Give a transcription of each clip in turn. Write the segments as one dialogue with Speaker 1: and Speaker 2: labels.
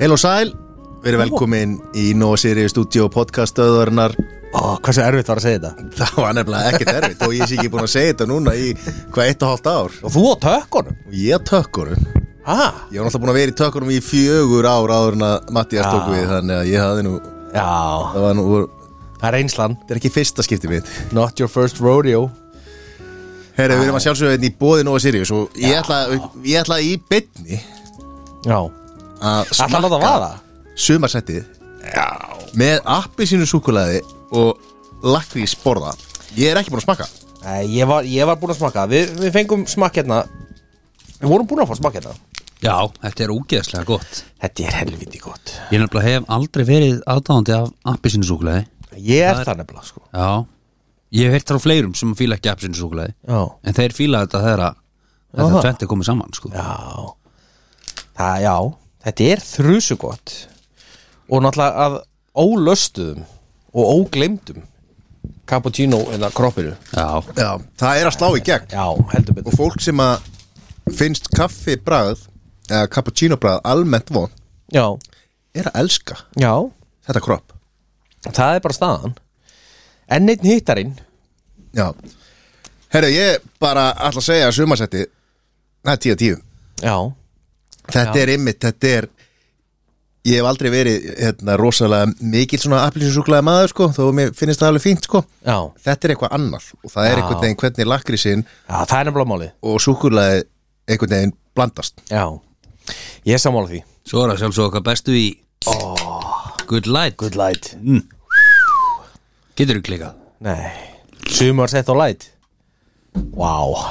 Speaker 1: Heil og sæl, við erum velkomin í Nóa Sirius stúdíu podcastöðurnar
Speaker 2: Ó, hversu erfitt var að segja þetta
Speaker 1: Það var nefnilega ekkert erfitt og ég sé ekki búin að segja þetta núna í hvað eitt og hálft ár
Speaker 2: Og þú á tökkunum
Speaker 1: Og ég er tökkurum Ég
Speaker 2: ha?
Speaker 1: var náttúrulega búin að vera í tökkurum í fjögur ár áður en að Mattias tók við Þannig að ég hafði nú,
Speaker 2: Já,
Speaker 1: það var nú,
Speaker 2: það er einslan
Speaker 1: þetta er ekki fyrsta skipti mitt
Speaker 2: Not your first rodeo
Speaker 1: Herra, við erum að sjálfsögðu hérna í bóði Nóa Sirius og ég ætla, ég ætla í bytni
Speaker 2: Já
Speaker 1: að
Speaker 2: Ætla að láta vaða?
Speaker 1: sumarsettið með appi sínu súkulaði og lakrís borða Ég er ekki búin að smakka
Speaker 2: Nei, ég var, ég var búin að smakka Við, við fengum smakk hérna Við vorum búin að fá smakk hérna
Speaker 3: Já, þetta er ógeðslega gott
Speaker 2: Þetta er helviti gott
Speaker 3: Ég nefnilega hef aldrei verið aðdáðandi af appisinsúklaði
Speaker 2: Ég er það nefnilega sko
Speaker 3: Já Ég hef heyrt frá fleirum sem fíla ekki appisinsúklaði
Speaker 2: Já
Speaker 3: En þeir fíla þetta þegar að þetta
Speaker 2: Aha.
Speaker 3: tvent er komið saman sko.
Speaker 2: Já Það, já Þetta er þrjusu gott Og náttúrulega að ólöstuðum Og óglemdum Cappuccino eða kroppinu
Speaker 3: Já,
Speaker 1: Já, það er að slá í gegn
Speaker 2: Já, heldur betur
Speaker 1: og fólk sem að finnst kaffi bragð eða cappuccino bragð almennt von
Speaker 2: Já,
Speaker 1: er að elska
Speaker 2: já
Speaker 1: þetta kropp
Speaker 2: Það er bara staðan Enn einn hittarinn
Speaker 1: Já Herru, ég bara ætla að segja að sumarsetti það er 10 af 10
Speaker 2: Já,
Speaker 1: Þetta
Speaker 2: Já.
Speaker 1: er ymmit, þetta er ég hef aldrei verið hérna, rosalega mikill svona appelsinsúklaði maður sko, þó mér finnst það alveg fínt sko
Speaker 2: já,
Speaker 1: Þetta er eitthvað annað og það er
Speaker 2: Já.
Speaker 1: einhvern veginn hvernig lakrísinn
Speaker 2: já það er nefnilega málið
Speaker 1: og súkulaði einhvern veginn blandast
Speaker 2: Já, ég er sammála því
Speaker 3: svo er það sjálfsög okkar bestu í oh, Good light good.
Speaker 2: light
Speaker 3: Getur þú klikað?
Speaker 2: Nei, sumar sett á light Vá wow.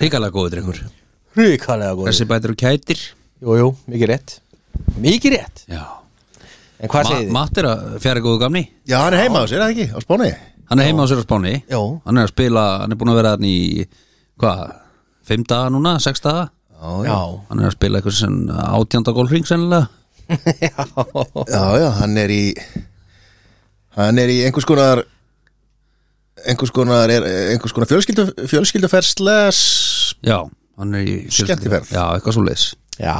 Speaker 3: Ríkalega góður drengur
Speaker 2: Ríkalega góð
Speaker 3: Þessi bætir og kætir
Speaker 2: Jú, jú, mikið rétt Mikið rétt
Speaker 3: Já
Speaker 2: En hvað
Speaker 3: Ma
Speaker 2: segið þið?
Speaker 3: Matt er að fjara góðu gamni
Speaker 1: Já, hann er heima á sér, er það ekki? Á spáni?
Speaker 3: Hann er heima á sér á Spáni
Speaker 2: Já.
Speaker 3: Hann er að spila, hann er búin að vera hann í Hvað? Fimm daga núna, sex daga
Speaker 1: Já,
Speaker 2: Já,
Speaker 3: Hann er að spila eitthvað sem átjönda gólfring sennilega
Speaker 2: já,
Speaker 1: Já, já, hann er í hann er í einhvers konar einhvers konar er, einhvers konar fjölskyldu, fjölskylduferð slæs
Speaker 3: Já, hann er í
Speaker 1: Skemmtiferð.
Speaker 3: Já, eitthvað svo leis
Speaker 2: já.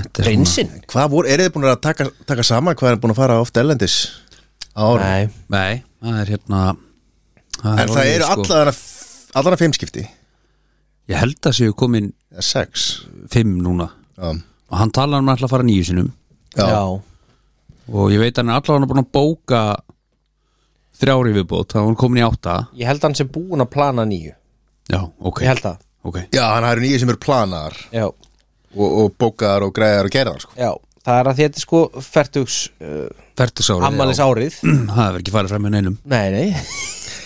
Speaker 3: Nei,
Speaker 2: Prinsinn
Speaker 1: Hvað voru, eru þið búin að taka, taka saman hvað er búin að fara oft ellendis á árum?
Speaker 2: Nei,
Speaker 3: það er hérna það
Speaker 1: En það
Speaker 3: orðið,
Speaker 1: eru
Speaker 3: sko-
Speaker 1: allavega allavega fimm skipti
Speaker 3: Ég held að séu komin
Speaker 1: eða sex
Speaker 3: fimm núna
Speaker 1: Já,
Speaker 3: og hann talar um að ætla að fara nýju sinum
Speaker 1: já,
Speaker 2: já,
Speaker 3: og ég veit að hann er allavega búin að bóka þrjári viðbót, þá er hann komin í átta
Speaker 2: Ég held að hann sem búin að plana nýju
Speaker 3: Já, ok,
Speaker 2: Ég held það
Speaker 3: okay.
Speaker 1: já hann er nýju sem eru planar
Speaker 2: Já,
Speaker 1: og, og bókaðar og græðar og gerðar sko.
Speaker 2: já Það er að því að þetta er sko fertugs uh,
Speaker 3: Fertugsárið
Speaker 2: Ammalis árið
Speaker 3: Það hefur ekki farið fram með neinum
Speaker 2: Nei, nei,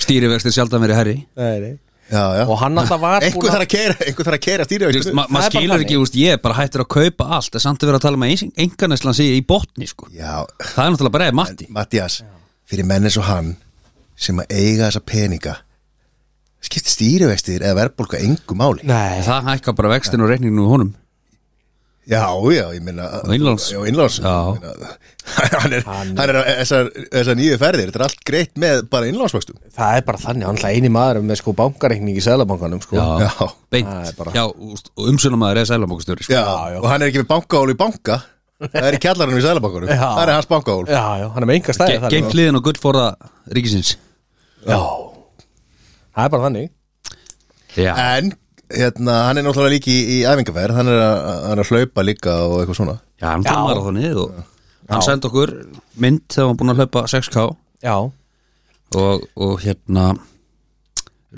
Speaker 3: Stýrivextir sjaldan verið herri
Speaker 2: nei, nei.
Speaker 1: Já, já
Speaker 2: Og hann alltaf var
Speaker 1: Einhver þarf að kæra, einhver þarf að kæra stýrivexti
Speaker 3: Maður ma
Speaker 2: Það er bara
Speaker 3: skilur
Speaker 2: þannig.
Speaker 3: ekki, úst, ég er bara hættur að kaupa allt en samt að vera að tala um að enganæslan sé í botni sko.
Speaker 1: Já,
Speaker 3: Það er náttúrulega bara eða matti
Speaker 1: Mattias, fyrir menn eins og hann sem að eiga þessa peninga skiptir stýrivextir eða verðbólka engu máli
Speaker 2: Nei, það,
Speaker 3: Það hækka bara vextin og reikninginu honum
Speaker 1: Já, já, ég meina
Speaker 3: Og innláns.
Speaker 1: Já, innláns
Speaker 3: Já.
Speaker 1: Ég meina, Hann er, hann er að- þessar, þessar nýju ferðir þetta er allt greitt með bara innlánsvöxtum
Speaker 2: það er bara þannig, hann er eini maður með sko bankareikning í Sælabankanum sko
Speaker 3: Já,
Speaker 1: Já.
Speaker 2: Það er
Speaker 3: beint
Speaker 2: bara-
Speaker 3: Já, úst, og umsölumæður eða sælambókastjóri sko.
Speaker 1: já, og hann er ekki með bankahól í banka það er í kjallaranum í sælabankanum
Speaker 2: Já.
Speaker 1: það er hans bankahól
Speaker 2: já, já, hann er með enga stæði
Speaker 3: Geimt liðin og gull forða ríkisins
Speaker 2: Já, það er bara þannig
Speaker 3: Já,
Speaker 1: en hérna, hann er náttúrulega líki í, í æfingaferð hann er, að, hann er að hlaupa líka og eitthvað svona
Speaker 3: já hann
Speaker 2: Já.
Speaker 3: tók maður á þannig og hann sendi okkur mynd þegar hann búin að hlaupa 6K
Speaker 2: Já,
Speaker 3: og, og hérna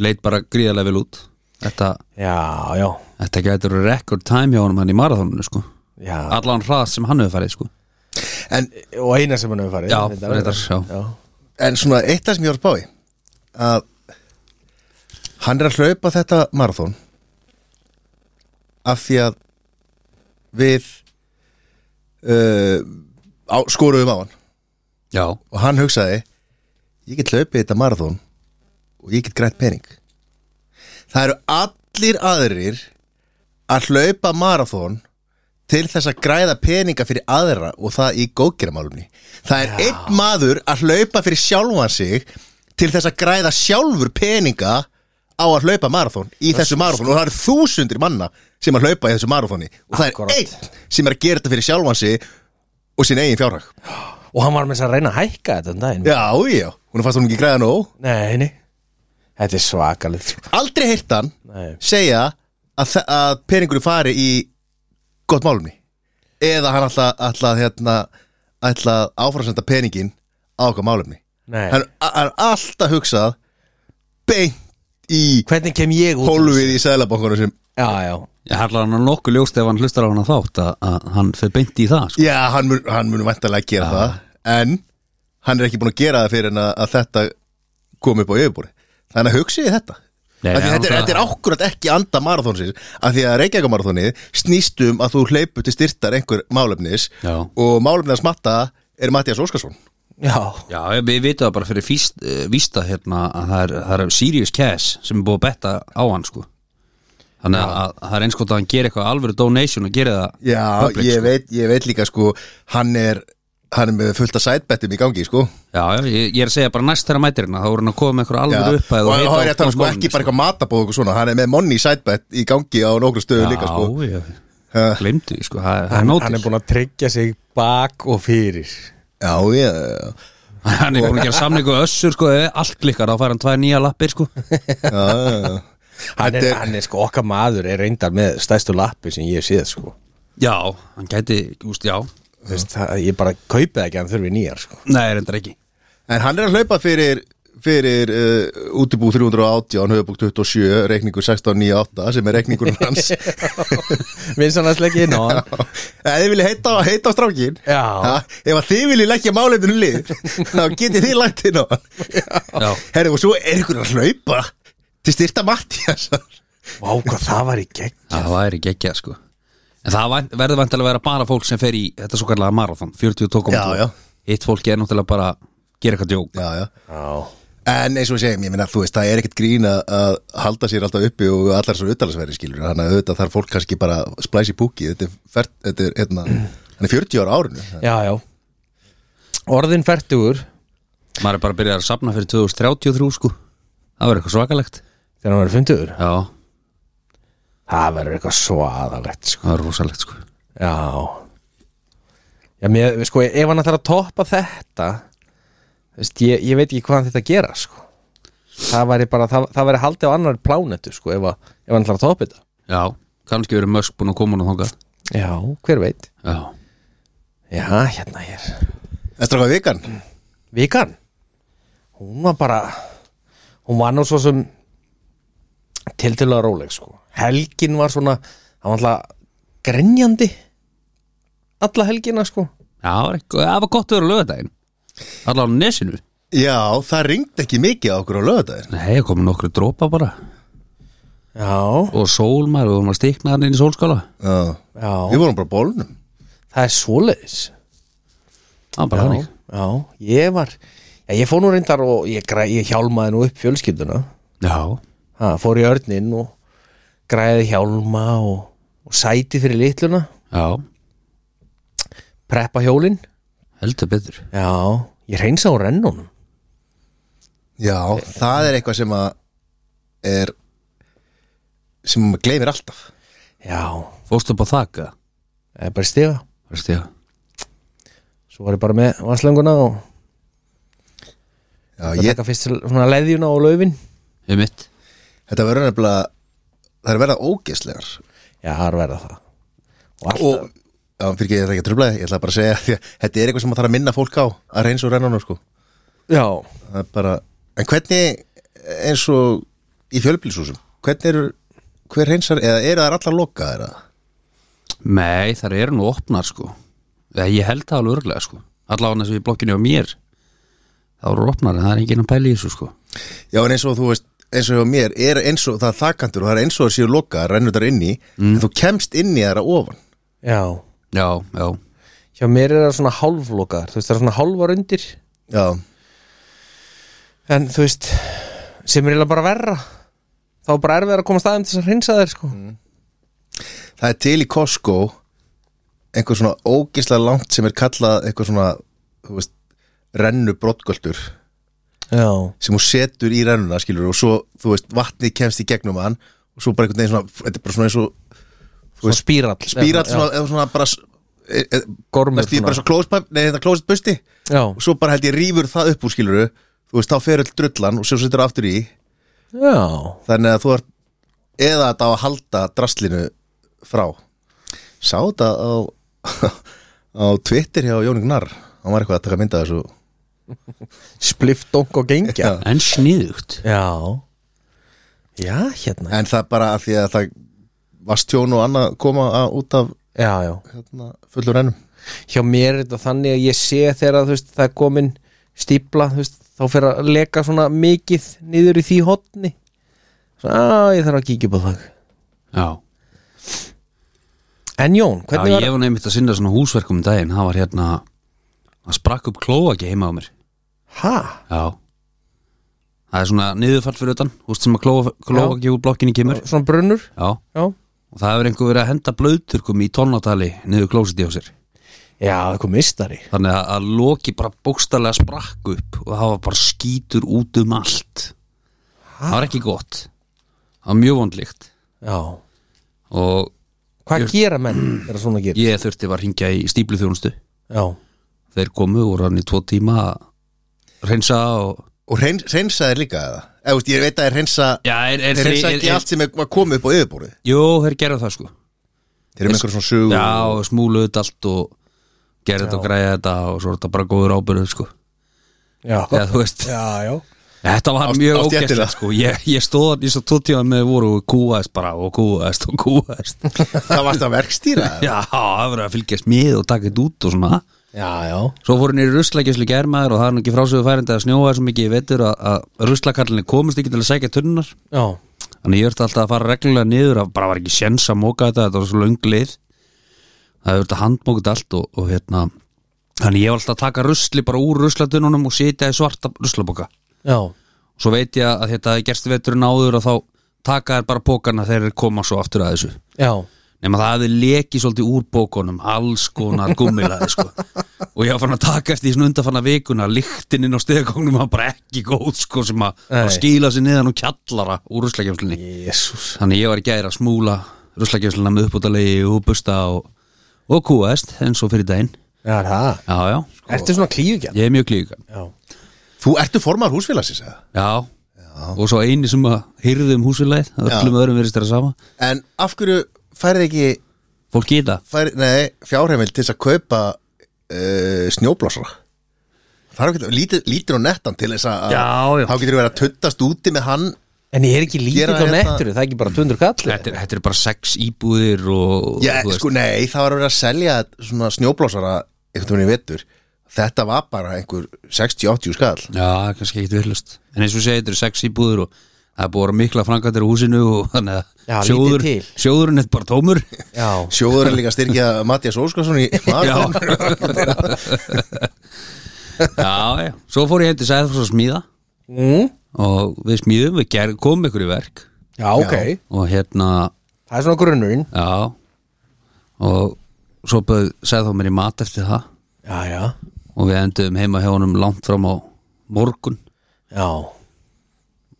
Speaker 3: leit bara gríðarlega vel út Þetta,
Speaker 2: já, já,
Speaker 3: þetta gætur record time hjá honum hann í marathóninu sko
Speaker 2: já
Speaker 3: Allan hrað sem hann hefur farið sko
Speaker 1: en
Speaker 2: Og eina sem hann hefur farið
Speaker 3: Já,
Speaker 2: reyndar.
Speaker 3: reyndar, já.
Speaker 1: En svona eitt af sem ég var að spá í að hann er að hlaupa þetta marathón af því að við uh, á, skoruðum á hann
Speaker 3: Já,
Speaker 1: og hann hugsaði ég get hlaupið þetta marathón og ég get grætt pening það eru allir aðrir að hlaupa marathón til þess að græða peninga fyrir aðra og það í góðgerðamálumni það er einn maður að hlaupa fyrir sjálfan sig til þess að græða sjálfur peninga á að hlaupa marathón í þessu marathón og það eru þúsundir manna sem að hlaupa í þessu marathóni og það
Speaker 2: Akkúrat.
Speaker 1: er einn sem er að gera þetta fyrir sjálfan sig og sín eigin fjárhag
Speaker 2: Og hann var með þess að reyna að hækka þetta um daginn
Speaker 1: Já, já, hún fannst hún ekki græða nóg
Speaker 2: Nei, nei Þetta er svakalegt sko.
Speaker 1: Aldrei heyrt hann
Speaker 2: Nei.
Speaker 1: segja að, þa- að peningur fari í gott málumni eða hann ætla, ætla, hérna, ætla að áframsenda peningin á okkar málumni
Speaker 2: Nei.
Speaker 1: hann a- hann er alltaf hugsað beint í
Speaker 2: Hvernig kem ég út? úr þessu?
Speaker 1: hólfið í sæðlabankunum sem
Speaker 2: Já, já
Speaker 3: Ég harla hann nokkuð ljóst ef hann hlustar á hann þátt að, að hann fyrir beint í það sko.
Speaker 1: já, hann mun, hann mun vantarlega
Speaker 3: Ah.
Speaker 1: gera það en hann er ekki búin að gera það fyrir en að, að þetta kom upp á yfirbúri þannig að hugsiði þetta
Speaker 3: Nei,
Speaker 1: Af því
Speaker 3: hann
Speaker 1: þetta, er,
Speaker 3: bara-
Speaker 1: þetta er ákkurat ekki anda marathónsins af því að Reykjavíkamarathónið snýst um að þú hleypu til styrtar einhver málefnis
Speaker 3: Já.
Speaker 1: og málefnis matta er Mattias Óskarsson
Speaker 2: Já,
Speaker 3: Já, við vitum það bara fyrir físt, uh, vísta hérna að það er, það er Sirius Cash sem er búið að betta á hann sko. Þannig að, að það er eins gott að hann gera eitthvað alvöru donation og gera það
Speaker 1: Já,
Speaker 3: Public,
Speaker 1: ég,
Speaker 3: sko.
Speaker 1: veit, ég veit líka sko hann er, hann er með fullt af sætbettum í gangi sko
Speaker 3: Já, já, ég, ég er að segja bara næst þeirra mætirina þá voru hann að koma með eitthvað
Speaker 1: Já,
Speaker 3: alvöru uppæð
Speaker 1: og hann er þetta sko ekki bara eitthvað matabóð og eitthvað svona, hann er með monni sætbett í gangi á nokkru stöðu líka sko
Speaker 3: Já, já, glemdu, því, sko, það er- það er
Speaker 2: hann,
Speaker 3: nótis
Speaker 2: hann er búin að tryggja sig bak og fyrir
Speaker 1: Já, já, já,
Speaker 3: Hann er búin að gera samningu við össur sko, ef allt klikkar, þá fær hann tvær nýja lappir sko.
Speaker 1: já, já, já.
Speaker 2: hann er,
Speaker 1: Þetta er-
Speaker 2: hann er sko, okkar maður er reyndar með stæstu lappi sem ég hef séð sko.
Speaker 3: Já, hann gæti, úst, já
Speaker 2: Þú veist, það, ég bara kaupið ekki að hann þurfi nýjar sko.
Speaker 3: Nei, reyndar ekki
Speaker 1: En hann er að hlaupa fyrir fyrir uh, útibú 318 höfubúk 27, reikningur 1698 sem er reikningur hans
Speaker 2: minnst hann að slegja inn á hann
Speaker 1: Ef þið viljið heita, heita á strákin
Speaker 2: Já.
Speaker 1: Ef að þið viljið leggja málefninu lið þá getið þið lagt inn á hann
Speaker 3: Já.
Speaker 1: Herðu og svo er einhver að hlaupa til styrta Mattias
Speaker 2: Vá, hvað það var í gegn
Speaker 3: Það væri ekki ekki, sko En það vænt- verður vantilega að vera bara fólk sem fer í þetta svo kallega marathon, 40 tókum
Speaker 1: Já, já.
Speaker 3: Hitt fólki er náttúrulega bara að gera eitthvað djók
Speaker 1: Já, já
Speaker 2: Já,
Speaker 1: En eins og við segjum, ég minna, þú veist, það er ekkert grín að- að halda sér alltaf uppi og allar svo uttalagsverði skilur, þannig að auðvitað þarf fólk kannski bara að splæsa í púki, þetta er, fer, þetta er, hérna, hann er 40 ára árinu
Speaker 2: já, já. Orðin færtugur
Speaker 3: Maður er bara að byrja að safna fyrir 2033 sko Það verður eitthvað svakalegt
Speaker 2: þegar hann verður fymtugur
Speaker 3: Já,
Speaker 2: Það verður eitthvað svaðalegt sko.
Speaker 3: það verður rosalegt sko
Speaker 2: Já Já, mér, sko, ef hann ætlar að toppa þetta þú veist, ég, ég veit ekki hvað hann þetta að gera sko. Það væri bara það, það væri haldið á annar plánetu sko, ef, að, ef hann ætlar að toppa þetta
Speaker 3: Já, kannski verður mösk búin að koma nú þangað
Speaker 2: Já, hver veit
Speaker 3: Já,
Speaker 2: Já, hérna hér
Speaker 1: Eftir okkar vikan,
Speaker 2: Vikan Hún var bara Hún var nú svo sem Tiltölulega róleg sko Helgin var svona Það var alltaf grenjandi Alla helgina sko
Speaker 3: Já, það var eitthvað- það var gott að vera lögadaginn Allar á nesinu
Speaker 1: já, það ringd ekki mikið á okkur á lögadagir
Speaker 3: Nei, ég komið nokkru dropa bara
Speaker 2: Já,
Speaker 3: Og sól maður, við vorum að stikna hann inn í sólskála
Speaker 1: Við
Speaker 2: já
Speaker 1: vorum bara á bólnum
Speaker 2: Það er svoleiðis
Speaker 3: Það var bara
Speaker 2: já,
Speaker 3: hannig
Speaker 2: já, ég var já, Ég fór nú reyndar og ég, græ, ég hjálmaði nú upp fjölskylduna
Speaker 3: Já,
Speaker 2: ha, Fór í örnin og græði hjálma og, og sæti fyrir litluna
Speaker 3: já,
Speaker 2: Preppa hjólin
Speaker 3: heldur betur
Speaker 2: Já, ég reynsa á rennunum
Speaker 1: Já, það er eitthvað sem að er sem maður gleymir alltaf
Speaker 2: Já,
Speaker 3: Fórstu upp á þakka
Speaker 2: eða bara stiga
Speaker 3: Verðst ég
Speaker 2: svo var ég bara með vasslönguna og
Speaker 1: Já,
Speaker 2: ég...
Speaker 1: ég,
Speaker 2: taka fyrst svona leðjuna og laufin
Speaker 3: Ég mitt
Speaker 1: þetta verður nefnilega það er að verða ógeðslegar
Speaker 2: já, það er verða það og alltaf,
Speaker 1: og, já, fyrir ekki, ég ætla ekki að trubla þig, ég ætla bara að segja því að þetta er eitthvað sem maður þarf að minna fólk á að reyns og rennunum, sko
Speaker 2: já,
Speaker 1: það er bara, en hvernig eins og í fjölbílshúsum hvernig eru, hver reynsar eða eru þær allar lokaðar eða?
Speaker 3: Nei, þar eru nú opnar sko Eða, Ég held það alveg örglega sko Allavega þessu í blokkinu á mér Það voru opnar en það er enginn að pæla í þessu sko
Speaker 1: já en eins og þú veist, eins og hjá mér er eins og það er þakantur og það er eins og það séu lokaðar rennur þar inni, en þú kemst inni þar að ofan
Speaker 2: já
Speaker 3: Já, já
Speaker 2: hjá mér er það svona hálflokaðar þú veist, það er svona hálfar undir
Speaker 1: já,
Speaker 2: en þú veist, sem er eiginlega bara verra þá er bara erfið að koma staðum til þess að hreinsa þær sko
Speaker 1: Mm. það er til í Costco einhver svona ógisla langt sem er kallað eitthvað svona, þú veist rennu brottgöldur
Speaker 2: já,
Speaker 1: sem hún setur í rennuna skilur og svo, þú veist, vatnið kemst í gegnum hann og svo bara einhvern veginn svona þetta er bara svona eins og
Speaker 2: svona spírall
Speaker 1: spírat
Speaker 2: já,
Speaker 1: svona, eða svona bara s- e- e-
Speaker 2: Gormur
Speaker 1: næstum því
Speaker 2: svona.
Speaker 1: bara svo close pipe, nei þetta close busti
Speaker 2: já,
Speaker 1: og svo bara held ég rýfur það upp úr skilur þú veist, þá fer öll drullan og svo setur það aftur í
Speaker 2: já,
Speaker 1: þannig að þú ert eða þetta á að halda draslinu frá sá þetta á á Twitter hjá Jóni Gnarr hann var eitthvað að taka mynda þessu
Speaker 2: splift dong og gengja
Speaker 1: Já.
Speaker 3: En sniðugt
Speaker 2: já já, hérna
Speaker 1: en það bara að því að það vastjón og annað koma að, út af
Speaker 2: já, já
Speaker 1: hérna, fullur ennum
Speaker 2: hjá mér er þetta þannig að ég sé þegar að, þú veist, það er komin stípla þú veist, þá fer að leka svona mikið niður í því hotni svona, að ég þarf að kíkja upp á það
Speaker 3: Já,
Speaker 2: en Jón,
Speaker 3: Já
Speaker 2: hvernig
Speaker 3: ég var nefnitt að sinna svona húsverkum um daginn Það var hérna Það sprakk upp klóaki heima á mér
Speaker 2: var
Speaker 3: Já Það er svona niðurfall fyrir utan Húst sem að klóa, klóa ekki úr blokkinni kemur
Speaker 2: hæ, svona brunnur
Speaker 3: Já
Speaker 2: já,
Speaker 3: Og það hefur einhver verið að henda blöðturkum í tónnátali Niður klósiti á sér
Speaker 2: já það kom mistari
Speaker 3: Þannig að, að loki bara bókstarlega sprakk upp Og það var bara skítur út um allt Það var ekki gott Það var mjög vondlíkt
Speaker 2: já,
Speaker 3: Og
Speaker 2: hvað gera menn er að svona gera
Speaker 3: ég þurfti var að hringja í stípluþjónustu
Speaker 2: já,
Speaker 3: Þeir komu og voru hann í tvo tíma að Reynsa og
Speaker 1: Og hreins, reynsa er líka eða? Eða, þú veist, ég veit að þeir reynsa
Speaker 3: Já, er, er,
Speaker 1: Þeir reynsa ekki allt sem er var komið upp á yfirborðið
Speaker 3: Jú, þeir gerðu það sko
Speaker 1: Þeir eru með einhverjum svona sögu
Speaker 3: Já, og smúluðu þetta allt og gerðu þetta og græja þetta og svo er þetta bara góður ábyrðu sko
Speaker 2: já,
Speaker 3: Já, þú veist,
Speaker 2: já, já.
Speaker 3: þetta var
Speaker 1: Á-
Speaker 3: mjög
Speaker 1: á stéttina.
Speaker 3: ógæstlegt sko Ég, ég stóð þarna í svo tvo tíma með voru og kúaðist bara og kúaðist og kúaðist
Speaker 1: Það varst að verkstýra eða?
Speaker 3: Já, það verður að fylgjast mið og taka þetta út og svona
Speaker 2: já, já.
Speaker 3: Svo fór hann í ruslakjöfslu gærmaður og það er nú ekki frásöðu færandi að snjóa svo mikið í vetur að, að ruslakallinni komist ekki til að sækja tunnunar
Speaker 2: já.
Speaker 3: Þannig ég verði alltaf að fara reglulega niður að bara var ekki sjens að móka þetta, þetta var svo löng leið Það verði að handmóka þetta allt og, og hérna Þannig ég var alltaf að taka rusli bara úr ruslatununum og setja í svarta ruslaboka
Speaker 2: já.
Speaker 3: Svo veit ég að þetta hafði gerst veturinn áður og þá taka þær bara bókana þegar þeir koma svo aftur að þessu
Speaker 2: já.
Speaker 3: Nefna það hafði lekið svolítið úr bókunum alls konar gummilaði sko og ég var fann að taka eftir í svona undarfanna vikuna lyktininn á stegakongnum var bara ekki góð sko sem að bara
Speaker 2: Nei.
Speaker 3: skýla sér niðan og kjallara úr ruslakefslinni
Speaker 2: jésús
Speaker 3: Þannig ég var í gæri að smúla ruslakefslina með uppbútalegi og busta og, og kúaðist eins og fyrir daginn
Speaker 2: já, það
Speaker 3: Já, já,
Speaker 2: ertu svona klífugjarn
Speaker 3: ég er mjög klíka
Speaker 2: já,
Speaker 1: Þú ertu formar húsfélagsins eða?
Speaker 3: já. og svo eini sem að hyrði um húsfélagið að öllum öðrum verist þeirra sama
Speaker 1: En af hverju færði ekki
Speaker 3: Fólk geta
Speaker 1: fær, Nei, fjárheimil til þess að kaupa uh, snjóblásara Það er ekki lítið, lítið og nettan til þess að
Speaker 3: Já, já.
Speaker 1: Þá getur við verið að tuttast úti með hann
Speaker 2: en ég er ekki lítill
Speaker 1: Gera
Speaker 2: á
Speaker 1: hérna-
Speaker 2: nettur það er ekki bara 200 kall
Speaker 3: Þetta er, þetta er bara sex íbúðir og
Speaker 1: Já,
Speaker 3: þú veist,
Speaker 1: sko, nei, það var að vera að selja svona snjóblásara einhvern veginn í vetur Þetta var bara einhver 60-80 skall
Speaker 3: Já, kannski ekkit villust En eins og segja, þetta eru sex íbúður og það er búið að vera mikla frangatir á húsinu og þannig að
Speaker 2: Já, lítið til.
Speaker 3: sjóðurinn er bara tómur
Speaker 2: já,
Speaker 1: Sjóður er líka að styrkja Mattias Óskarsson í maður
Speaker 3: Já, já, svo fór ég heim til Sæðfoss að smíða
Speaker 2: mm.
Speaker 3: og við smíðum, við ger, komum ykkur í verk
Speaker 2: já ok
Speaker 3: og hérna,
Speaker 2: það er svona grunnurinn
Speaker 3: já og svo bauð Sæðfoss mér í mat eftir það
Speaker 2: Já, já,
Speaker 3: og við endum heima hjá honum langt fram á morgun,
Speaker 2: já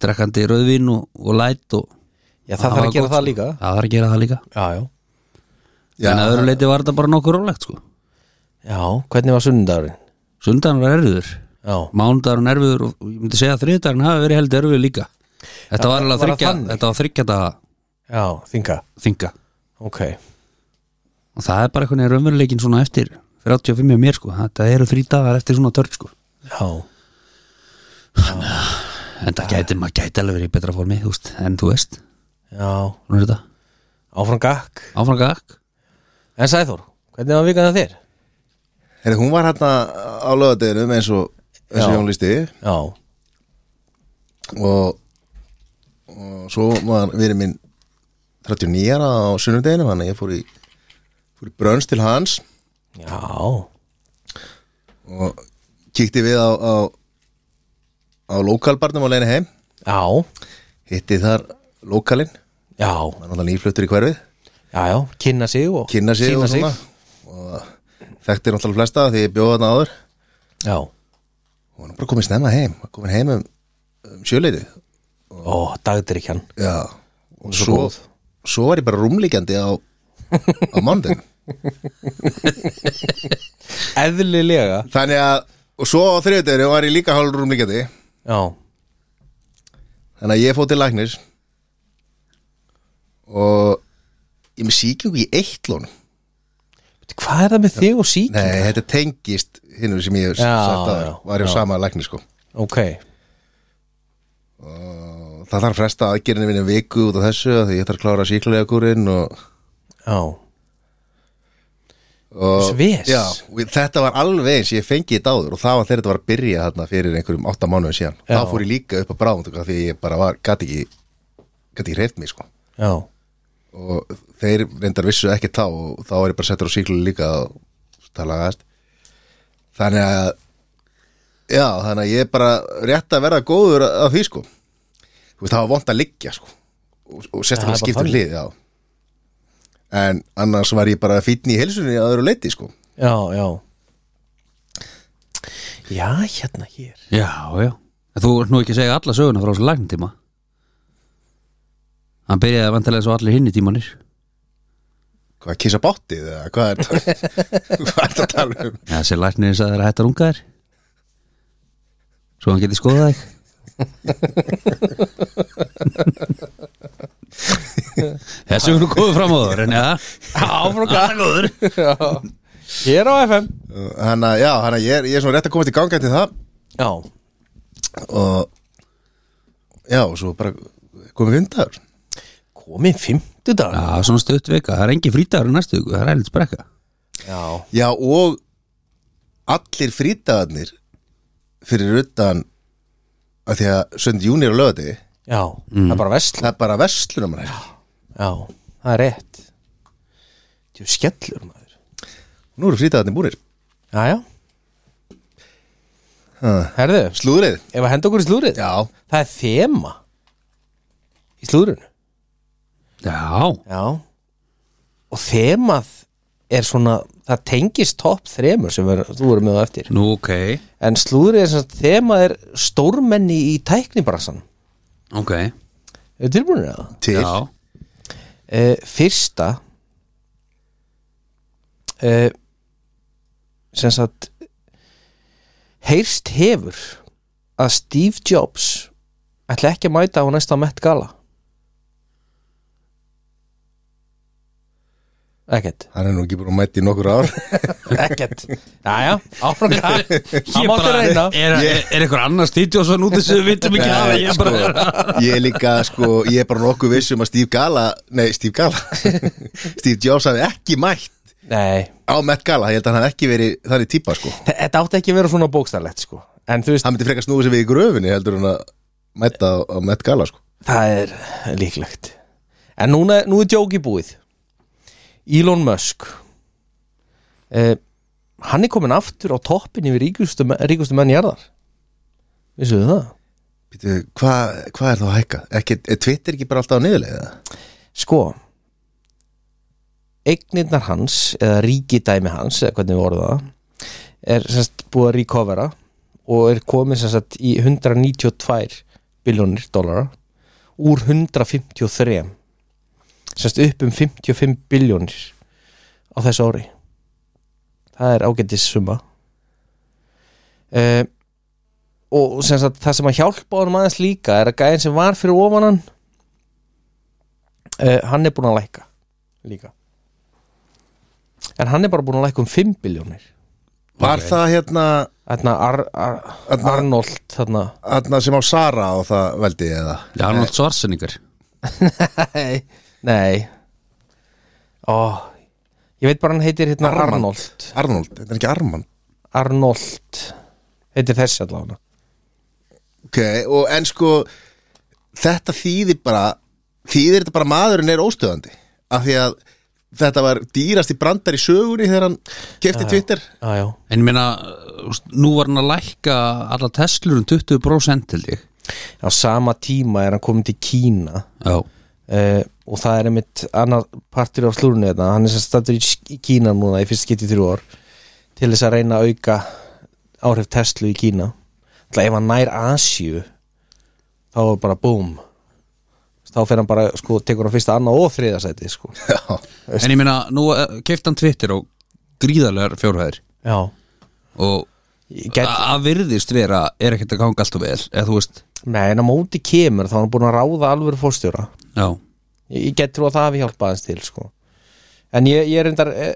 Speaker 3: drekkandi rauðvín og, og læt og
Speaker 2: Já, það þarf
Speaker 3: var
Speaker 2: að gera
Speaker 3: gott,
Speaker 2: það
Speaker 3: sko.
Speaker 2: líka
Speaker 3: Já, það þarf að gera það líka
Speaker 2: Já, já,
Speaker 1: Já.
Speaker 3: En að öðru leiti var þetta bara nokkuð rólegt sko
Speaker 2: já, hvernig var sunnudagurinn?
Speaker 3: Sundan var erfiður
Speaker 2: Já,
Speaker 3: mánudagur erfiður og og ég myndi segja að þriðdagur hafi verið heldur erfiður líka þetta var alveg
Speaker 2: var
Speaker 3: að
Speaker 2: það
Speaker 3: þryggja
Speaker 2: þannig?
Speaker 3: þetta var þryggja þetta
Speaker 2: já, þinga
Speaker 3: þinga
Speaker 2: Ok,
Speaker 3: og það er bara einhvern veginn raunveruleikin svona eftir 35 hjá mér sko, þetta eru þrý dagar eftir svona törn sko,
Speaker 2: já,
Speaker 3: en það gæti maður gæti alveg verið í betra formi, þú veist, en þú veist
Speaker 2: já
Speaker 3: hún er þetta,
Speaker 2: Áfram gakk
Speaker 3: áfram gakk
Speaker 2: En Sæþór, hvernig var vikað það þér?
Speaker 1: Heri, hún var hérna á lögadeginum eins og, eins og
Speaker 2: Já.
Speaker 1: Jón listi
Speaker 2: Já,
Speaker 1: og, og svo var verið minn 39 ára á sunnudeginum þannig að ég fór í, fór í brönns til hans
Speaker 2: já,
Speaker 1: og kíkti við á, á, á lokalbarnum á leinu heim
Speaker 2: já,
Speaker 1: hitti þar lokalinn hann
Speaker 2: já,
Speaker 1: var náttúrulega nýfluttur í hverfið
Speaker 2: já, já, kynna sig og
Speaker 1: kynna sig
Speaker 2: Sýna
Speaker 1: og svona og þekkti náttúrulega flesta því ég bjóða þarna áður
Speaker 2: Já,
Speaker 1: hún var bara komin snemma heim var komin heim um, um sjöleiti
Speaker 2: Ó, dagdrykjan
Speaker 1: já
Speaker 2: Hún er svo
Speaker 1: svo,
Speaker 2: góð.
Speaker 1: svo var ég bara rúmlíkjandi á á mándin
Speaker 2: Eðlilega
Speaker 1: þannig að og svo á þriðutöru var ég líka hálf rúmlíkjandi
Speaker 2: Já,
Speaker 1: þannig að ég fóð til læknis og ég er með sýkingu í eittlónum
Speaker 2: Veitu, hvað er það með þig og sík?
Speaker 1: Nei, þetta tengist hinnur sem ég hef
Speaker 2: Já,
Speaker 1: sagt að
Speaker 2: já,
Speaker 1: var hjá
Speaker 2: já.
Speaker 1: sama lækni sko
Speaker 2: Ok,
Speaker 1: og það þarf fresta aðgerinu minni viku út af þessu af því ég þarf að klára síklarlegurinn og,
Speaker 2: já
Speaker 1: og
Speaker 2: Sves?
Speaker 1: já, og þetta var alveg eins, ég fengi þetta áður og það var þegar þetta var að byrja þarna fyrir einhverjum átta mánuðum síðan
Speaker 2: Já.
Speaker 1: þá fór ég líka upp að bráðum því ég bara var, gat ekki gat ekki hreift mig sko
Speaker 2: Já,
Speaker 1: og þeir reyndar vissu ekki þá og þá er ég bara settur á síklu líka og talaðast þannig að já, þannig að ég er bara rétt að verða góður af því sko þú veist, það var vont að liggja sko og, og
Speaker 2: Já, það
Speaker 1: sérstaklega
Speaker 2: er bara
Speaker 1: skiptum
Speaker 2: þannig.
Speaker 1: hlið, já en annars var ég bara fýtni í helsunni að öðru leiti sko
Speaker 2: já, já Já, hérna hér
Speaker 3: Já, já En Þú ert nú ekki að segja alla söguna frá þessu lagnitíma Hann byrjaði að vantilega svo allir hinn í tímanir
Speaker 1: hvað kissa báttið eða hvað er hvað er það að tala um
Speaker 3: Já, þessi læknirinn sagði þér að hætta að runga þér Svo hann geti skoðað þig Þessi hún er góður fram á þór En já, áfram góður
Speaker 2: Já, hér á FM
Speaker 1: þannig að já, þannig að ég er, ég er svona rétt að komast í ganga til það
Speaker 2: Já,
Speaker 1: og já, og svo bara komið vindagur
Speaker 2: komin fimmtudag
Speaker 3: Já, svona stutt vika, það er engin frítagur í næstu viku, það er eilins brekka
Speaker 2: Já,
Speaker 1: Já og allir frítagarnir fyrir utan að því að sönd júni er á lögati
Speaker 2: já, það er bara vesla
Speaker 1: það er bara verslunum hér
Speaker 2: Mm. Já, það er rétt Þú skellur maður
Speaker 1: Nú eru frítagarnir búinir
Speaker 2: Já, já
Speaker 1: Ha.
Speaker 2: Herðu,
Speaker 1: Slúðrið
Speaker 2: ef að henda okkur í slúrið
Speaker 1: Já,
Speaker 2: Það er þema Í slúrinu
Speaker 3: Já,
Speaker 2: Já Og þemað er svona Það tengist topp þremur sem er, þú verður með á eftir
Speaker 3: nú ok
Speaker 2: En slúðrið er svona þemað er stórmenni í tæknibransan
Speaker 3: Ok,
Speaker 2: Er tilbúinir að það?
Speaker 1: til
Speaker 3: já
Speaker 2: E, fyrsta e, sem sagt heyrst hefur að Steve Jobs ætla ekki að mæta á næsta Met Gala Ekkert
Speaker 1: Hann er nú ekki búin að mæti í nokkur ár
Speaker 2: Ekkert Jæja, áfram hvað Það
Speaker 3: Ég
Speaker 2: mátti
Speaker 3: bara-
Speaker 2: reyna
Speaker 3: Er, er, er eitthvað annar stíti og svo núti sem við vitum ekki að Ég bara er að
Speaker 1: sko, Ég er líka sko, ég er bara nokkuð viss um að Steve Gala Nei, Steve Gala Steve Jobs hafði ekki mætt
Speaker 2: Nei,
Speaker 1: á Met Gala Ég held að hann hafði ekki verið þannig típa sko
Speaker 2: þe- þetta átti ekki að vera svona bókstarlegt sko En þú veist,
Speaker 1: Hann myndi frekar snúið sér við í gröfinni heldur hann að mæta á, á Met Gala sko
Speaker 2: það er líklegt En núna, nú er djóki búið Elon Musk eh, Hann er komin aftur á toppin yfir ríkustu, me- ríkustu menn jarðar Vissu þið það?
Speaker 1: Býtu, hvað hva er þá að hækka? Ekki, er Twitter ekki bara alltaf á niðurlega?
Speaker 2: Sko Eignirnar hans eða ríkidæmi hans eða hvernig við orðum það er semst búið að recovera og er komið semst í 192 biljónir dólara úr 153 semst upp um 55 biljónir á þessu ári það er ágætis summa eh, og semst það sem að hjálpa honum aðeins líka er að gæðin sem var fyrir ofan hann uh, hann er búin að lækka líka en hann er bara búin að lækka um 5 biljónir
Speaker 1: Var það hérna,
Speaker 2: þarna Ar Ar
Speaker 1: Þarna-
Speaker 2: Arnold þarna
Speaker 1: hérna sem á Sara og það veldi eða?
Speaker 3: Já, hann er svarsinningar
Speaker 2: nei, nei. Ó, ég veit bara hann heitir hérna
Speaker 1: Armand.
Speaker 2: Arnold
Speaker 1: Arnold, þetta er ekki Armand
Speaker 2: Arnold heitir þessi allavega
Speaker 1: Ok, og en sko þetta þýðir bara þýðir þetta bara maðurinn er óstöðandi af því að þetta var dýrasti brandar í sögunni þegar hann kefti Twitter
Speaker 2: ah, já,
Speaker 3: En ég meina, þú veist, nú var hann að lækka alla Teslur um 20% til þig
Speaker 2: á sama tíma er hann komin til Kína
Speaker 3: Já,
Speaker 2: uh, og það er einmitt annar partur af slúrunni þetta hann er sem stattur í Sk- í Kína núna í fyrst getið þrjú ár til þess að reyna að auka áhrif Tesla í Kína ætla, ef hann nær Asíu þá er bara boom þá fer hann bara, sko, tekur hann fyrsta annað og þriða sæti, sko
Speaker 1: Já,
Speaker 3: En ég meina, nú keift hann Twitter og gríðarlegar fjórhæðir
Speaker 2: Já,
Speaker 3: og
Speaker 2: get,
Speaker 3: a- að virðist vera er ekkert að ganga alltaf vel eða þú veist,
Speaker 2: nei, en á móti kemur þá er hann búin að ráða alvöru fórstjóra
Speaker 3: já,
Speaker 2: ég, ég get trú að það hafi hjálpað hans til, sko en ég, ég reyndar eh,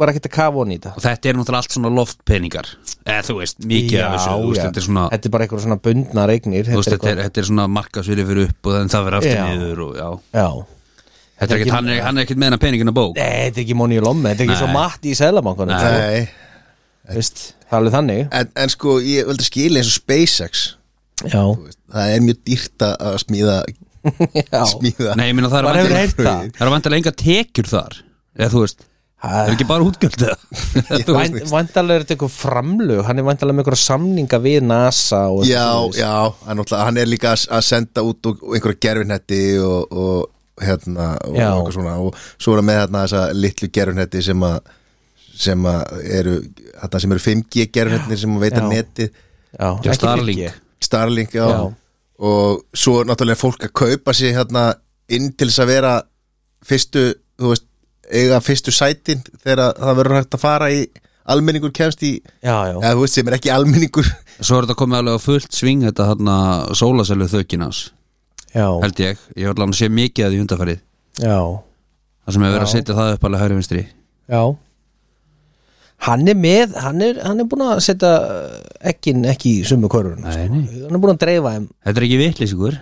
Speaker 2: var ekkert að kafa hann í þetta
Speaker 3: og þetta er náttúrulega allt svona loftpeningar eða þú veist, mikið af þessu, þú veist, þetta er svona
Speaker 2: þetta er bara eitthvað svona bundna regnir
Speaker 3: þú veist, þetta er, þetta er svona markasvili fyrir upp og þannig það verður aftur
Speaker 2: Já.
Speaker 3: niður og já
Speaker 2: Já
Speaker 3: Þetta er
Speaker 2: Ekki-
Speaker 3: ekkert, hann er, hann er ekkert með hennar peningin að bók
Speaker 2: Nei, þetta er ekki Móni í Lomme, þetta er ekki svo matti í Sælabankunum sko.
Speaker 1: nei
Speaker 2: Veist, Það er alveg þannig
Speaker 1: en, en sko, ég veldi skilja eins og SpaceX
Speaker 2: Já,
Speaker 1: Það er mjög dýrt að að smíða,
Speaker 2: já.
Speaker 1: smíða.
Speaker 3: Nei, ég meina það er
Speaker 2: Maður hefur
Speaker 3: vantilega-
Speaker 2: heyrt það.
Speaker 3: það er vantilega enga tekjur þar eða þú veist, það er
Speaker 2: Það-
Speaker 3: ekki bara útgjöld eða þú veist,
Speaker 2: Væn- Væntanlega er þetta eitthvað framlög Hann er væntanlega með eitthvað samninga við NASA og eitthvað
Speaker 1: Já,
Speaker 2: svoleiðis.
Speaker 1: já, hann, náttúrulega- hann er líka að- að senda út og, og einhverja gerfinhetti og, og hérna og,
Speaker 2: Já.
Speaker 1: og, svona, og svo er hann með hérna þessa litlu gerfinhetti sem að sem að eru, hérna sem eru 5G gerfinhetti sem að veita
Speaker 2: Já.
Speaker 1: neti
Speaker 2: já,
Speaker 3: Já,
Speaker 2: ekki
Speaker 3: Starlink.
Speaker 2: fylgi.
Speaker 1: Starlink, já,
Speaker 2: Já.
Speaker 1: og svo er náttúrulega fólk að kaupa sér hérna inn til þess að vera fyrstu, þú veist, eiga fyrstu sætin þegar það verður hægt að fara í almenningur kemst í
Speaker 2: Já, já,
Speaker 1: eða þú veist sem er ekki almenningur
Speaker 3: Svo er þetta komið alveg á fullt sving þetta þarna sólasælu þaukinans
Speaker 2: já,
Speaker 3: held ég, ég var alveg að sé mikið að því undarfærið
Speaker 2: já,
Speaker 3: það sem hefur verið að
Speaker 2: Já.
Speaker 3: setja það upp alveg hægri vinstri
Speaker 2: já. Hann er með, hann er, hann er búin að setja ekkin ekki í sumu körun
Speaker 3: Nei, nei.
Speaker 2: Hann er búin að dreifa þeim
Speaker 3: Þetta er ekki vitlýsingur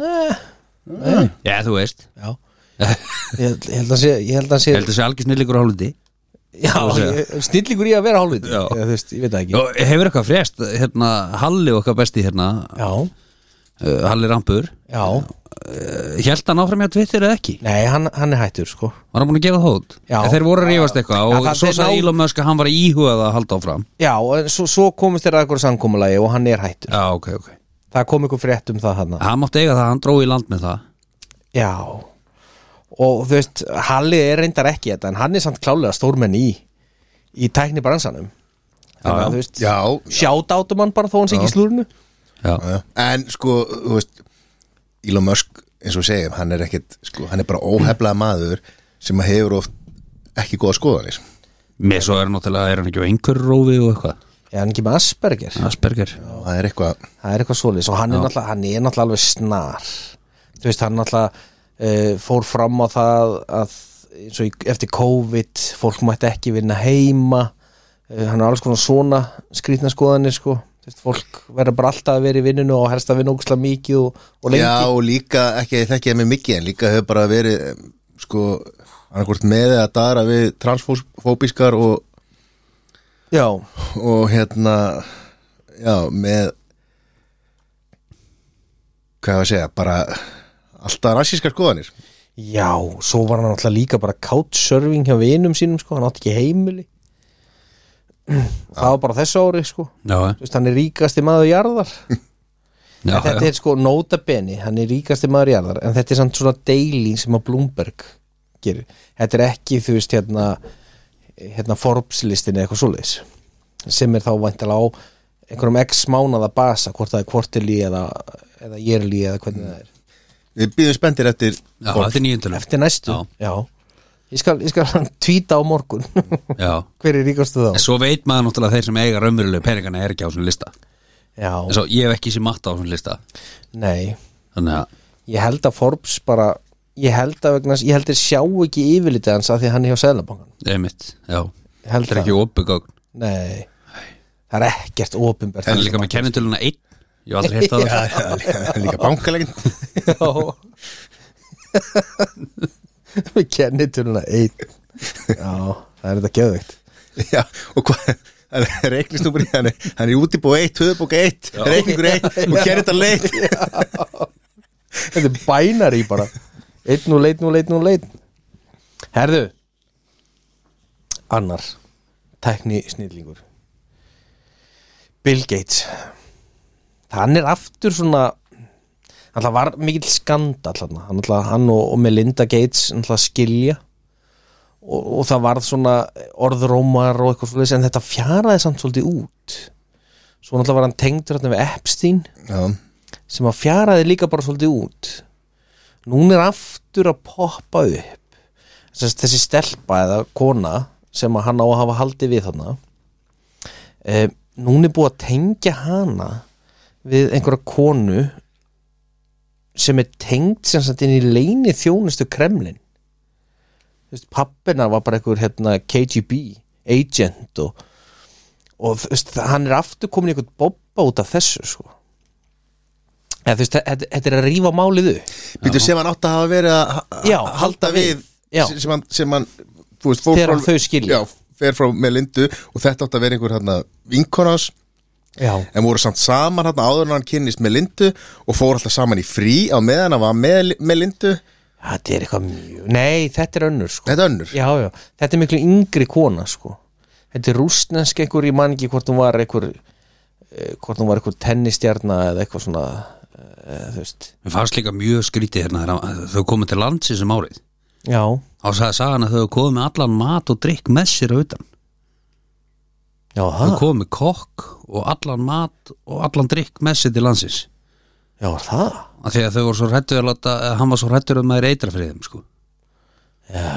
Speaker 2: eh,
Speaker 3: Já, þú veist,
Speaker 2: Já Ég held- ég held að sé, ég held að
Speaker 3: ég
Speaker 2: sé
Speaker 3: held að sé algjör snillingur á hálfundi
Speaker 2: Já,
Speaker 3: segja.
Speaker 2: ég- snillingur í að vera hálfviti
Speaker 3: Já.
Speaker 2: Eða, þú veist, Ég veit það ekki
Speaker 3: Og hefur eitthvað frést, hérna Halli okkar besti hérna,
Speaker 2: Já,
Speaker 3: uh, Halli Rampur
Speaker 2: já
Speaker 3: Hjælt hann áfram hjá Twitter eða ekki?
Speaker 2: Nei, hann, hann er hættur sko
Speaker 3: Var hann búin að gefa hót?
Speaker 2: Já.
Speaker 3: En Þeir voru að rífast eitthvað
Speaker 2: Já,
Speaker 3: og
Speaker 2: það-
Speaker 3: svo
Speaker 2: þeir
Speaker 3: sagði
Speaker 2: ná-
Speaker 3: Elon Musk að hann var að íhuga það að halda áfram
Speaker 2: Já, en svo, svo komist þér að eitthvað samkomulagi og hann er hættur
Speaker 3: Já, ok, ok
Speaker 2: Það kom eitthvað frétt um það hann
Speaker 3: Hann mátti eiga það, hann drói í land með það
Speaker 2: Já Og þú veist, Halli er reyndar ekki þetta En hann er samt klálega stórmenn í Í tækni bransanum Þannig
Speaker 3: já.
Speaker 2: að þú veist,
Speaker 1: Já,
Speaker 2: sjátátum hann bara þó hann sé ekki í slúrinu
Speaker 3: Já,
Speaker 1: En sko, þú veist Elon Musk, eins og við segjum, hann er ekkit sko, hann er bara óheflaða maður sem að hefur oft ekki góða skoðanir
Speaker 3: með svo er náttúrulega, er hann ekki á einhver rófi og eitthvað
Speaker 2: Er hann ekki með Asperger?
Speaker 3: Asperger
Speaker 1: það er eitthvað
Speaker 2: það er eitthvað svoleiðis og hann er, náttúrulega- hann er náttúrulega alveg snar þú veist, hann náttúrulega uh, fór fram á það að eins og í, eftir COVID fólk mætti ekki vinna heima uh, hann er alls konar svona skrýtna skoðanir sko Þú veist, fólk verður bara alltaf að vera í vinninu og helst að vinna ógustlega mikið og, og lengi
Speaker 1: Já, og líka, ekki þekkja mig mikið en líka hefur bara verið em, sko, annarkvort með eða dara við transfóbískar og,
Speaker 2: Já,
Speaker 1: og hérna já, með hvað ég að segja, bara alltaf rassískar skoðanir
Speaker 2: já, svo var hann náttúrulega líka bara couchsurfing hjá vinum sínum sko, hann átti ekki heimili það var bara þessu ári sko
Speaker 3: Já, eh.
Speaker 2: Þú veist, hann er ríkasti maður jarðar
Speaker 3: já,
Speaker 2: En þetta
Speaker 3: já.
Speaker 2: er sko nota beni, hann er ríkasti maður jarðar en þetta er samt svona daily sem að Bloomberg gerir, þetta er ekki þú veist hérna, hérna Forbes listin eða eitthvað svoleiðis sem er þá væntalega á einhverjum x mánaða basa, hvort það er quarterly eða, eða yearly eða hvernig það er
Speaker 1: Við býðum spendir eftir
Speaker 3: já þetta er nýjöndulega
Speaker 2: eftir næstu,
Speaker 3: Mm. Já.
Speaker 2: já, ég skal, ég skal tvíta á morgun,
Speaker 3: Já,
Speaker 2: hver er ríkastu
Speaker 3: En
Speaker 2: þá
Speaker 3: svo veit maður náttúrulega þeir sem eiga raunverulegu peningana er ekki á svona lista En
Speaker 2: já,
Speaker 3: svo ég hef ekki sér matta á svona lista
Speaker 2: nei
Speaker 3: Þannig að,
Speaker 2: ég held að Forbes bara ég held að vegna, ég held að sjá ekki yfirlitið hans að því að hann er hjá Sæðlabankan
Speaker 3: einmitt, já Þetta
Speaker 2: Ég held
Speaker 3: er ekki opugögn
Speaker 2: Nei, það er ekkert ofinbært
Speaker 3: Það er líka með kennitöluna einn Ég hef aldrei heitt að það
Speaker 1: Já, líka, líka bankalegin
Speaker 2: Já Við kennitöluna einn Já, það er þetta geðveikt
Speaker 1: Já, og hvað hann er reiknistúmur í, hann er, hann er útibú 1, höfubók 1, reikningur 1 og gerir þetta leitt
Speaker 2: Þetta er bænari bara Einn og leit, nú leit, nú leit Herðu Annar Tækni snillingur Bill Gates Hann er aftur svona Hann alltaf var mikill skandall þarna. hann, alltaf, hann og, og Melinda Gates alltaf skilja og, og það varð svona orðrómar og eitthvað svolítið en þetta fjaraði samt svolítið út svo náttúrulega var hann tengdur hérna við Epstein
Speaker 1: já,
Speaker 2: sem að fjaraði líka bara svolítið út núna er aftur að poppa upp þessi, þessi stelpa eða kona sem að hann á að hafa haldið við þarna e, núna er búið að tengja hana við einhverja konu sem er tengd sem sagt inn í leini þjónustu Kremlin Þú veist, pappina var bara einhver hérna, KGB agent og, og þú veist, hann er aftur komin í einhvern bobba út af þessu sko Eða, þú veist, þetta þetta er að rífa málið upp
Speaker 1: býtu sem hann átt að hafa verið að ha-
Speaker 2: Já,
Speaker 1: halda,
Speaker 2: halda
Speaker 1: við,
Speaker 2: við. Já.
Speaker 1: sem hann, sem hann þú veist, fór
Speaker 2: Þegar
Speaker 1: frá-
Speaker 2: þau skilja.
Speaker 1: já, fer frá með lindu og þetta átt að vera einhver hérna vinkonans
Speaker 2: Já,
Speaker 1: en voru samt saman hérna áður en hann kynnist með lindu og fór alltaf saman í frí á meðan hann var með, með lindu
Speaker 2: þetta er eitthvað mjög Nei, þetta er önnur sko
Speaker 1: þetta er önnur
Speaker 2: Já, já, þetta er miklu yngri kona sko Þetta er rústnesk einhver, ég man ekki hvort hún var einhver eh, hvort hún var einhver tennistjarna eða eitthvað svona eh, þú veist
Speaker 3: Mér fannst líka mjög skrítið hérna þegar hann- þau komið til landsins um árið
Speaker 2: Já,
Speaker 3: Þá sagði sagan að þau komið með allan mat og drikk með sér á utan
Speaker 2: já,
Speaker 3: Þau
Speaker 2: það
Speaker 3: komið með kokk og allan mat og allan drikk með sér til landsins
Speaker 2: Já, það
Speaker 3: af því að þau voru svo hrættur að láta, eða hann var svo hrættur um að þeir eitra fyrir þeim sko. Já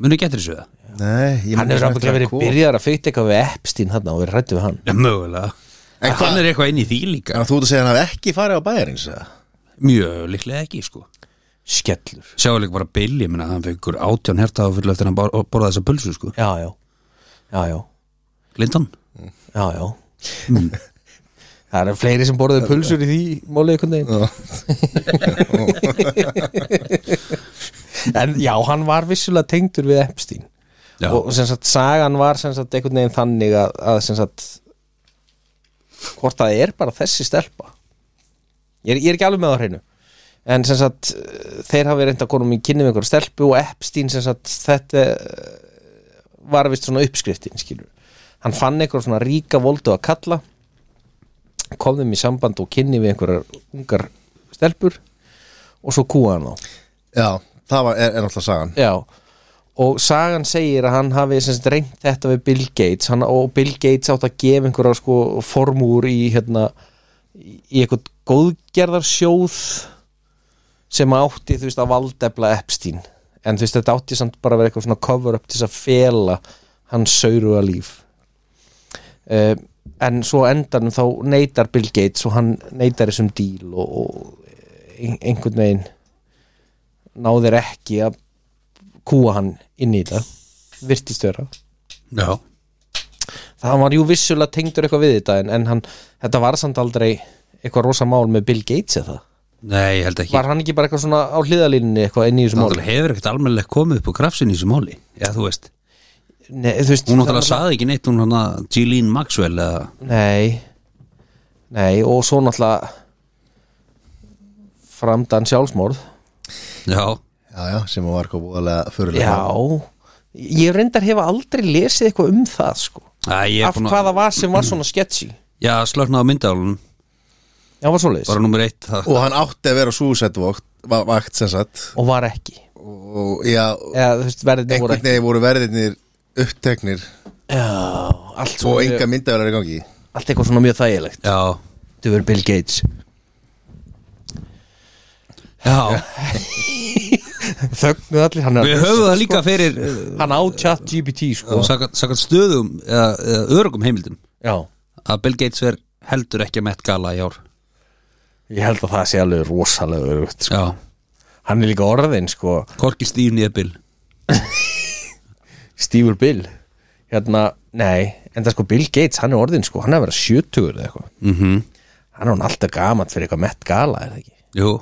Speaker 3: Muni getur þessu það?
Speaker 1: Nei, ég
Speaker 2: Hann
Speaker 1: man
Speaker 2: hefur
Speaker 1: ekki
Speaker 2: ábygglega
Speaker 1: eftir
Speaker 2: verið
Speaker 1: að koma.
Speaker 2: byrjaðar að fyrta eitthvað við Epstein þarna og verið rættu við hann
Speaker 3: Já, mögulega
Speaker 1: En
Speaker 3: En
Speaker 1: hvað-
Speaker 3: hann er eitthvað inn í því líka
Speaker 1: Þannig að þú ert að segja að hann hafi ekki farið á bæjarins eða?
Speaker 3: Mjög líklega ekki sko
Speaker 2: Skellur
Speaker 3: Sjáðu líka bara Billy, minna, hann fekkur átján hertaða fyrir eftir að hann bor- borðaði þessa pulsu sko
Speaker 2: Já, já, já, já,
Speaker 3: Lindan
Speaker 2: já, já Það eru fleiri sem borðuðu pulsur í því málið einhvern veginn En já, hann var vissulega tengdur við Epstein
Speaker 3: Já.
Speaker 2: og sem sagt, sagan var sem sagt einhvern veginn þannig að, að sem sagt hvort það er bara þessi stelpa ég er, ég er ekki alveg með á hreinu en sem sagt, eh, þeir hafi reynda konum í kynni með einhverja stelpu og Epstein sem sagt, þetta eh, var vist svona uppskriftin, skilur hann fann einhverja svona ríka voldu að kalla kom þeim í samband og kynni við einhverjar ungar stelpur og svo kúa hann á
Speaker 1: Já, það var, er, er náttúrulega sagan
Speaker 2: Já og sagan segir að hann hafi sem sagt, reynt þetta við Bill Gates hann, og Bill Gates átt að gefa einhverja sko, formúr í hérna í í eitthvað góðgerðarsjóð sem átti þú veist að valdefla Epstein en þú veist þetta átti samt bara að vera eitthvað svona cover up til þess að fela hans sauruga líf uh, en svo á endanum þá neytar Bill Gates og hann neytar þessum díl og, og ein- einhvern veginn náðir ekki að kúa hann inn í þetta virtist vera
Speaker 3: Já
Speaker 2: það var jú vissulega tengdur eitthvað við þetta en, en hann, þetta var samt aldrei eitthvað rosa mál með Bill Gates eða það
Speaker 3: Nei, ég held ekki
Speaker 2: var hann ekki bara eitthvað svona á hliðalínni eitthvað inn í þessu mál
Speaker 3: Náttúrulega hefur ekkert almennilegt komið upp á krafsin í þessu máli Já, þú veist
Speaker 2: Nei, þú veist,
Speaker 3: Hún
Speaker 2: það var-
Speaker 3: náttúrulega saði ekki neitt, hún hann að Gilín Maxwell eða
Speaker 2: Nei Nei, og svo náttúrulega framdann sjálfsmorð
Speaker 3: Já,
Speaker 1: Já, já, sem var sko eitthvað búðalega fyrirlega
Speaker 2: Já, ég reyndar hefa aldrei lesið eitthvað um það sko
Speaker 3: Æ, ég er
Speaker 2: Af
Speaker 3: búin að
Speaker 2: hvaða var sem var svona sketchy
Speaker 3: Já, slöknaði myndálun
Speaker 2: Já, var svoleiðis
Speaker 3: Bara nummer eitt það
Speaker 1: Og hann átti að vera súsættvakt Vakt sem sagt
Speaker 2: og var ekki
Speaker 1: Og já,
Speaker 2: Eða, þú veist, verðin voru
Speaker 1: einhvern
Speaker 2: ekki
Speaker 1: veginn voru verðinir uppteknir
Speaker 2: Já, allt
Speaker 1: Og
Speaker 2: svona-
Speaker 1: enga myndavelar í gangi
Speaker 2: allt eitthvað svona mjög þægilegt
Speaker 3: Já,
Speaker 2: Þú verður Bill Gates
Speaker 3: já,
Speaker 2: Þögnuð allir, hann
Speaker 3: við höfum það
Speaker 2: sko.
Speaker 3: líka fyrir uh,
Speaker 2: Hann á chat GPT sko
Speaker 3: Sakat stöðum eða, eða örugum heimildum
Speaker 2: Já,
Speaker 3: að Bill Gates verð heldur ekki að mett gala í ár
Speaker 2: ég held að það sé alveg rosalega örugt sko.
Speaker 3: Já,
Speaker 2: Hann er líka orðin sko
Speaker 3: Korki Stíf nýja Bill
Speaker 2: Stífur Bill Hérna, nei, en það sko Bill Gates Hann er orðin sko, hann er að vera 70 eða eitthvað
Speaker 3: mm -hmm.
Speaker 2: Hann er hann alltaf gamalt fyrir eitthvað Met Gala, er það ekki?
Speaker 3: Jú,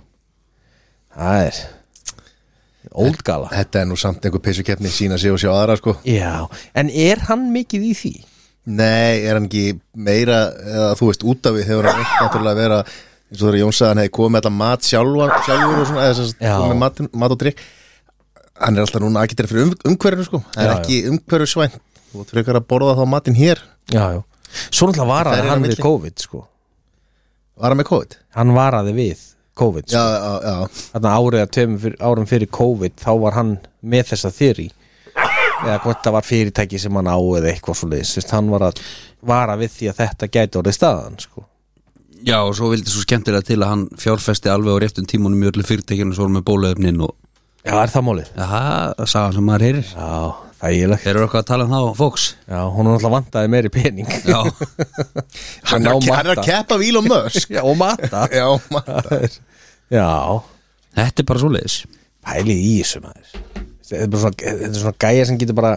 Speaker 2: Það er Old Gala
Speaker 1: Þetta er nú samt einhver pissukeppni Sýna sig og sjá aðra sko
Speaker 2: Já, en er hann mikið í því?
Speaker 1: Nei, er hann ekki meira Eða þú veist, út af við hefur hann ekki náttúrulega að vera eins og þegar Jón sagði hann hefði komið með þetta mat sjálfan, sjálfur og svona, eða þess
Speaker 2: Já.
Speaker 1: að komið mat, mat og drikk hann er alltaf núna agitir fyrir um, umhverfinu sko, það er
Speaker 2: Já, já.
Speaker 1: ekki umhverfisvænt þú ert frekar að borða þá matinn hér
Speaker 2: Já, já Svo
Speaker 1: Þær
Speaker 2: náttúrulega varaði
Speaker 1: eru á
Speaker 2: hann við
Speaker 1: milli.
Speaker 2: COVID sko
Speaker 1: var hann með COVID?
Speaker 2: Hann varaði við COVID sko.
Speaker 1: Já, já, já,
Speaker 2: þarna árið að tveim fyrir, árum fyrir COVID þá var hann með þessa þýri eða hvort það var fyrirtæki sem hann á eða eitthvað svo leiðis hann var að vara við því að þetta gæti orðið staðan sko.
Speaker 3: Já, og svo vildi svo skemmtilega til að hann fjárfesti alveg á réttum tímunum í öllu fyrirtækinu svo með bólaöfnin og
Speaker 2: já, er það málið?
Speaker 3: Jaha, það sagði hann sem maður heyrir
Speaker 2: já, það er ég
Speaker 3: Þeir eru eitthvað að tala um það á Fox
Speaker 2: já, hún er alltaf vantaði meiri pening
Speaker 3: Já,
Speaker 1: Hann
Speaker 2: á
Speaker 1: er, að- hann er
Speaker 2: matta.
Speaker 1: að keppa víl og mösk
Speaker 2: já, og mata
Speaker 1: Já, matta
Speaker 2: Það er- já,
Speaker 3: þetta er bara svo leiðis
Speaker 2: pælið í þessu maður þetta er bara svona, þetta er svona gæja sem getur bara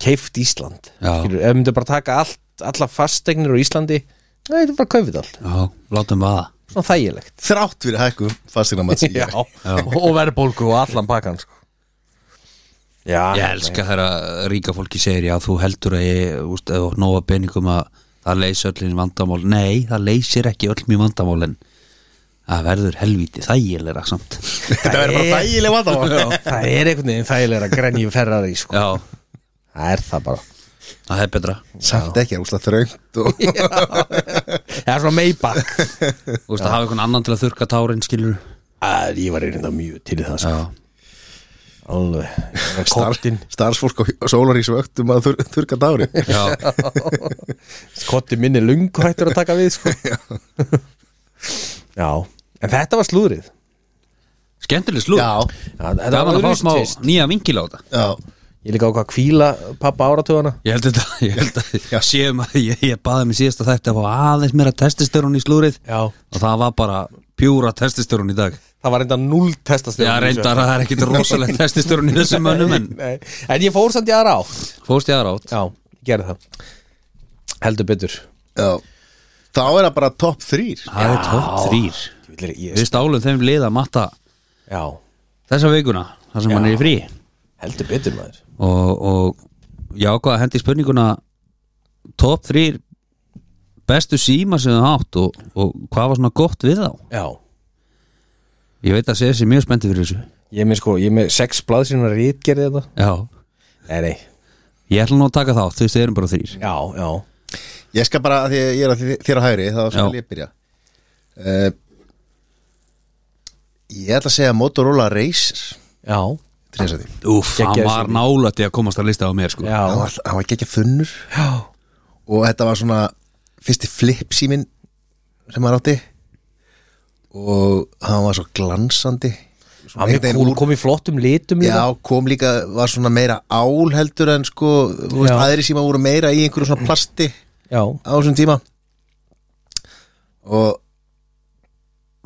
Speaker 2: keift Ísland
Speaker 3: Já.
Speaker 2: Skilur, ef myndu bara taka allt, alla fastegnir á Íslandi það er bara kaupið allt
Speaker 3: Já, látum vaða
Speaker 2: svona þægilegt
Speaker 1: Þrátt fyrir hækku fastina matsi
Speaker 2: og verðbólgu og allan pakkan sko. já,
Speaker 3: Ég elska þegar að ríka fólki segir já, þú heldur að ég, úst, ef þú átt nóga peningum að það leysi öllin vandamál Nei, það leysir ekki öll mjög vandamálin Það verður helvíti þægilega samt
Speaker 1: Þetta verður bara
Speaker 2: er-
Speaker 1: þægileg vandamál
Speaker 2: það er einhvern veginn þægilega að grenja ferrari sko.
Speaker 3: Já,
Speaker 2: það er það bara
Speaker 3: það er betra
Speaker 1: Samt ekki, það er úsla þröngt og
Speaker 2: það er svona meibak
Speaker 3: Þú veist að hafa einhvern annan til að þurka tárin skilur
Speaker 2: ég var reynda mjög til í það sko.
Speaker 3: Já,
Speaker 2: alveg
Speaker 1: Star-
Speaker 2: kottin
Speaker 1: Starfsfólk á sólarís vöktum að þur, þurka dári
Speaker 3: já
Speaker 2: Kotti minni lungu hættur að taka við sko. Já En þetta var slúðrið
Speaker 3: Skemmtileg slúð
Speaker 1: Já.
Speaker 2: Já, þetta
Speaker 3: Gaman að fá
Speaker 2: öðruvísi
Speaker 3: smá
Speaker 2: twist.
Speaker 3: nýja vingil á þetta
Speaker 1: Já,
Speaker 2: Ég líka á hvað kvíla pappa áratugana
Speaker 3: Ég held þetta, ég held að séum að ég, ég baði mér síðasta þætti að fá aðeins meira testistörun í slúrið
Speaker 2: Já.
Speaker 3: og það var bara pjúra testistörun í dag
Speaker 2: Það var reynda null testast
Speaker 3: Já, reyndar að það er ekkit rosalega testistörun í þessum mönnum en
Speaker 2: Nei, En ég fór samt í aðra á
Speaker 3: fórst ég aðra átt
Speaker 2: Já, ég gerði það Heldur betur
Speaker 1: já Þá er það bara topp þrýr
Speaker 3: Það er tótt þrýr
Speaker 2: Ég vil- ég-
Speaker 3: Við stálum þeim lið að matta
Speaker 2: Já,
Speaker 3: þessa vikuna þar sem hann er í frí
Speaker 2: heldur betur maður
Speaker 3: og, og ég ákvað að hendi spurninguna topp þrýr bestu síma sem það átt og, og hvað var svona gott við þá
Speaker 2: Já
Speaker 3: Ég veit að segja sér mjög spenntið fyrir þessu
Speaker 2: Ég er með sko, ég er með sex blaðsýna rítgerði þetta
Speaker 3: Já
Speaker 2: Nei, nei
Speaker 3: Ég ætla nú að taka þá, þú veist, þið erum bara þrýr
Speaker 2: Já, já
Speaker 1: Ég skal bara, af því að ég er að þi- þér á hægri þá
Speaker 3: Já.
Speaker 1: skal ég byrja uh, Ég ætla að segja Motorola Racer
Speaker 2: Já,
Speaker 1: Trísaði
Speaker 3: Úff, hann
Speaker 2: Geggjaður
Speaker 3: var
Speaker 2: sigur.
Speaker 3: nálætt í að komast að lista á mér sko
Speaker 1: Hann
Speaker 2: já,
Speaker 1: var, hann var gekkja þunnur
Speaker 2: já.
Speaker 1: og þetta var svona fyrsti flip síminn sem maður átti og hann var svo glansandi
Speaker 2: Hann er
Speaker 1: einhvern veginn
Speaker 2: kúl,
Speaker 1: úr-
Speaker 2: kom í flottum litum líka
Speaker 1: Já, kom líka, var svona meira ál heldur en sko, þú veist,
Speaker 2: Já.
Speaker 1: aðri síma voru meira í einhverju svona plasti
Speaker 2: já.
Speaker 1: á þessum tíma og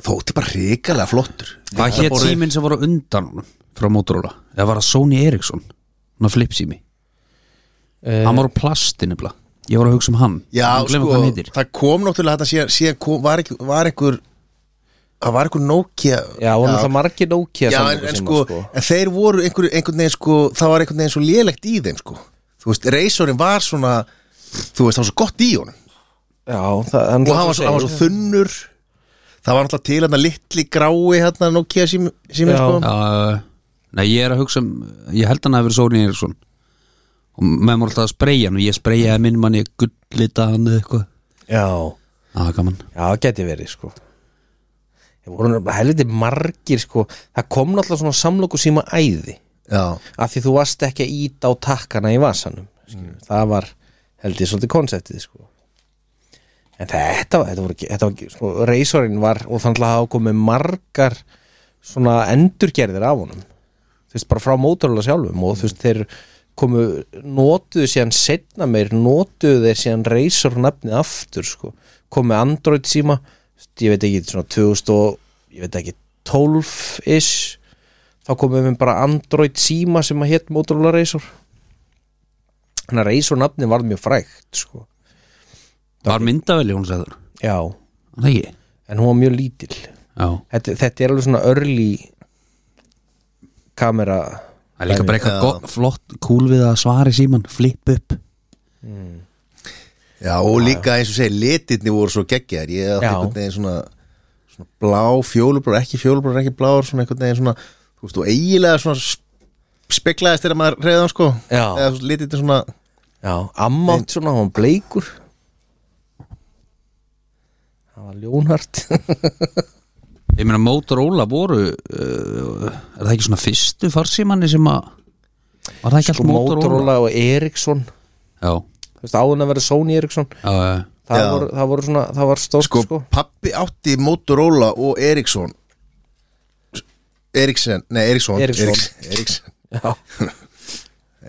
Speaker 1: þótti bara ríkalega flottur
Speaker 3: Hvað hétt síminn sem var á undan honum frá Motorola? Það var að Sony Ericsson Ná flipsími
Speaker 2: Eh.
Speaker 3: Hann var á plasti nefnilega Ég var að hugsa um hann
Speaker 1: Já,
Speaker 3: Ég gleymi
Speaker 1: sko,
Speaker 3: hvað hann heitir.
Speaker 1: það kom náttúrulega þetta síðan, síðan kom, var, ekki, var einhver það var einhver Nokia
Speaker 2: Já, voru náttúrulega margir
Speaker 1: Já,
Speaker 2: Nokia
Speaker 1: en,
Speaker 2: samningar
Speaker 1: en,
Speaker 2: sem
Speaker 1: sko,
Speaker 2: að,
Speaker 1: en þeir voru einhver, einhvern veginn sko, það var einhvern veginn svo lélegt í þeim sko. þú veist, reysorinn var svona þú veist, það var svo gott í honum
Speaker 2: Já, það,
Speaker 1: og hann var, svo, hann var svo þunnur það var náttúrulega til hann að litli grái hérna Nokia sími sími,
Speaker 2: Já.
Speaker 1: sko.
Speaker 3: Já, já, já. Nei, ég er að hugsa um Ég held hann að vera Sony Ericsson Og meðan voru alltaf að spreyja hann Og ég spreyjaði minn manni gullita hann eða eitthvað
Speaker 2: Já,
Speaker 3: Það var gaman
Speaker 2: já, geti verið sko Það voru náttúrulega helviti margir sko Það kom náttúrulega svona samlóku síma æði
Speaker 1: Já.
Speaker 2: Af því þú varst ekki að íta á takkana í vasanum mm. Það var held ég svolítið konseptið sko En þetta, var- þetta voru ekki, þetta var ekki sko, Reisorinn var og þannig að hafa komið margar svona endurgerðir af honum þú veist, bara frá Motorola sjálfum og þú veist, þeir komu notuðu síðan setna meir, notuðu þeir síðan Razor nafnið aftur, sko komu Android síma, þú veist, ég veit ekki svona 2000 og, ég veit ekki 12-ish þá komu við bara Android síma sem að hétt Motorola Razor þannig að Razor nafnið varð mjög frægt sko,
Speaker 3: Var myndaveli hún sagður
Speaker 2: já
Speaker 3: Það ekki
Speaker 2: en hún var mjög lítil
Speaker 3: Já
Speaker 2: þetta, þetta er alveg svona örli kamera
Speaker 3: Það er líka bara eitthvað
Speaker 1: Já.
Speaker 3: gott, flott, cool við að svara í síman, flip upp
Speaker 1: Já, og líka eins og segi, litirni voru svo geggjar ég átti
Speaker 2: Já.
Speaker 1: einhvern veginn svona, svona blá, fjólublár, ekki fjólublár ekki blár, svona einhvern veginn svona þú veist, og eiginlega svona sp- speklaðist þegar maður reyðan sko
Speaker 2: Já.
Speaker 1: eða þú veist, litirni svona
Speaker 2: Já, ammátt svona, hann var bleikur Það var ljónhart
Speaker 3: Ég eh, meina Motorola voru uh, er það ekki svona fyrstu farsímanni sem að Var það ekki
Speaker 2: sko
Speaker 3: allt Motorola?
Speaker 2: Motorola og Ericsson
Speaker 3: Já,
Speaker 2: Þú veist, áðun að vera Sony Ericsson
Speaker 3: já, já
Speaker 2: það,
Speaker 1: Já.
Speaker 2: voru, það voru svona, það var stórt
Speaker 1: sko,
Speaker 2: sko,
Speaker 1: pappi átti Motorola og Ericsson Ericsson, nei Ericsson
Speaker 2: Ericsson.
Speaker 1: Ericsson, Ericsson.
Speaker 2: Já.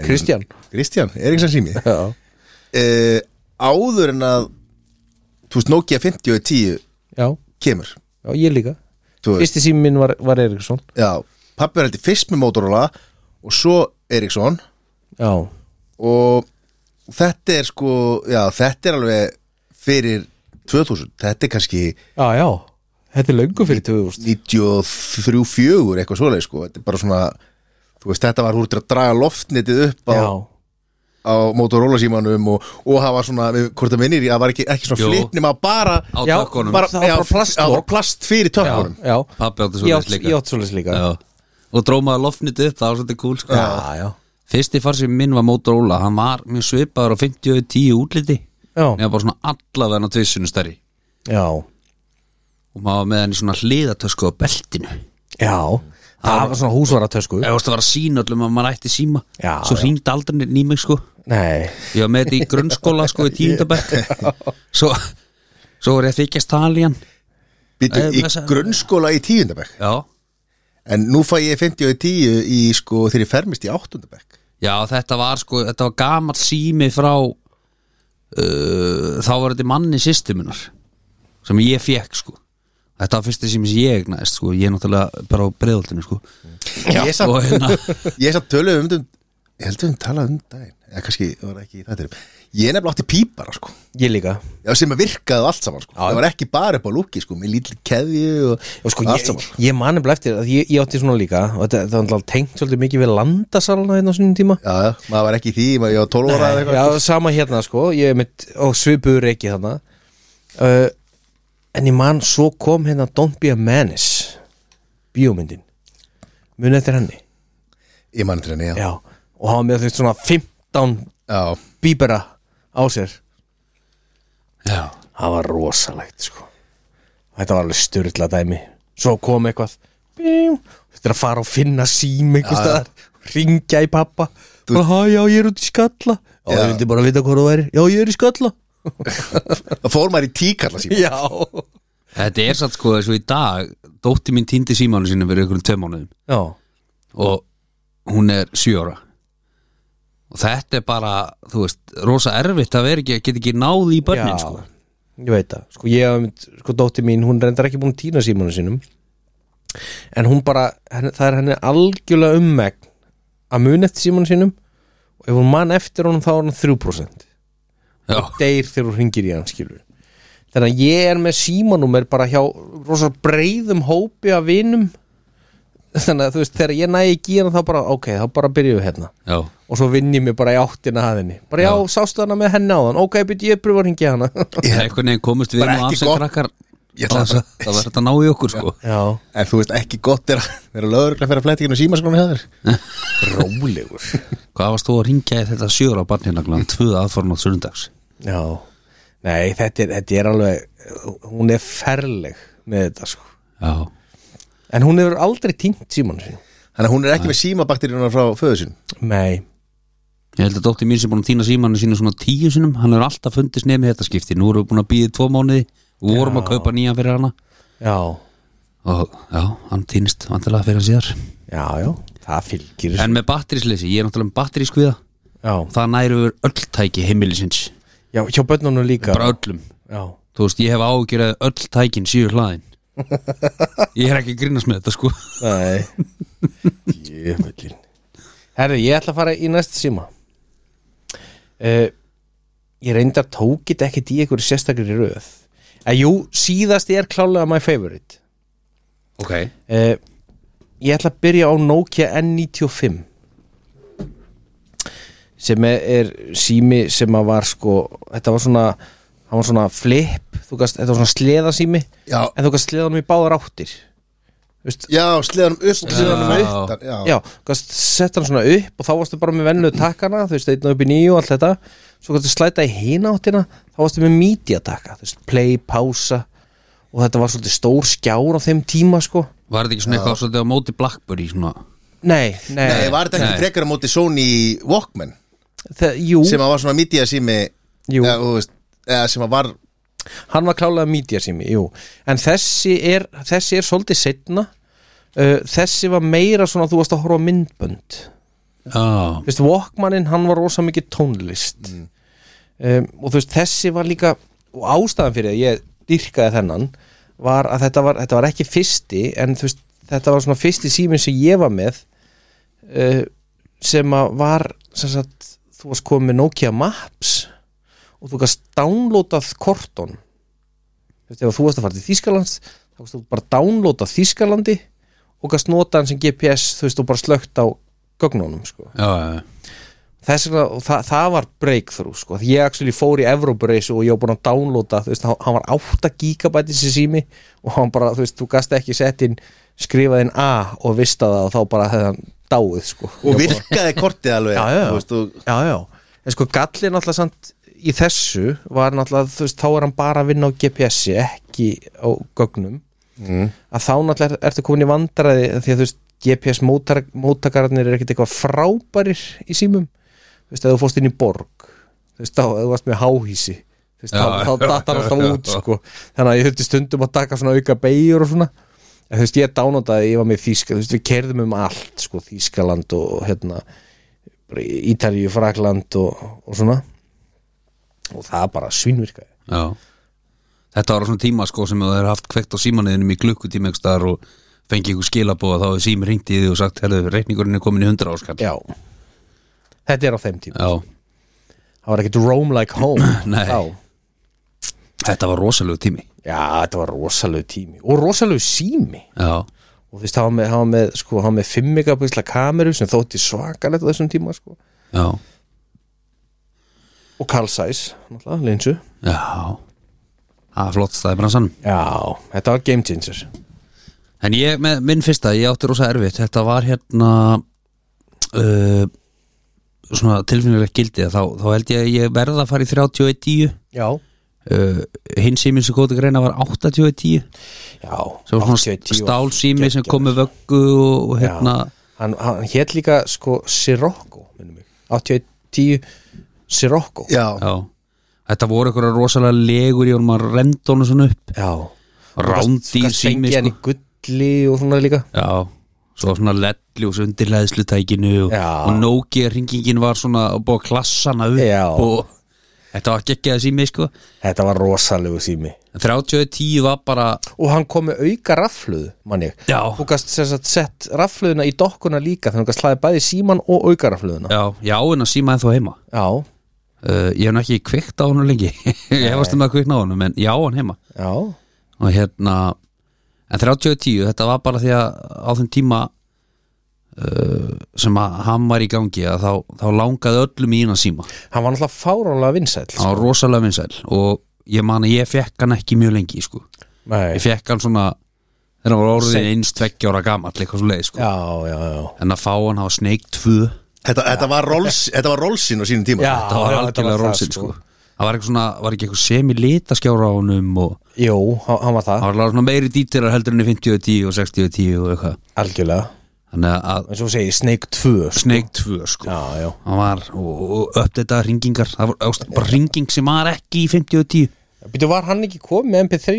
Speaker 2: Kristján
Speaker 1: Kristján, Ericsson sími
Speaker 2: Já,
Speaker 1: uh, áður en að þú veist, Nokia 50 og 10
Speaker 2: já,
Speaker 1: kemur
Speaker 2: já ég líka
Speaker 1: þú veist,
Speaker 2: Fyrsti sími minn var, var Eriksson
Speaker 1: já, pappi var heldur fyrst með Motorola og svo Ericsson
Speaker 2: Já,
Speaker 1: og þetta er sko já, þetta er alveg fyrir 2000, þetta er kannski
Speaker 2: já, já Þetta er löngu fyrir 2000
Speaker 1: 93-4 eitthvað svoleið sko, þetta er bara svona þú veist, þetta var úr til að draga loftnitið upp á,
Speaker 2: Já,
Speaker 1: á Motorola símanum og, og hafa svona, við- hvort það minnir ég, það var ekki, ekki svona
Speaker 3: Jú.
Speaker 1: flipnum að bara
Speaker 3: Á
Speaker 2: Já,
Speaker 3: tökkunum
Speaker 1: bara,
Speaker 2: það var
Speaker 1: já,
Speaker 2: bara plastlok.
Speaker 1: það var plast fyrir
Speaker 2: já,
Speaker 1: tökkunum
Speaker 2: já
Speaker 3: Pappi átti
Speaker 2: Ég
Speaker 3: svo
Speaker 2: átt-
Speaker 3: líka
Speaker 2: Ég átt svolítið líka
Speaker 3: Já. Og drómaði lofnit upp, það var svolítið cool sko.
Speaker 2: já, já,
Speaker 3: Fyrsti farsinn minn var Motorola Hann var mjög svipaður á 50-10 útliti
Speaker 2: já,
Speaker 3: Nefn bara svona allavega á tvissunum stærri
Speaker 2: já,
Speaker 3: Og maður var með hann í svona hliðatösku á beltinu
Speaker 2: já. Það var svona húsvaratösku
Speaker 3: Ef varst að vera að sína öllum að maður ætti síma
Speaker 2: Já,
Speaker 3: Svo
Speaker 2: já.
Speaker 3: hringdi aldrei neitt í mig sko
Speaker 2: Nei,
Speaker 3: Ég var með þetta í grunnskóla sko í tíundabæk Svo, svo var ég að þykjast tala í hann
Speaker 1: Býtu,
Speaker 3: Eh,
Speaker 1: í
Speaker 3: blessa-
Speaker 1: grunnskóla í tíundabæk
Speaker 3: Já,
Speaker 1: en nú fæ ég 50 og 10 í sko þegar ég fermist í áttundabæk
Speaker 3: já þetta var sko Þetta var gamall sími frá uh, Þá var þetta manni sýstuminar Sem ég fekk sko Þetta var fyrsti sími sem ég egnaðist sko Ég er náttúrulega bara á breiðoltinu sko
Speaker 1: ég samt,
Speaker 3: Og hérna
Speaker 1: ég samt töluð um þetta ég held við um talað um daginn eða kannski var það ekki í þættinum ég er nefnilega átti pípara sko
Speaker 2: ég líka
Speaker 1: Já, sem að virkaði á allt saman sko. það var ekki bara upp á lúki sko, með lítið keðju og
Speaker 2: Já, sko,
Speaker 1: allt
Speaker 2: ég,
Speaker 1: saman sko.
Speaker 2: ég mani bara eftir að ég, ég átti svona líka og þetta, það var alltaf tengt svolítið mikið við landasalana hérna á sinni tíma
Speaker 1: Já, já, maður var ekki í því, maður ég var 12 ára eða eitthvað
Speaker 2: Já, sama hérna sko ég er mitt, og svipuður ekki þarna uh, en ég man svo kom hérna Don't be a menace bíómyndin mun eftir henni
Speaker 1: Ég mann til henni, já.
Speaker 2: Já. og hafa með því svona 15
Speaker 1: já
Speaker 2: bíbera á sér
Speaker 3: Já
Speaker 2: það var rosalegt sko þetta var alveg styrla dæmi svo kom eitthvað bím, þetta er að fara og finna sím einhvers staðar, ringja í pappa bara, hæ, já, ég er út í skalla já,
Speaker 1: Já.
Speaker 2: ég vildi bara vita hvað þú væri, já, ég er í skalla
Speaker 1: Það fór maður í tíkalla síma
Speaker 2: já,
Speaker 3: Þetta er satt sko þessu í dag Dótti mín týndi símanu sinni fyrir ykkur um tveim mánuðum
Speaker 2: já,
Speaker 3: og hún er sjö ára og þetta er bara þú veist, rosa erfitt að vera ekki að geta ekki náð í börnin sko
Speaker 2: ég veit það sko, ég, hef einmitt- sko, dótti mín, hún reyndar ekki búin að týna símanu sínum en hún bara, henni, það er henni algjörlega ummegn að mun eftir símanu sínum og ef hún man eftir honum þá er hann 3%
Speaker 3: Já,
Speaker 2: deyr þegar hún ringir í hann skilur þannig að ég er með símanúmer bara hjá rosa breiðum hópi af vinum þannig að þú veist þegar ég næ ekki í hann þá bara ok, þá bara byrjuðu hérna
Speaker 3: já,
Speaker 2: og svo vinn ég mig bara í áttina að henni bara já, sástu hana með henni á þann ok, byrju ég pröfa að ringja hana
Speaker 3: það er einhvern veginn komist við
Speaker 1: Bara
Speaker 3: nú
Speaker 1: ekki
Speaker 3: af sem
Speaker 1: gott.
Speaker 3: krakkar
Speaker 1: Ég
Speaker 3: á
Speaker 1: ætla
Speaker 3: þess að það verður þetta ná í okkur sko
Speaker 2: já,
Speaker 1: En þú veist ekki gott er að vera lögurlega fyrir að flæta ekki með síma sko hér Rólegur
Speaker 3: Hvað varst þú að ringja í þetta sjö ára hérna barnina glan tvöð aðforn á söndags
Speaker 2: já nei, þetta er, þetta er alveg hún er ferleg með þetta sko
Speaker 3: Já,
Speaker 2: en hún hefur aldrei týnt símanu sín
Speaker 1: Þannig að hún er ekki með símabakteríuna frá föðu sín
Speaker 2: nei,
Speaker 3: ég held að dótti mín sem búin að týna símanu sínu svona tíu sinum hann er alltaf fundist nefn þetta skipti nú erum við búin að býða tvo mánuði og vorum að kaupa nýjan fyrir hana
Speaker 2: já
Speaker 3: og já, hann týnist vantilega fyrir hann síðar
Speaker 2: já, já, það fylgir
Speaker 3: En með batterisleysi, ég er náttúrulega með batteriskviða
Speaker 2: já,
Speaker 3: Það næri yfir öll tæki heimilisins
Speaker 2: já, hjá börnunum líka
Speaker 3: Bara öllum
Speaker 2: já
Speaker 3: Þú veist, ég hef ágjör að öll tækin síður hlaðin Ég er ekki að grínast með þetta sko
Speaker 2: Nei Jöfullin Herri, ég ætla að fara í næsta síma uh, Ég reyndar tókit ekkit í einhverju sérstakri röð En jú, síðast er klálega my favorite
Speaker 3: Ok
Speaker 2: uh, Ég ætla að byrja á Nokia N95 sem er, er sími sem að var sko þetta var svona, hann var svona flip þú gast, þetta var svona sleðasími
Speaker 1: Já,
Speaker 2: en þú gast sleðanum í báðar áttir Þú veist,
Speaker 1: já, sleðanum upp og sleðanum
Speaker 3: Já.
Speaker 1: utan Já,
Speaker 2: já, gast sett hann svona upp og þá varstu bara með vennu takkana þú veist, einn og upp í nýju og allt þetta svo gæstu slæta í hina áttina þá varstu með media takka, þú veist, play, pása og þetta var svolítið stór skjár á þeim tíma, sko
Speaker 3: Var þetta ekki svona eitthvað svolítið á móti Blackberry svona
Speaker 2: Nei, nei,
Speaker 1: Nei, var þetta
Speaker 3: Nei.
Speaker 1: ekki frekar á móti Sony Walkman
Speaker 2: Þa, Jú,
Speaker 1: sem að var svona media sími
Speaker 2: Jú.
Speaker 1: eða, þú veist, eða sem að var
Speaker 2: hann var klálega media sími, jú En þessi er, þessi er svolítið setna uh, Þessi var meira svona þú varst að horfa á myndbönd
Speaker 3: Já,
Speaker 2: Þú veist, Walkmaninn, hann var rosa mikið tónlist um, Og þú veist, þessi var líka Og ástæðan fyrir að ég dyrkaði þennan Var að þetta var, þetta var ekki fyrsti En þú veist, þetta var svona fyrsti síminn sem ég var með uh, Sem að var, sem sagt Þú varst komið með Nokia Maps Og þú gast downloadað korton Þú veist, ef þú varst að fara til Þýskalands Þá gast þú bara downloadað Þýskalandi Og gast notað hann sem GPS Þú veist, og bara slögt á gögnunum, sko
Speaker 3: já, já
Speaker 2: þess vegna, og það, það var breakthrough sko. Því ég actually fór í Eurobrace og ég var búin að downloada, þú veist, hann- hann var 8 gigabæti sér sími og hann bara, þú veist, þú gast ekki sett inn skrifað inn A og vista það og þá bara hefði hann dáið, sko
Speaker 1: og virkaði kortið alveg
Speaker 2: Já, já, já.
Speaker 1: þú veist, og,
Speaker 2: Já, já, en sko gallin alltaf samt í þessu var náttúrulega, þú veist, þá er hann bara að vinna á GPS-i, ekki á gögnum
Speaker 1: mm.
Speaker 2: að þá náttúrulega er- ertu komin í vandræði því að þú veist GPS mótar, mótakararnir er ekkert eitthvað frábærir í símum þú veist að þú fórst inn í borg þú veist þá, ef þú varst með háhísi þú veist
Speaker 3: Já,
Speaker 2: þá, þá
Speaker 3: já,
Speaker 2: datar
Speaker 3: já,
Speaker 2: alltaf
Speaker 3: já.
Speaker 2: út sko þannig að ég höfði stundum að taka svona auka beigur og svona en þú veist ég dánótaði, ég var með þýska þú veist við kerðum um allt sko Þýskaland og hérna bara Ítalíu, Frakland og, og svona og það bara svínvirkaði
Speaker 3: Já Þetta var á svona tíma sko sem þú hefur haft kveikt á símanniðinum í klukkutíma ekki staðar og fengið ykkur skilabóð þá hefur sími ringt í því og sagt herðu, reikningurinn er komin í 100 áskall
Speaker 2: já þetta er á þeim tíma
Speaker 3: Já,
Speaker 2: það var ekkert roam like home
Speaker 3: Nei.
Speaker 2: þá.
Speaker 3: þetta var rosalegu tími
Speaker 2: Já, þetta var rosalegu tími og rosalegu sími
Speaker 3: Já,
Speaker 2: og þú veist, það var með, það var með, sko, það var með 5 megapixla kameru sem þótti svakalegt á þessum tíma sko.
Speaker 3: já,
Speaker 2: og Carl Zeiss, náttúrulega, linsu
Speaker 3: já Það er flott staði bransan
Speaker 2: Já, þetta var game changer
Speaker 3: En ég, með, minn fyrsta, ég átti rosa erfitt Þetta var hérna uh, svona tilfinnilegt gildið þá, þá held ég að ég verða að fara í 31.10
Speaker 2: Já,
Speaker 3: uh, hinn síminn sem góti greina var 80.10
Speaker 2: já
Speaker 3: sem var
Speaker 2: 80,
Speaker 3: svona
Speaker 2: 10 og-
Speaker 3: stál sími sem kom
Speaker 2: sko.
Speaker 3: með vöggu og, og hérna
Speaker 2: Hann, hann hétt líka, sko, Sirocco minnum mig, 8110 Sirocco
Speaker 1: já,
Speaker 3: já. þetta voru einhverja rosalega legur í honum að renda honum svona upp
Speaker 2: Já. Þú
Speaker 3: rándýr
Speaker 2: gast
Speaker 3: sími
Speaker 2: fengið hann
Speaker 3: sko.
Speaker 2: í gulli og svona líka
Speaker 3: já, svo svona lettljós undir leðslutækinu og,
Speaker 2: Já.
Speaker 3: og Nokia ringingin var svona og búið að klassa hana upp
Speaker 2: Já.
Speaker 3: og þetta var geggjaði sími sko
Speaker 2: Þetta var rosalegu sími
Speaker 3: 30.10 var bara
Speaker 2: og hann kom með auka rafluð manni,
Speaker 3: Já.
Speaker 2: þú gast sem sagt, sett rafluðuna í dokkuna líka þannig að þú gast slaði bæði síman og auka rafluðuna
Speaker 3: já, já, en að síma ennþá heima
Speaker 2: já,
Speaker 3: uh, ég hef nú ekki kveikt á honum lengi ég hefast um að kveikna á honum en já, hann heima
Speaker 2: já,
Speaker 3: og hérna en 30.10, þetta var bara því að á þeim tíma uh, sem að hann var í gangi að þá, þá langaði öllum í hana síma
Speaker 2: hann var náttúrulega fáránlega vinsæll sko.
Speaker 3: hann var rosalega vinsæl og ég man að ég fekk hann ekki mjög lengi sko.
Speaker 2: Nei,
Speaker 3: ég fekk hann svona þegar hann var orðin
Speaker 2: Seint.
Speaker 3: eins tveggjára gamall eitthvað svo leið sko.
Speaker 2: já, já, já
Speaker 3: en að fá hann hafa sneik tvö
Speaker 1: þetta, þetta var Rolls þetta var Rollsin á sínum tíma
Speaker 2: Já.
Speaker 3: það var
Speaker 2: já, þetta var
Speaker 3: algjörlega
Speaker 2: það,
Speaker 3: rósin
Speaker 2: sko.
Speaker 3: sko. það var, eitthvað svona, var ekki eitthvað semilitaskjára á honum og
Speaker 2: Jú, hann hann var það,
Speaker 3: það var alveg svona meiri dítilar heldur enn í 50.10 og 60.10 og eitthvað
Speaker 2: algjörlega
Speaker 3: þannig að
Speaker 2: eins og þú segir, Snake 2 sko.
Speaker 3: Snake 2 sko
Speaker 2: Já, já,
Speaker 3: hann var og, og uppdata ringingar það var ást, bara ringing sem var ekki í 50 og 10
Speaker 2: býtu var hann ekki komið með MP3?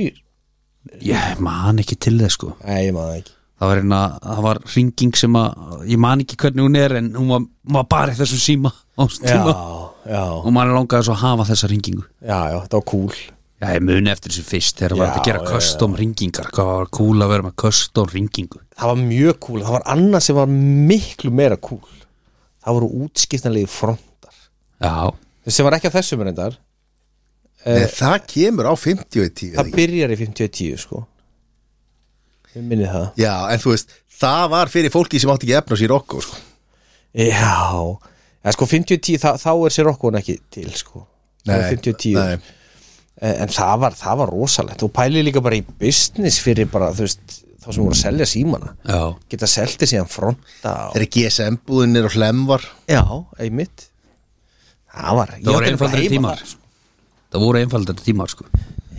Speaker 3: ég man ekki til þess sko
Speaker 2: Nei, ég maður það ekki
Speaker 3: það var, einna, það var ringing sem að ég man ekki hvernig hún er en hún var, hún var bara í þessum síma á þessum tíma
Speaker 2: Já, já,
Speaker 3: og maður langaði svo að hafa þessa ringingu
Speaker 2: já, já, þetta var cool
Speaker 3: já ég muni eftir þessu fyrst þegar það var
Speaker 2: Já,
Speaker 3: hægt að gera
Speaker 2: já, já.
Speaker 3: custom ringingar hvað var cool að vera með custom ringingu
Speaker 2: Það var mjög cool, það var annað sem var miklu meira cool Það voru útskiptanlegi frontar
Speaker 3: já
Speaker 2: sem var ekki á þessum reyndar
Speaker 1: Nei, það kemur á 50 og 10
Speaker 2: það byrjar í 50-10 sko ég minni það
Speaker 1: já, en þú veist, það var fyrir fólki sem átti ekki efna sér okkur sko.
Speaker 2: já, en sko 50-10 þá, þá er sér okkur ekki til sko Þá er 50-10
Speaker 1: nei.
Speaker 2: en, Eh, en það var, það var rosalegt og pæli líka bara í business fyrir bara þú veist þá sem voru að selja símana
Speaker 3: já
Speaker 2: geta seldi síðan fronta og,
Speaker 1: þegar GSM búðinir og hlemvar
Speaker 2: Eh, já, einmitt það var, ég
Speaker 3: það voru
Speaker 2: átti nefnilega
Speaker 3: einfaldari
Speaker 2: heima
Speaker 3: tímar
Speaker 2: þar, sko.
Speaker 3: það voru einfaldari tímar sko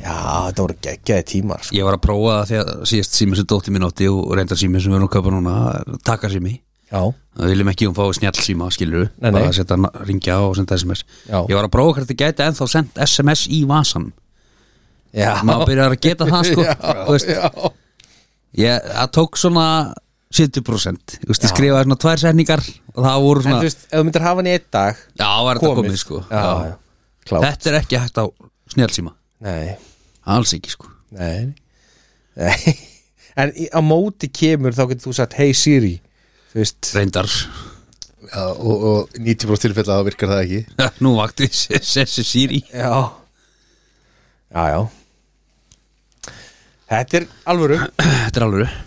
Speaker 2: já, þetta voru geggjaði tímar sko.
Speaker 3: Ég var að prófa það þegar síðast sími sem dótti mín átti og reyndar sími sem við erum að köpa núna taka sími
Speaker 2: já, já,
Speaker 3: við viljum ekki að hún fái snjall síma skilur
Speaker 2: Nei, nei.
Speaker 3: bara að setja na- ringja á og senda sms
Speaker 2: Já.
Speaker 3: ég var að prófa hvernig gæti ennþá sendt sms í vasan
Speaker 2: já.
Speaker 3: maður byrjar að geta það sko
Speaker 2: já,
Speaker 3: Þú veist,
Speaker 2: já.
Speaker 3: ég, það tók svona 70% Þú veist, ég skrifaði svona tvær setningar og það voru
Speaker 2: En
Speaker 3: svona
Speaker 2: þú veist, ef þú myndir hafa hann í einn dag
Speaker 3: já, var þetta komið, sko
Speaker 2: Já, já, klárt
Speaker 3: þetta er ekki hægt á snjallsíma
Speaker 2: Nei,
Speaker 3: alls ekki sko
Speaker 2: nei, nei. En í- á móti kemur þá getur þú sagt Hey Siri Þú veist,
Speaker 3: reyndar,
Speaker 1: Já, og, og 90% tilfella þá virkar það ekki
Speaker 3: nú vakti Sessi Siri
Speaker 2: já Já, já Þetta er alvöru
Speaker 3: þetta er alveg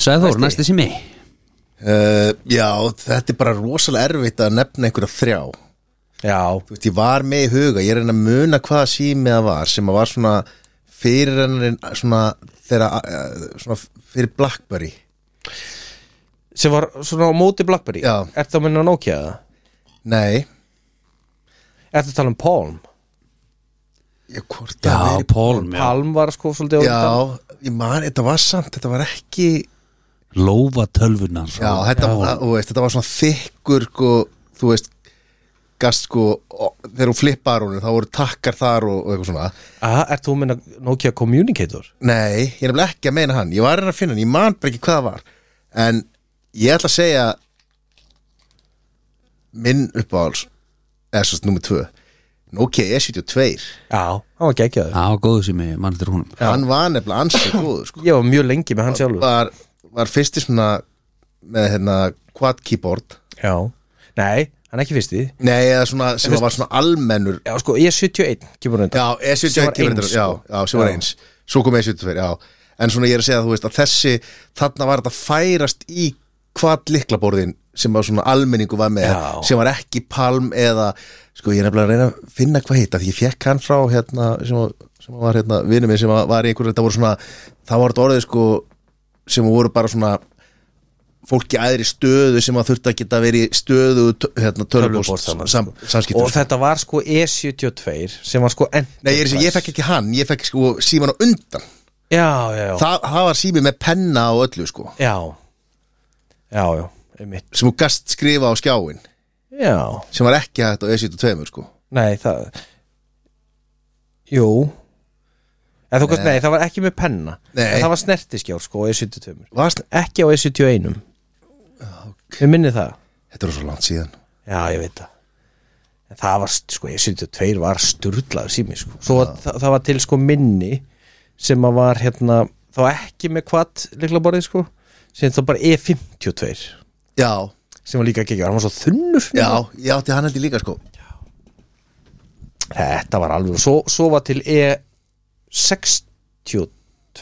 Speaker 3: Sæði Þór, næsti sími
Speaker 1: uh, Já, þetta er bara rosalega erfitt að nefna einhverja þrjá Þú
Speaker 2: Já,
Speaker 1: veist, ég var með í huga, ég er að reyna að muna hvaða sími það var sem að var svona fyrir hennin svona, þeirra, eh, svona fyrir Blackberry
Speaker 2: sem var svona á móti Blackberry
Speaker 1: Já.
Speaker 2: Ertu að minna Nokia það?
Speaker 1: Nei,
Speaker 2: Ertu að tala um Palm?
Speaker 1: ég hvort
Speaker 3: já,
Speaker 1: það veri-
Speaker 3: Pálm, já
Speaker 2: Palm var sko svolítið á undan.
Speaker 1: Já, ég man, þetta var samt, þetta var ekki
Speaker 3: Lófa tölvunar
Speaker 1: Já, þetta, var, þú veist, þetta var svona þykkur sko, þú veist gast sko, ó- þegar hún flippar hún þá voru takkar þar og, og eitthvað svona
Speaker 2: Aha, Ertu að minna Nokia Communicator?
Speaker 1: Nei, ég er nefnilega ekki að meina hann ég var að reyna að finna hann, ég man bara ekki hvað það var en ég ætla að segja minn uppáhals eða svo nummið tvö Nokia E72
Speaker 2: Já, hann var geggjaður
Speaker 3: Já, góðu sími, mann þetta er húnum
Speaker 1: hann var nefnilega ansið góður sko.
Speaker 2: Ég var mjög lengi með hann sjálfur
Speaker 1: var, var fyrsti svona með hérna quad keyboard
Speaker 2: Já, nei, hann er ekki fyrsti
Speaker 1: Nei, eða svona, sem var svona almennur
Speaker 2: Já, sko, ég er 71 kemur undan
Speaker 1: Já, E72
Speaker 2: Sem var
Speaker 1: kemur
Speaker 2: eins,
Speaker 1: þetta-
Speaker 2: sko.
Speaker 1: já, já, sem var
Speaker 2: Já.
Speaker 1: eins Svo kom E72, já En svona ég er að segja, þú veist, að þessi Þarna var þetta færast í hvað liklaborðin sem var svona almenningu var með
Speaker 2: Já.
Speaker 1: sem var ekki palm eða sko ég er nefnilega að reyna að finna hvað heita því ég fekk hann frá hérna sem, var- sem var hérna vinur minn sem var í einhverju þetta voru svona það var þetta orðið sko sem voru bara svona fólk í aðri stöðu sem að þurfti að geta verið í stöðu t- hérna, tölvupóst
Speaker 2: Tölvupóst,
Speaker 1: sam, samskiptum
Speaker 2: Og þetta var sko E72 sem var sko N
Speaker 1: Nei, ég, er að segja, ég fekk ekki hann, ég fekk sko síman á undan
Speaker 2: Já, já, já
Speaker 1: Þa, Það var sími með penna og öllu sko
Speaker 2: Já, já, já, einmitt
Speaker 1: sem þú gast skrifa á skjáin
Speaker 2: Já,
Speaker 1: sem var ekki hægt á E72 sko
Speaker 2: nei, það Jú En þú veist, nei, það var ekki með penna
Speaker 1: Nei.
Speaker 2: En Það var snertiskjár sko, á E72
Speaker 1: Vast,
Speaker 2: Ekki á E E71 Við minni það
Speaker 1: Þetta er svo langt síðan
Speaker 2: Já, ég veit það En það var, st- sko, ég syndi að tveir var sturlaður sími, sko Svo að, það, það var til, sko, minni sem að var, hérna, þá ekki með hvað líkla borðið, sko sem þá bara E E52
Speaker 1: Já,
Speaker 2: sem var líka ekki, hann var svo þunnur
Speaker 1: já, ég átti hann heldur líka sko
Speaker 2: Þetta var alveg, svo, svo var til E E62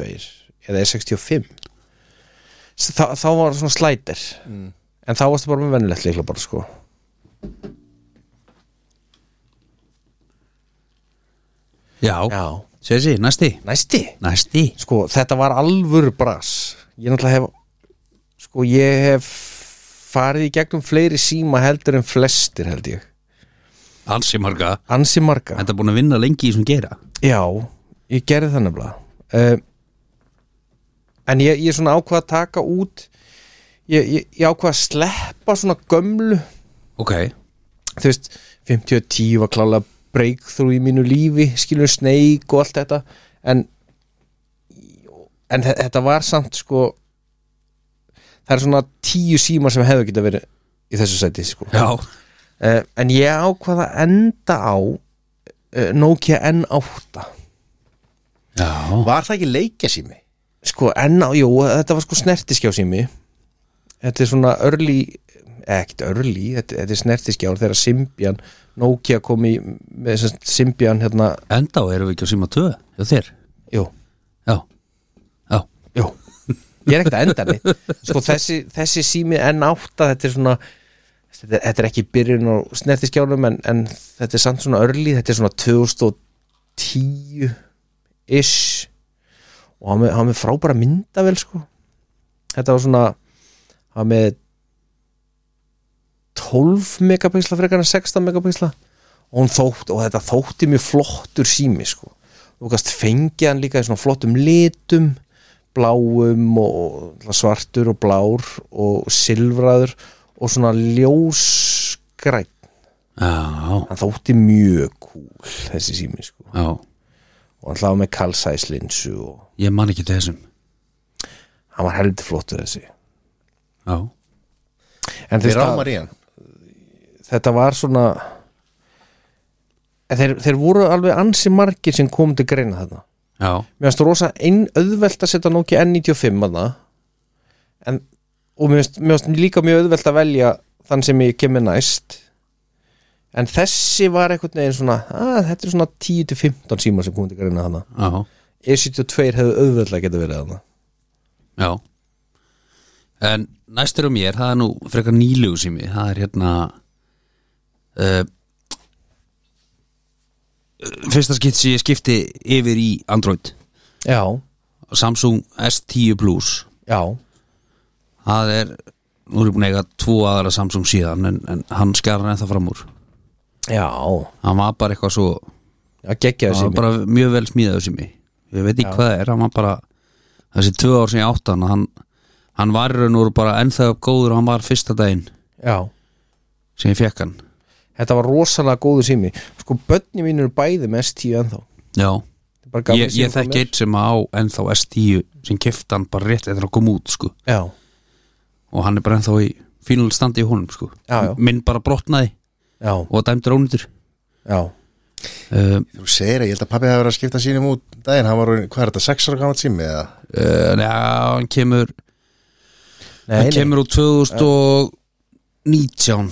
Speaker 2: eða E E65 S- þá, þá var svona slætir en þá varstu bara með venjulegt líkla borð, sko
Speaker 3: Já,
Speaker 2: Já,
Speaker 3: Sessi, næsti
Speaker 2: næsti
Speaker 3: Næsti
Speaker 2: sko, þetta var alvöru bras ég náttúrulega hef sko, ég hef farið í gegnum fleiri síma heldur en flestir held ég,
Speaker 3: Alls í marga
Speaker 2: ansi marga
Speaker 3: Þetta er búin að vinna lengi í sem gera
Speaker 2: já, ég gerði það nefnilega uh, en ég, ég svona ákvað að taka út ég, ég, ég ákvað að sleppa svona gömlu
Speaker 3: Ok
Speaker 2: þú veist, 50 og 10 var klálega breakthrough í mínu lífi skilur sneik og allt þetta en en þe- þetta var samt sko það er svona 10 símar sem hefðu geta verið í þessu sæti sko.
Speaker 3: Já
Speaker 2: uh, en ég ákvaða enda á uh, Nokia N8
Speaker 3: Já
Speaker 1: Var það ekki leikja sími?
Speaker 2: sko N8, jú, þetta var sko snertiskjá sími þetta er svona early eh, ekkert early, þetta, þetta er snertiskjár þegar Symbian, Nokia kom í með sem sagt Symbian hérna
Speaker 3: Enda á erum við ekki á síma 2 Já, þér
Speaker 2: Jú,
Speaker 3: Já Já
Speaker 2: jú Ég er ekkert að enda mig Sko þessi, þessi sími N8 þetta er svona þetta er, þetta er ekki byrjun á snertiskjánum en, en þetta er samt svona örli þetta er svona 2010 ish og hann með, hann með frábæra myndavel sko þetta var svona hann með 12 megapixla frekar en 16 megapixla og, hún þótt, og þetta þótti mjög flottur sími sko þú kannast fengið hann líka í svona flottum litum bláum og og náttúrulega svartur og blár og silfraður og svona ljósgræn
Speaker 3: já,
Speaker 2: hann þótti mjög cool þessi sími sko
Speaker 3: já
Speaker 2: og hann hláði með kalsæslinsu og
Speaker 3: Ég man ekki til þessum
Speaker 2: hann var heldur flottur þessi
Speaker 3: Já,
Speaker 2: en
Speaker 1: Við
Speaker 2: þú veist að-
Speaker 1: rámar í hann
Speaker 2: þetta var svona en þeir, þeir voru alveg ansi margir sem kom til greina þarna
Speaker 3: já,
Speaker 2: mér finnst rosa einn auðvelt að setja Nokia N95 þarna en, og mér finnst- mér finnst líka mjög auðvelt að velja þann sem ég kemur næst en þessi var einhvern veginn svona að, þetta er svona 10-15 símar sem kom til greina þarna E
Speaker 3: já,
Speaker 2: E72 hefðu auðveldlega geta verið þarna
Speaker 3: já En næstur um mér, það er nú frekar nýlegu sími, það er hérna uh, Fyrsta skipt sem ég skipti yfir í Android
Speaker 2: já,
Speaker 3: Samsung S10 Plus
Speaker 2: já,
Speaker 3: Það er, nú er ég búin að eiga tvo aðra Samsung síðan en, en hann skar hann eða fram úr
Speaker 2: já
Speaker 3: Hann var bara eitthvað svo
Speaker 2: já, geggjaði
Speaker 3: Það var
Speaker 2: sími
Speaker 3: bara mjög vel smíðaður sími Ég veit ekki hvað það er, hann var bara Þessi tvö ár sem ég átti hann Hann, hann var í raun og veru bara ennþá góður og Hann var fyrsta daginn
Speaker 2: já
Speaker 3: sem ég fekk hann
Speaker 2: Þetta var rosalega góðu sími Sko, börni mín eru bæði með S10 ennþá
Speaker 3: Já,
Speaker 2: Þetta er bara gamli
Speaker 3: ég, ég
Speaker 2: síminn frá
Speaker 3: þekki
Speaker 2: mér.
Speaker 3: eitt sem á ennþá S10 sem kefti hann bara rétt eftir að koma út sko.
Speaker 2: Já,
Speaker 3: og hann er bara ennþá í fínul standi í honum sko.
Speaker 2: Já, já.
Speaker 3: minn bara brotnaði
Speaker 2: já,
Speaker 3: og dæmdur ónýtur
Speaker 2: já
Speaker 3: uh,
Speaker 1: Þú segir að ég held að pappi hafi verið að skipta sínum út um daginn, hann var, orðinn- hvað er þetta, 6 ára gaman sími eða?
Speaker 3: uh, Já, hann kemur
Speaker 2: Nei,
Speaker 3: hann
Speaker 2: nei,
Speaker 3: kemur úr 2019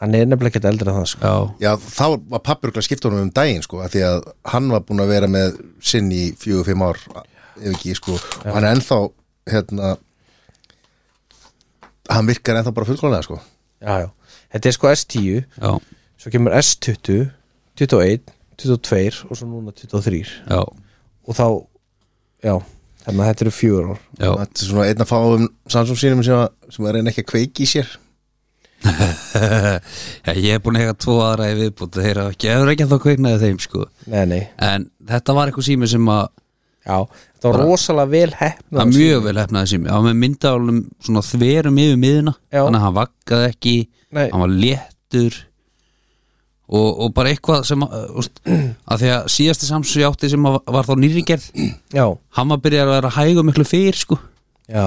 Speaker 2: hann er nefnilega ekkert eldri en það sko.
Speaker 3: Já,
Speaker 1: Já, þá var pappi rúkla að skipta honum um daginn sko, af því að hann var búin að vera með sinn í fjögur, fimm ár ef ekki, sko, og hann er ennþá hérna hann virkar ennþá bara fullkónlega sko.
Speaker 2: Já, já, þetta er sko S10
Speaker 3: já,
Speaker 2: Svo kemur S20 21, 22 og svo núna 23
Speaker 3: já,
Speaker 2: Og þá, já Þannig að þetta eru fjögur ár
Speaker 3: já.
Speaker 1: þetta er svona einn að fá um Samsung sínum sem, að- sem er einn ekki að kveiki í sér
Speaker 3: Já, ég hef búin að hega tvo aðra í viðbútt þeir eru ekki, hefur ekki að það kveiknaði þeim sko.
Speaker 2: Nei, nei,
Speaker 3: en þetta var eitthvað sími sem að
Speaker 2: já Þetta var rosalega vel hefna
Speaker 3: að mjög vel hefnaði sími, hann var með myndavlum svona þverum yfir miðuna
Speaker 2: Já.
Speaker 3: þannig að hann vaggaði ekki,
Speaker 2: Nei.
Speaker 3: hann var léttur og, og bara eitthvað sem að, uh, úst, að því að síðasti samsug ég átti sem að, var þá nýringerð
Speaker 2: Já,
Speaker 3: hann var byrjað að vera hægum miklu fyrr sko.
Speaker 2: já,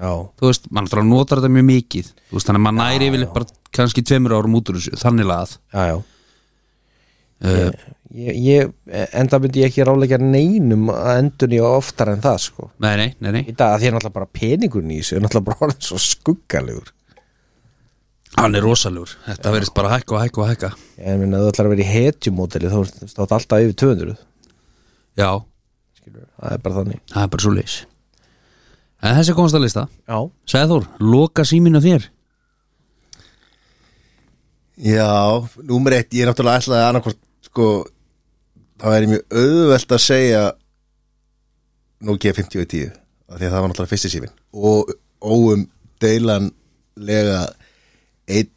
Speaker 2: já
Speaker 3: þú veist, mann þarf að nota þetta mjög mikið þú veist, þannig að mann næri yfirleitt bara kannski tveimur árum út úr þessu, þannig lagað
Speaker 2: já, já. Ég, ég, enda myndi ég ekki ráleika neinum að endur nýja oftar en það sko.
Speaker 3: nei, nei, nei, nei
Speaker 2: í dag að því er náttúrulega bara peningurinn í þessu er náttúrulega bara orðin svo skuggalegur
Speaker 3: Hann er rosalegur, þetta verðist bara hækka og hækka og hækka
Speaker 2: ég meina ef þú ætlar að vera í hetjumódeli þá ertu- þú státt alltaf yfir 200
Speaker 3: Já,
Speaker 2: skilur. það er bara þannig
Speaker 3: það er bara svo leis En þessi komast að lista
Speaker 2: já,
Speaker 3: Sæði Þór, loka síminu þér
Speaker 1: Já, númer eitt, ég er náttúrulega ætlaði að annarkvort, sko, það væri mjög auðvelt að segja Nokia 50 og 10 af því að það var náttúrulega fyrsti sífin og óum deilanlega einn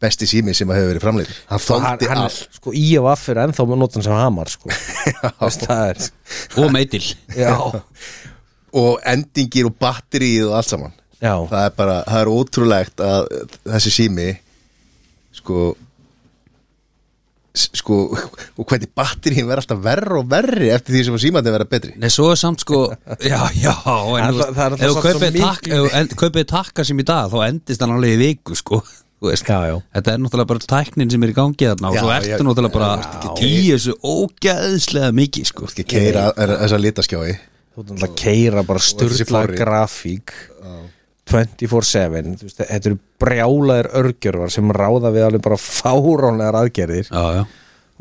Speaker 1: besti sími sem að hefur verið framleitur hann þóndi
Speaker 2: hann,
Speaker 1: allt
Speaker 2: sko í og affir ennþá með notan sem hamar sko Veist, það er
Speaker 3: Og meitil
Speaker 2: já,
Speaker 1: og endingir og batterið og allt saman
Speaker 2: já,
Speaker 1: það er bara, það er ótrúlegt að þessi sími sko s- sko og hvernig batterín verður alltaf verri og verri eftir því sem að símandi verða betri
Speaker 3: Nei, svo er samt sko Já, já, en þú
Speaker 2: Það- það er
Speaker 3: veist
Speaker 2: alltaf
Speaker 3: Ef þú
Speaker 2: samt svo
Speaker 3: kaupið
Speaker 2: mikið.
Speaker 3: tak- ef þú en- kaupið takka sem í dag þá endist hann alveg í viku sko Þú veist,
Speaker 2: Já, já.
Speaker 3: Þetta er náttúrulega bara tæknin sem er í gangi þarna og
Speaker 1: Já,
Speaker 3: svo
Speaker 1: já,
Speaker 3: ertu náttúrulega
Speaker 1: já.
Speaker 3: bara í þessu ógeðslega mikið sko
Speaker 1: ekki keira þessa litaskjái
Speaker 2: þú ert náttúrulega að keira bara
Speaker 1: þessi
Speaker 2: sturla
Speaker 1: forrit.
Speaker 2: grafík 24-7 þú veist, þetta eru brjálaðir örgjörvar sem ráða við alveg bara fáránlegar aðgerðir
Speaker 3: Já, já,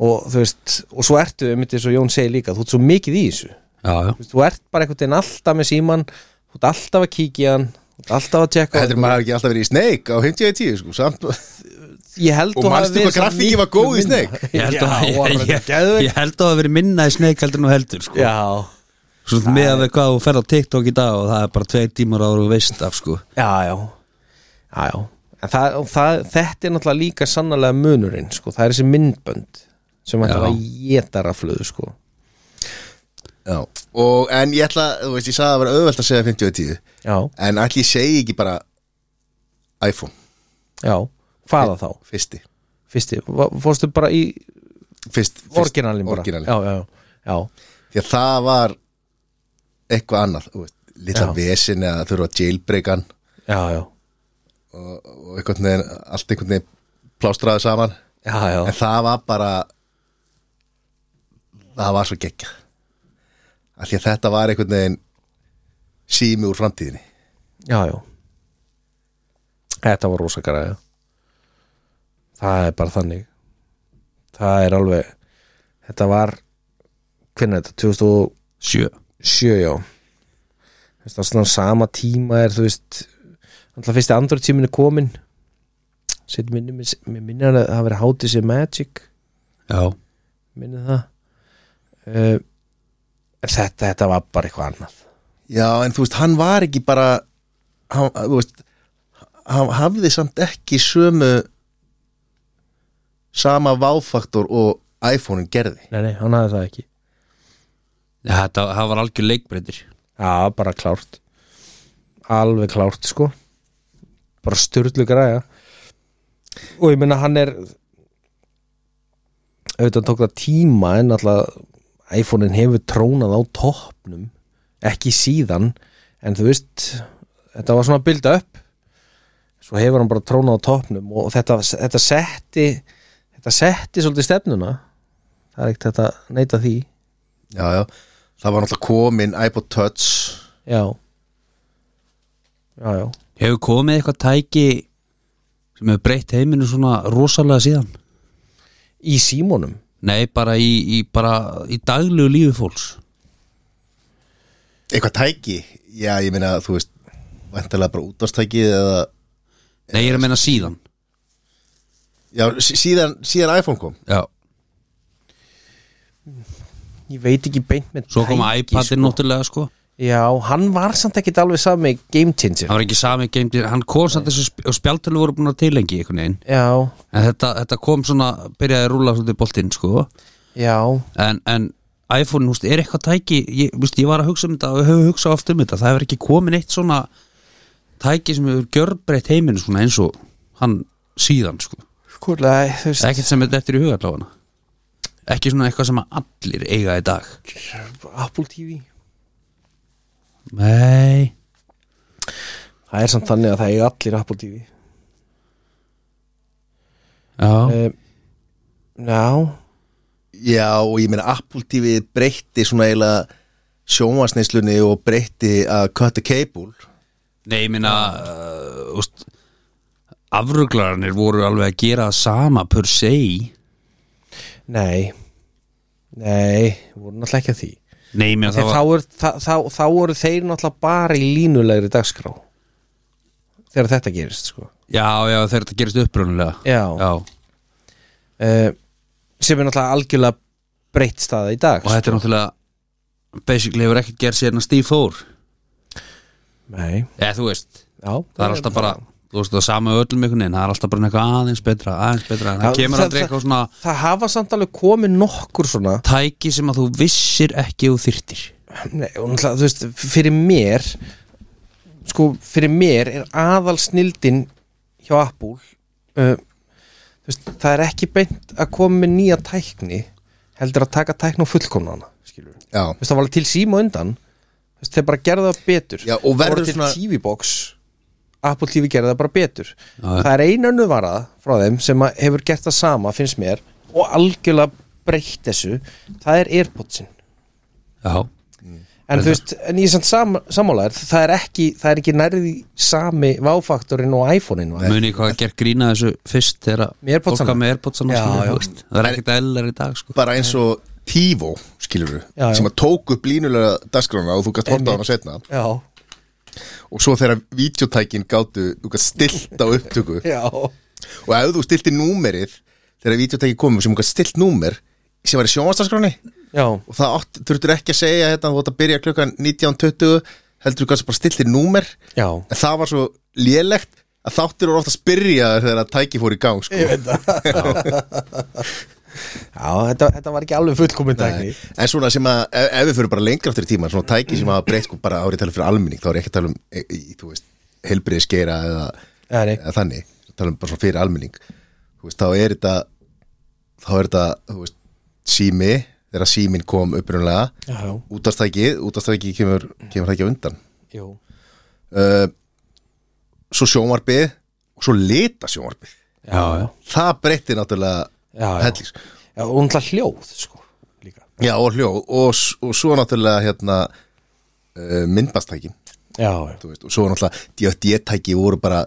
Speaker 2: og þú veist, og svo ertu einmitt eins og Jón segir líka, þú ert svo mikið í þessu þú,
Speaker 3: já, já
Speaker 2: veist, þú ert bara einhvern veginn alltaf með síman þú ert alltaf að kíkja hann þú ert alltaf að tjekka
Speaker 1: Þetta er maður hafi ekki alltaf verið í Snake á 51 sko, samt
Speaker 2: ég held
Speaker 1: Og
Speaker 2: þú hafi
Speaker 1: manstu
Speaker 2: verið
Speaker 1: hvað
Speaker 2: samt
Speaker 1: grafíkin
Speaker 2: miklu
Speaker 1: var góð í
Speaker 2: minna.
Speaker 1: Snake?
Speaker 3: Ég held
Speaker 2: Já,
Speaker 3: að-
Speaker 2: hún var sko.
Speaker 3: ég-
Speaker 2: bara
Speaker 3: ég-
Speaker 2: geðveik.
Speaker 3: ég held að það hafi verið minna í sneik heldur nú heldur sko
Speaker 2: já,
Speaker 3: Svo með að við hvað þú ferð á TikTok í dag og það er bara tveir tímar ára og veist af sko
Speaker 2: já, já já, já En það, og það, þetta er náttúrulega líka sannarlega munurinn, sko, það er þessi myndbönd sem ætlar
Speaker 3: Já.
Speaker 2: að geta rafluðu, sko
Speaker 1: Já. Og en ég ætla, þú veist, ég sagði að það var auðvelt að segja 51
Speaker 2: já,
Speaker 1: En allir segi ekki bara iPhone
Speaker 2: Já, hvaða þá?
Speaker 1: Fyrsti
Speaker 2: Fyrsti, va- fórstu bara í
Speaker 1: Fyrst, fyrst
Speaker 2: orginalin bara
Speaker 1: orginalinn.
Speaker 2: Já, já, já,
Speaker 1: Því að það var eitthvað annað þú veist, Lítla
Speaker 2: Já.
Speaker 1: vesin eða þurfa að jailbreak hann
Speaker 2: já, já
Speaker 1: og einhvern veginn, allt einhvern veginn plástraði saman
Speaker 2: Já, já,
Speaker 1: en það var bara það var svo geggja af því að þetta var einhvern veginn sími úr framtíðinni
Speaker 2: já, já Þetta var rosa græða Það er bara þannig Það er alveg Þetta var hvernig er þetta,
Speaker 3: 7
Speaker 2: 2007 já Þú veist, Það er svona sama tíma er þú veist Alltaf fyrsti andru tíminu komin Sitt minni mér minni hann að það hafi verið hátíð sér Magic
Speaker 3: Já,
Speaker 2: minni það uh, en þetta, þetta var bara eitthvað annað
Speaker 1: já en þú veist hann var ekki bara hann, þú veist hann hafði samt ekki sömu sama váfaktor og iPhone-un gerði
Speaker 2: Nei, nei, hann hafði það ekki
Speaker 3: Já, þetta það var algjör leikbreytir
Speaker 2: Já, bara klárt Alveg klárt, sko Bara styrlu græja Og ég meina hann er auðvitað tók það tíma en alltaf iPhone-in hefur trónað á toppnum ekki síðan en þú veist, þetta var svona að bylda upp svo hefur hann bara trónað á toppnum og þetta, þetta setti þetta setti svolítið stefnuna það er ekkert þetta neita því
Speaker 1: já já það var náttúrulega komin iPod Touch
Speaker 2: já já, já
Speaker 3: Hefur komið eitthvað tæki sem hefur breytt heiminu svona rosalega síðan?
Speaker 2: í símónum
Speaker 3: Nei, bara í, í, bara í daglegu lífi fólks
Speaker 1: eitthvað tæki já ég meina þú veist vantilega bara útastæki eða
Speaker 3: Nei, ég er að meina síðan
Speaker 1: já sí- síðan, síðan iPhone kom
Speaker 3: Já,
Speaker 2: ég veit ekki beint með
Speaker 3: svo kom iPadin
Speaker 2: sko.
Speaker 3: náttúrulega sko
Speaker 2: já, hann var samt ekkit alveg sami game changer
Speaker 3: Það var ekki sami geimdi, hann kom samt þessu sp- og spjaltölu voru búin að tilengi einhvern veginn
Speaker 2: já,
Speaker 3: en þetta, þetta kom svona, byrjaði að rúla svolítið boltinn sko
Speaker 2: já,
Speaker 3: en, en iPhone, húst, er eitthvað tæki ég, húst, ég var að hugsa um þetta og við höfum hugsað oft um þetta það hefur ekki komin eitt svona tæki sem hefur gjörbreytt heiminu svona eins og hann síðan sko
Speaker 2: skurlega þú veist
Speaker 3: ekkert sem er eftir í huga allavega ekki svona eitthvað sem að allir eiga í dag
Speaker 2: Apple TV
Speaker 3: Nei,
Speaker 2: það er samt þannig að það er allir Apple TV
Speaker 3: já,
Speaker 2: um, já,
Speaker 1: Já og ég meina Apple TV breytti svona eiginlega sjónvarsneislunni og breytti að cut the cable
Speaker 3: nei, ég minna uh, úst, afruglarnir voru alveg að gera það sama per se
Speaker 2: nei nei, voru náttúrulega ekki að því
Speaker 3: Nei, ég minna
Speaker 2: Þegar
Speaker 3: það
Speaker 2: þá,
Speaker 3: var
Speaker 2: er, þá, þá, þá voru þeir náttúrulega bara í línulegri dagskrá þegar þetta gerist sko
Speaker 3: Já, já, þegar þetta gerist upprunulega
Speaker 2: já, Uh, sem er náttúrulega algjörlega breytt staða í dag sko.
Speaker 3: og þetta er náttúrulega basically hefur ekkert gerð sér en að Steve Thor
Speaker 2: Nei,
Speaker 3: eða þú veist,
Speaker 2: já,
Speaker 3: það er alltaf bara þú veist það sama öllum einhvern veginn, það er alltaf bara eitthvað aðeins betra, aðeins betra, en
Speaker 2: Já,
Speaker 3: það kemur
Speaker 2: það-
Speaker 3: aldrei eitthvað svona
Speaker 2: Það hafa samt alveg komið nokkur svona
Speaker 3: tæki sem að þú vissir ekki og þyrtir
Speaker 2: Nei, og náttúrulega, þú veist, fyrir mér sko, fyrir mér er aðal snildin hjá Apple uh, þú veist, það er ekki beint að koma með nýja tækni heldur að taka tækni og fullkomna hana skilur við.
Speaker 1: Já,
Speaker 2: Þú veist, það var alveg til síma undan þú veist, þeir bara gerðu það betur
Speaker 1: Já, og
Speaker 2: Það voru
Speaker 1: verður
Speaker 2: til
Speaker 1: svona-
Speaker 2: TV-box Apple TV gerði það bara betur það er einu önnu varað frá þeim sem að hefur gert það sama, finnst mér og algjörlega breytt þessu það er Airpodsin
Speaker 3: Já,
Speaker 2: en þú veist, en ég samt sam, sammálaður það er ekki, það er ekki nærði sami váfaktorinn og iPhone-in var.
Speaker 3: muni hvað að gera grína þessu fyrst þegar að
Speaker 2: Með Airpodsana.
Speaker 3: fólk var með Airpodsana
Speaker 2: Já,
Speaker 3: sko,
Speaker 2: já.
Speaker 3: þú veist. það er ekkert eðlar í dag sko.
Speaker 1: bara eins og Tivo skilur
Speaker 2: Já, já.
Speaker 1: sem að tók upp línulega dagskrána og þú gætt horta á hana setna
Speaker 2: já,
Speaker 1: og svo þegar videotækin gátu, þú gætt stilt á upptöku
Speaker 2: já
Speaker 1: og ef þú stilti númerið þegar videotækin komum sem þú gætt stilt númer sem var í sjónvarsdagskráni
Speaker 2: já,
Speaker 1: og það átt, þurftur ekki að segja hérna þú átt að byrja klukkan 19.20 heldur þú gætt bara stilti númer
Speaker 2: já,
Speaker 1: en það var svo lélegt að þáttir voru ofta að spyrja þér þegar að tæki fór í gang sko.
Speaker 2: já þetta, þetta var ekki alveg fullkomin tækni
Speaker 1: en svona sem að ef, ef við fyrir bara lengra aftur í tíma svona tæki sem að breytt sko bara árið tala fyrir almenning þá er ég ekki að tala um e, e, þú veist, helbriðiskeira eða,
Speaker 2: Nei, nei.
Speaker 1: eða þannig tala um bara svona fyrir almenning þú veist, þá er þetta þá er þetta, þú veist, sími þegar símin kom upprunalega
Speaker 2: Já, já,
Speaker 1: útastækið, útastækið kemur, kemur það ekki á undan
Speaker 2: jú
Speaker 1: uh, svo sjónvarpið og svo lita sjónvarpið
Speaker 2: Já, já,
Speaker 1: það breytti náttúrulega
Speaker 2: já, já.
Speaker 1: hellings
Speaker 2: já og náttúrulega hljóð, sko, líka
Speaker 1: Já, og hljóð og, s- og svo náttúrulega hérna uh, myndbastækin
Speaker 2: Já, já
Speaker 1: þú veist, og svo náttúrulega DFD-tæki E voru bara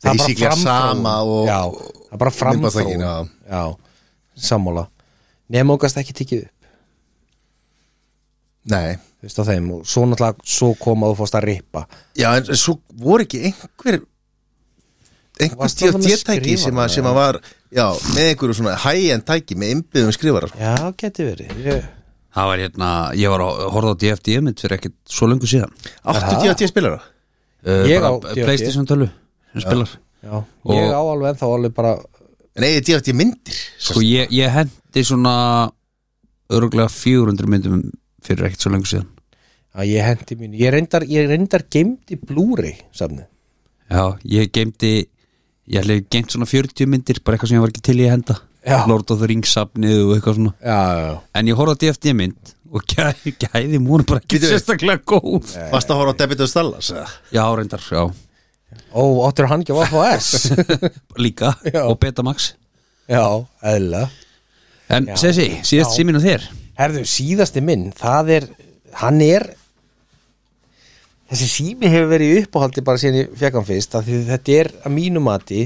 Speaker 2: það er
Speaker 1: basically
Speaker 2: bara framþróun.
Speaker 1: sama og,
Speaker 2: já, það er bara
Speaker 1: myndbandstækin,
Speaker 2: framþróun
Speaker 1: já.
Speaker 2: já, sammála nema okkast ekki tekið upp
Speaker 1: Nei,
Speaker 2: þú veist á þeim og svo náttúrulega svo kom að þú fórst að ripa
Speaker 1: já, en en svo voru ekki einhver einhver
Speaker 2: Varst það með
Speaker 1: DFD-tæki sem,
Speaker 2: skrifara,
Speaker 1: að- sem að var já, með einhverju svona high-end tæki með innbyggðum skrifara sko.
Speaker 2: já, geti verið ég,
Speaker 3: Það var hérna, ég var að horfa á DFD mynd fyrir ekkert svo lengur síðan
Speaker 1: Áttu DFD spilara?
Speaker 3: uh,
Speaker 2: Ég á
Speaker 3: bara
Speaker 2: DFD.
Speaker 3: Playstation tölvu sem spilar
Speaker 2: já, ég
Speaker 3: Og-
Speaker 2: á alveg ennþá alveg bara
Speaker 1: En eigið DFD myndir?
Speaker 3: Sko ég, ég hendi svona örgulega 400 myndum fyrir ekkert svo lengur síðan
Speaker 2: að ég hendi mín, ég reyndar, ég reyndar geimdi blúri safni
Speaker 3: Já, ég geimdi ég ætla ég geimt svona 40 myndir bara eitthvað sem ég var ekki til í að henda
Speaker 2: Já.
Speaker 3: Lord of the Rings safnið og eitthvað svona
Speaker 2: já, já, já.
Speaker 3: En ég horfði á DFD mynd og gæði, gæði múna bara ekki
Speaker 1: Bíddu við.
Speaker 3: sérstaklega góð
Speaker 1: Varst að horfa á Debit og Stallas? eða?
Speaker 3: Já, reyndar, já,
Speaker 2: ó, áttur hann ekki á FHS
Speaker 3: líka
Speaker 2: Já.
Speaker 3: og Betamax
Speaker 2: já, eðla
Speaker 3: En Sessi, síðast síminn og þér
Speaker 2: Herðu, síðasti minn, það er hann er þessi sími hefur verið í uppáhaldi bara síðan ég fekk hann fyrst af því þetta er að mínu mati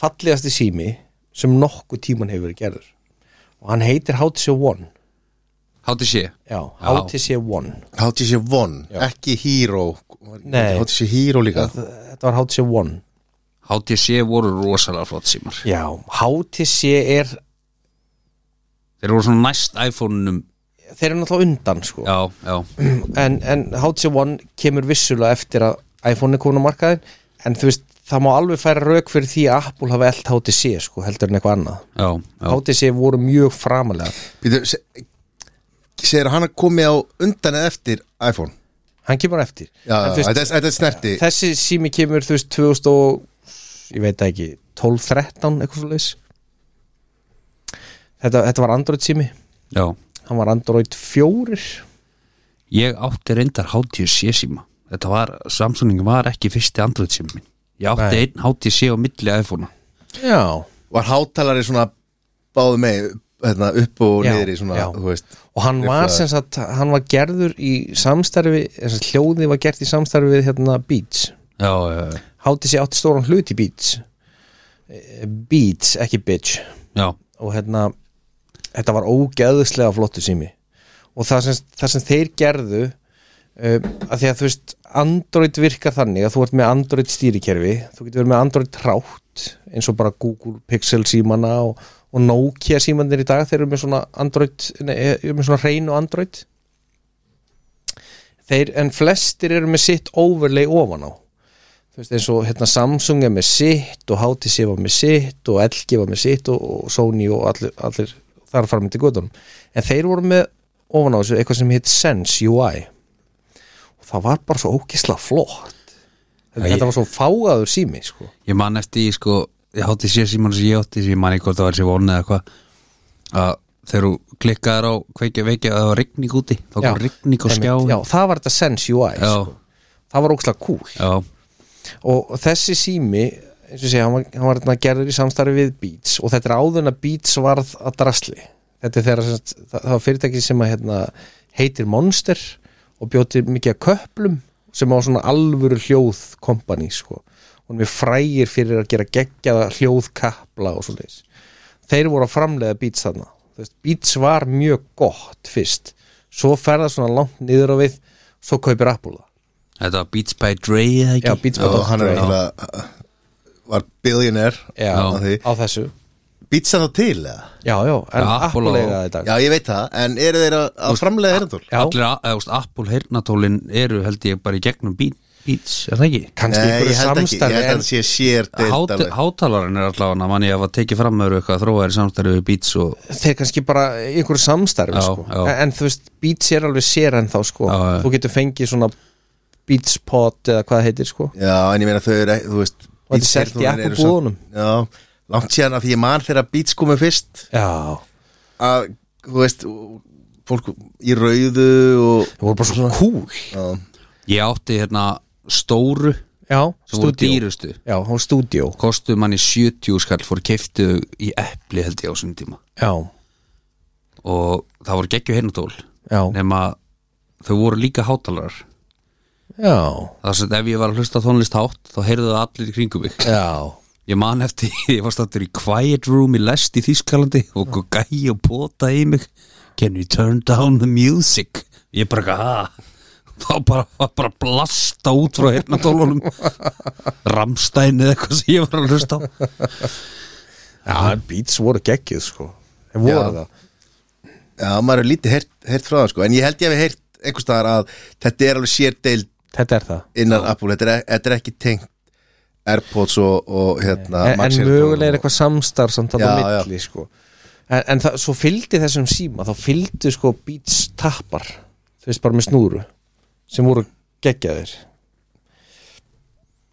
Speaker 2: fallegasti sími sem nokkuð tíman hefur verið gerður og hann heitir HTC One
Speaker 3: Hátti sé
Speaker 2: Já, HTC One
Speaker 1: HTC One, ekki Hero
Speaker 2: Nei.
Speaker 1: HTC Hero líka
Speaker 2: Þetta var HTC One
Speaker 3: Hátti sé voru rosalega flott símar
Speaker 2: Já, HTC er
Speaker 3: Þeir voru svona næst iPhone-num
Speaker 2: þeir eru náttúrulega undan sko
Speaker 3: Já, já,
Speaker 2: en, en HTC One kemur vissulega eftir að iPhone er komin á markaðin en þú veist, það má alveg færa rauk fyrir því að Apple hafa eld HTC sko, heldur en eitthvað annað
Speaker 3: já, já.
Speaker 2: HTC voru mjög framalega
Speaker 1: Býtu, se, segir hann að komi á undan eða eftir iPhone
Speaker 2: hann kemur á eftir
Speaker 1: Já, já,
Speaker 2: En þú veist,
Speaker 1: þetta þetta er snerti
Speaker 2: þessi sími kemur þú veist 2000 og ég veit það ekki 12-13 eitthvað svo þetta, þetta var Android sími
Speaker 3: já.
Speaker 2: hann var Android 4
Speaker 3: Ég átti reyndar HTC síma Þetta var, Samsung var ekki fyrsti Android síma minn Ég átti
Speaker 2: Nei.
Speaker 3: einn HTC á milli iPhone
Speaker 2: já
Speaker 1: Var hátalari svona báðu með hérna, upp og
Speaker 2: Já,
Speaker 1: niður í svona
Speaker 2: já.
Speaker 1: þú veist
Speaker 2: og hann var sem sagt, hann var gerður í samstarfi, sem sagt, hljóðið var gert í samstarfi við hérna Beats
Speaker 3: Já, já, já,
Speaker 2: HTC átti stóran hlut í Beats Eh, Beats, ekki Bitch
Speaker 3: já.
Speaker 2: og hérna þetta var ógeðslega flottu sími og það sem, það sem þeir gerðu um, að því að þú veist Android virkar þannig að þú ert með Android stýrikerfi, þú getur verið með Android rátt eins og bara Google Pixel símana og, og Nokia símanir í dag, þeir eru með svona Android nei, eh, eru með svona reynu Android þeir, en flestir eru með sitt overlay ofan á þú veist eins og hérna Samsung er með sitt og HTC var með sitt og LG var með sitt og, og Sony og allir, allir þar fram til gödunum en þeir voru með ofan á þessu eitthvað sem hitt Sense UI og það var bara svo ógisla flott þetta,
Speaker 3: Já, ég-
Speaker 2: þetta var svo fágaður sími sko.
Speaker 3: Ég man eftir, í, sko, ég HTC síman sem ég átti sem ég man ekki hvort það var sér vonu eða hvað að þegar þú klikkaðir á kveikja veikja að það var rigning úti þá
Speaker 2: Já.
Speaker 3: kom rigning á
Speaker 2: Einmitt,
Speaker 3: skjáin
Speaker 2: já, það var þetta Sense UI
Speaker 3: já,
Speaker 2: sko. það var ógisla cool
Speaker 3: já,
Speaker 2: og þessi sími eins og segja, hann var, hann var hérna gerður í samstarfi við Beats og þetta er áðurna Beats varð að drasli þetta er þegar sem sagt, það, það var fyrirtæki sem að, hérna, heitir Monster og bjóti mikið að köplum sem á svona alvöru hljóð kompani sko, hún er frægir fyrir að gera geggjaða hljóðkapla og svoleiðis þeir voru að framleiða Beats þarna Þú veist, Beats var mjög gott fyrst svo ferða svona langt niður á við svo kaupir Apple það
Speaker 3: Þetta var Beats by Dre eða ekki
Speaker 2: Já, Beats by
Speaker 1: og hann er
Speaker 2: Sko, Já.
Speaker 1: eiginlega var billionaire
Speaker 2: Já,
Speaker 1: á því.
Speaker 2: á þessu
Speaker 1: Býtsa þá til eða?
Speaker 2: Já, já, en
Speaker 3: Já,
Speaker 2: Apple
Speaker 3: Apple á-
Speaker 2: eiga það í dag
Speaker 1: Já, ég veit það, en eru þeir að, að framlega erindól?
Speaker 2: Já.
Speaker 3: Allir, að- eða, þú veist, Apple heyrnatólin eru held ég bara í gegnum Beat- Beats, er það ekki?
Speaker 2: Kannski
Speaker 1: Nei,
Speaker 2: einhverju
Speaker 1: ég held ekki, ég
Speaker 2: samstarfi
Speaker 1: held að
Speaker 2: en,
Speaker 1: það sé sér
Speaker 3: Háti, hátalarinn er allavega mann ég að var tekið fram með eitthvað þróaðir samstæðu við Beats og
Speaker 2: Þeir kannski bara í einhverju samstarfi
Speaker 3: Já,
Speaker 2: sko.
Speaker 3: já.
Speaker 2: En, en þú veist, Beats er alveg sér en þá sko.
Speaker 3: Já, já.
Speaker 2: Þú getur fengið svona Beats Pod eða hvað það heitir sko.
Speaker 1: Já, en ég meina þau eru, þú veist
Speaker 2: Og þetta er selt í
Speaker 1: Beats-heyrnunum eru
Speaker 2: appubúðunum.
Speaker 1: samt- Já, langt síðan að því ég man þegar Beats komu fyrst
Speaker 2: Já
Speaker 1: að, þú veist, fólk í rauðu og
Speaker 2: Það voru bara svona cool
Speaker 1: já,
Speaker 3: Ég átti hérna stóru
Speaker 2: Já,
Speaker 3: sem voru
Speaker 2: stúdíó
Speaker 3: dýrustu
Speaker 2: Já, það var stúdíó
Speaker 3: kostuðu manni 70 skall fór keiftu í epli held ég á sinni tíma
Speaker 2: Já,
Speaker 3: og það voru geggju hernatól
Speaker 2: já,
Speaker 3: nema þau voru líka hátalarar
Speaker 2: já
Speaker 3: það er sem sagt, ef ég var að hlusta á tónlist hátt þá heyrðu það allir í kringum mig
Speaker 2: Já,
Speaker 3: ég man eftir, ég var stættur í quiet room í lest í Þískalandi og einhver gæi og pota í mig can you turn down the music ég bara ekki að þá bara, var bara blasta út frá hérna tólunum Ramstein eða eitthvað sem ég var að hlusta á
Speaker 2: já Beats voru geggið sko Þeir voru
Speaker 1: Já.
Speaker 2: það
Speaker 1: já, maður er lítið heyrt, heyrt frá það sko, en ég held ég hef heyrt einhvers staðar að þetta er alveg sérdeild
Speaker 2: Þetta er það
Speaker 1: innan Apple, þetta er, e- þetta er ekki tengt Airpods og, og hérna
Speaker 2: en,
Speaker 1: Max
Speaker 2: en
Speaker 1: Airpods
Speaker 2: mögulega er eitthvað samstarf samt þarna
Speaker 1: Já,
Speaker 2: á milli sko. en, en það, svo fylgdi þessum síma þá fylgdi sko Beats tappar þú veist bara með snúru sem voru geggjaðir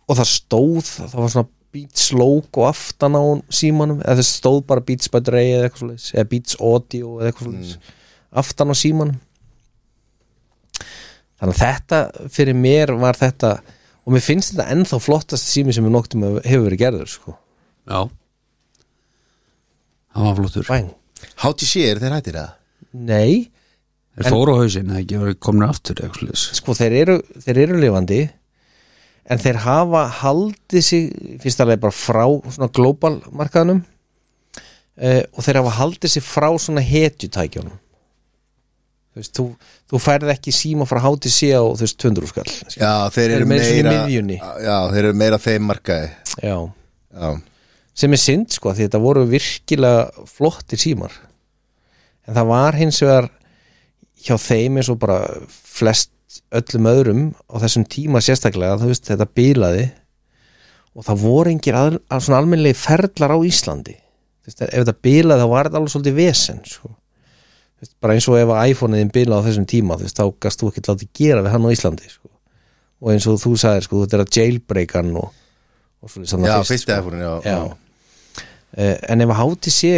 Speaker 2: og það stóð það var svona Beats logo aftan á símanum eða það stóð bara Beats by Dre eða eitthvað svoleiðis eða Beats Audio eða
Speaker 1: Mm.
Speaker 2: eitthvað svoleiðis aftan á símanum þannig að þetta fyrir mér var þetta og mér finnst þetta ennþá flottast sími sem við nóttum hefur verið gerður sko
Speaker 3: já það var flottur
Speaker 2: Bæn.
Speaker 1: HTC er þeir hættir það
Speaker 2: Nei,
Speaker 3: þeir fóru á hausinn, það ekki verið komnir aftur eða eitthvað svoleiðis.
Speaker 2: sko þeir eru, þeir eru lifandi en þeir hafa haldið sig fyrst alveg bara frá svona global markaðanum eh, og þeir hafa haldið sig frá svona hetjutækjunum þú veist, þú, þú færð ekki síma frá HTC á þú veist 200 skall skilur.
Speaker 1: Já, þeir
Speaker 2: Þeir
Speaker 1: eru
Speaker 2: eru meira svona í
Speaker 1: meira
Speaker 2: miðjunni.
Speaker 1: Já, þeir eru meira þeim markaði
Speaker 2: Já.
Speaker 1: Já,
Speaker 2: sem er synd sko því þetta voru virkilega flottir símar en það var hins vegar hjá þeim eins og bara flest öllum öðrum á þessum tíma sérstaklega þú veist þetta bílaði og það voru engir að, að svona almennlegi ferlar á Íslandi Þú veist, ef þetta bílaði þá var þetta alveg svolítið vesen sko. Þú veist, bara eins og ef iPhone-iðin bílaði á þessum tíma þú veist, þá gast þú ekki látið gera við hann á Íslandi sko. og eins og þú sagðir sko, þetta er að jailbreak hann og, og svolítið
Speaker 1: já
Speaker 2: þarna
Speaker 1: fyrst eða fórin já,
Speaker 2: sko. já. Eh, en ef HTC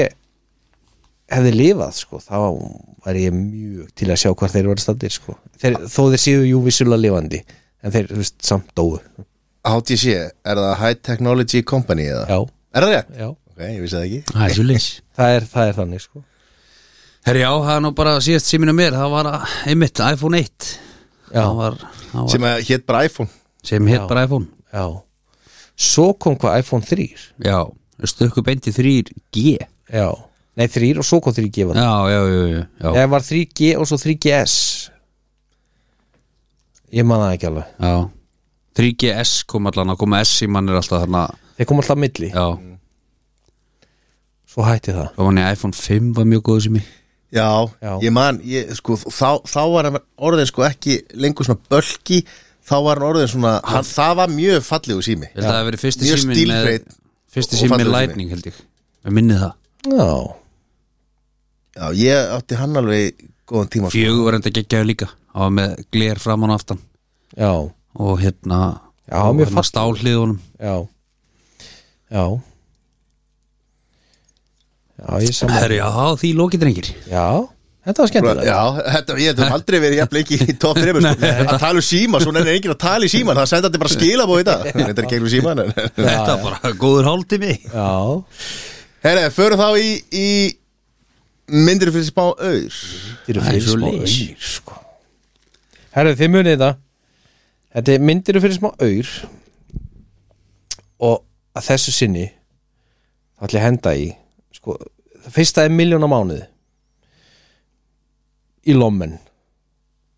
Speaker 2: hefði lifað sko, þá var ég mjög til að sjá hvað þeir voru staddir sko. þeir, þó þeir séu jú vissulega lifandi en þeir þú veist, samt dóu
Speaker 1: HTC, er það High Technology Company eða?
Speaker 2: já,
Speaker 1: Er það rétt?
Speaker 2: já.
Speaker 1: Ok, ég vissi það ekki
Speaker 3: það er svo leys
Speaker 2: Það, er, það er þannig sko.
Speaker 3: Herri já, það er nú bara síðast síminu mér það var að- einmitt iPhone 1
Speaker 2: Já.
Speaker 3: það var, það var,
Speaker 1: Sem að hétt bara iPhone
Speaker 3: sem hétt
Speaker 2: Já.
Speaker 3: bara iPhone
Speaker 2: já. svo kom hvað iPhone 3
Speaker 3: já, stökku beinti 3G
Speaker 2: já. nei 3 og svo kom 3G var það.
Speaker 3: já, já, já, já, já.
Speaker 2: eða var 3G og svo 3GS ég man það ekki alveg
Speaker 3: já. 3GS kom allan að koma S í mann er alltaf þarna
Speaker 2: þeir kom alltaf á milli,
Speaker 3: já,
Speaker 2: svo hætti það
Speaker 3: þá var hann í iPhone 5 var mjög góð sími
Speaker 1: Já,
Speaker 2: Já.
Speaker 1: ég man, ég, sko, þá, þá var hann orðin sko ekki lengur svona bölki Þá var hann orðin svona, hann, það var mjög fallegu sími
Speaker 3: ég held að það hafi verið fyrsti
Speaker 1: Mjög
Speaker 3: símin með,
Speaker 1: stílhreinn
Speaker 3: fyrsti
Speaker 1: og
Speaker 3: símin með
Speaker 1: fallegur sími.
Speaker 3: Lightning held ég, ég minni það
Speaker 2: já,
Speaker 1: Já, ég átti hann alveg góðan tíma sko.
Speaker 3: fjögur var enda geggjaðu líka það var með gler framan og aftan
Speaker 2: já,
Speaker 3: og hérna,
Speaker 2: Já,
Speaker 3: og
Speaker 2: mjög
Speaker 3: hérna
Speaker 2: fallegur.
Speaker 3: stálhliðunum
Speaker 2: já já já, ég saman
Speaker 3: herri já, því lókið drengir
Speaker 2: Já, þetta var skemmtilega
Speaker 1: Já, þetta, ég hefði aldrei verið jafn lengi í top 3 sko. að tala um síma, svona er enginn að tala í síman það senda þetta bara skilabóð í dag þetta er gegnum síman en,
Speaker 3: þetta var bara góður hálftími
Speaker 2: Já,
Speaker 1: Herre, förum þá í, í myndir fyrir spá auður
Speaker 2: þetta eru
Speaker 3: Það er
Speaker 2: fyrir smá
Speaker 3: svoleiðis.
Speaker 2: auður sko. Herru, þið munið þetta Þetta er myndir fyrir smá auður og að þessu sinni þá ætla ég að henda í sko, það fyrsta er miljón á mánuð í lommen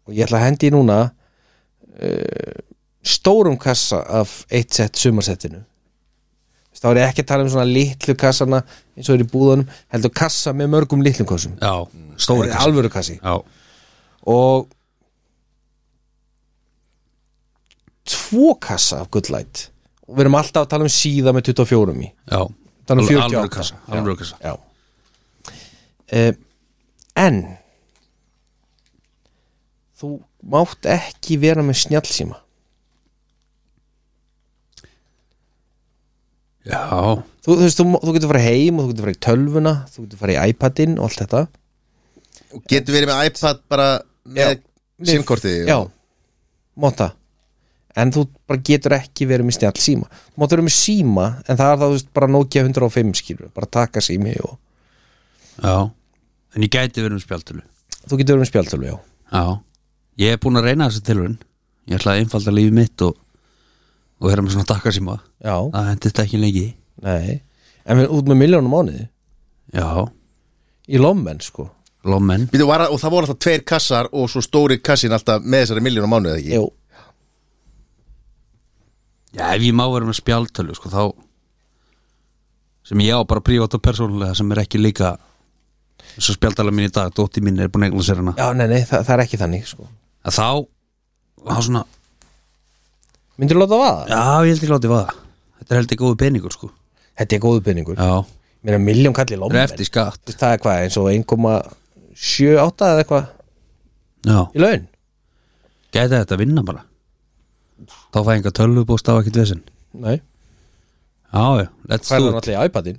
Speaker 2: og ég ætla að henda í núna uh, stórum kassa af eitt sett sumarsettinu Þú veist, þá er ég ekki að tala um svona litlu kassana eins og er í búðanum, heldur kassa með mörgum litlum kassum
Speaker 3: já, stóri kassi
Speaker 2: alvöru kassi
Speaker 3: já,
Speaker 2: og tvo kassa af gullæt og við erum alltaf að tala um síða með 24 í
Speaker 3: já
Speaker 2: Þannig
Speaker 3: Alveg-
Speaker 2: 48.
Speaker 3: alvöru kassa, alvöru kassa.
Speaker 2: já uh, en þú mátt ekki vera með snjallsíma
Speaker 3: Já,
Speaker 2: þú, þú, veist, þú, þú getur farið heim og þú getur farið í tölvuna þú getur farið í iPadin og allt þetta
Speaker 1: og getur verið með iPad bara með
Speaker 2: Já.
Speaker 1: simkorti
Speaker 2: já, móta en þú bara getur ekki verið með snjall síma þú mátt verið með síma en það er það þú veist, bara Nokia 105 skilur bara taka sími og
Speaker 3: já En ég gæti verið um spjaldtölu
Speaker 2: þú getur verið með spjaltölu, já
Speaker 3: Já, ég hef búin að reyna þessi tilhörun Ég ætla að einfalda lífi mitt og, og vera með svona takkarsíma
Speaker 2: já,
Speaker 3: Það hendur þetta ekki lengi
Speaker 2: nei en við út með miljónum mánuði
Speaker 3: Já,
Speaker 2: í lommen sko
Speaker 3: lommen
Speaker 1: Býtu, var, það- og það voru alltaf tveir kassar og svo stóri kassin alltaf með þessari miljónum mánuð eða ekki
Speaker 2: Jú.
Speaker 3: Já, ef ég má vera með spjaldtölu sko, þá sem ég á bara prívat og persónulega sem er ekki líka eins og spjaldala mín í dag, dótti mín er búin að eignan sér hana
Speaker 2: já, nei, nei, það, það er ekki þannig sko
Speaker 3: að þá, þá svona
Speaker 2: myndir láta vaða?
Speaker 3: Já, ég held ekki látið vaða Þetta er held ekki góðu peningur sko
Speaker 2: þetta er góðu peningur
Speaker 3: Já,
Speaker 2: mér er miljón kalli
Speaker 3: það er
Speaker 2: lommen
Speaker 3: eftir skatt
Speaker 2: það er hvað, eins og 1,78 eða eitthvað
Speaker 3: Já,
Speaker 2: í laun
Speaker 3: gæti þetta að vinna bara Þá fæ enga tölvubóst á ekkert vesinn
Speaker 2: Nei,
Speaker 3: Já, já, let's
Speaker 2: hvað er
Speaker 3: do
Speaker 2: það
Speaker 3: it
Speaker 2: náttúrulega í iPadin?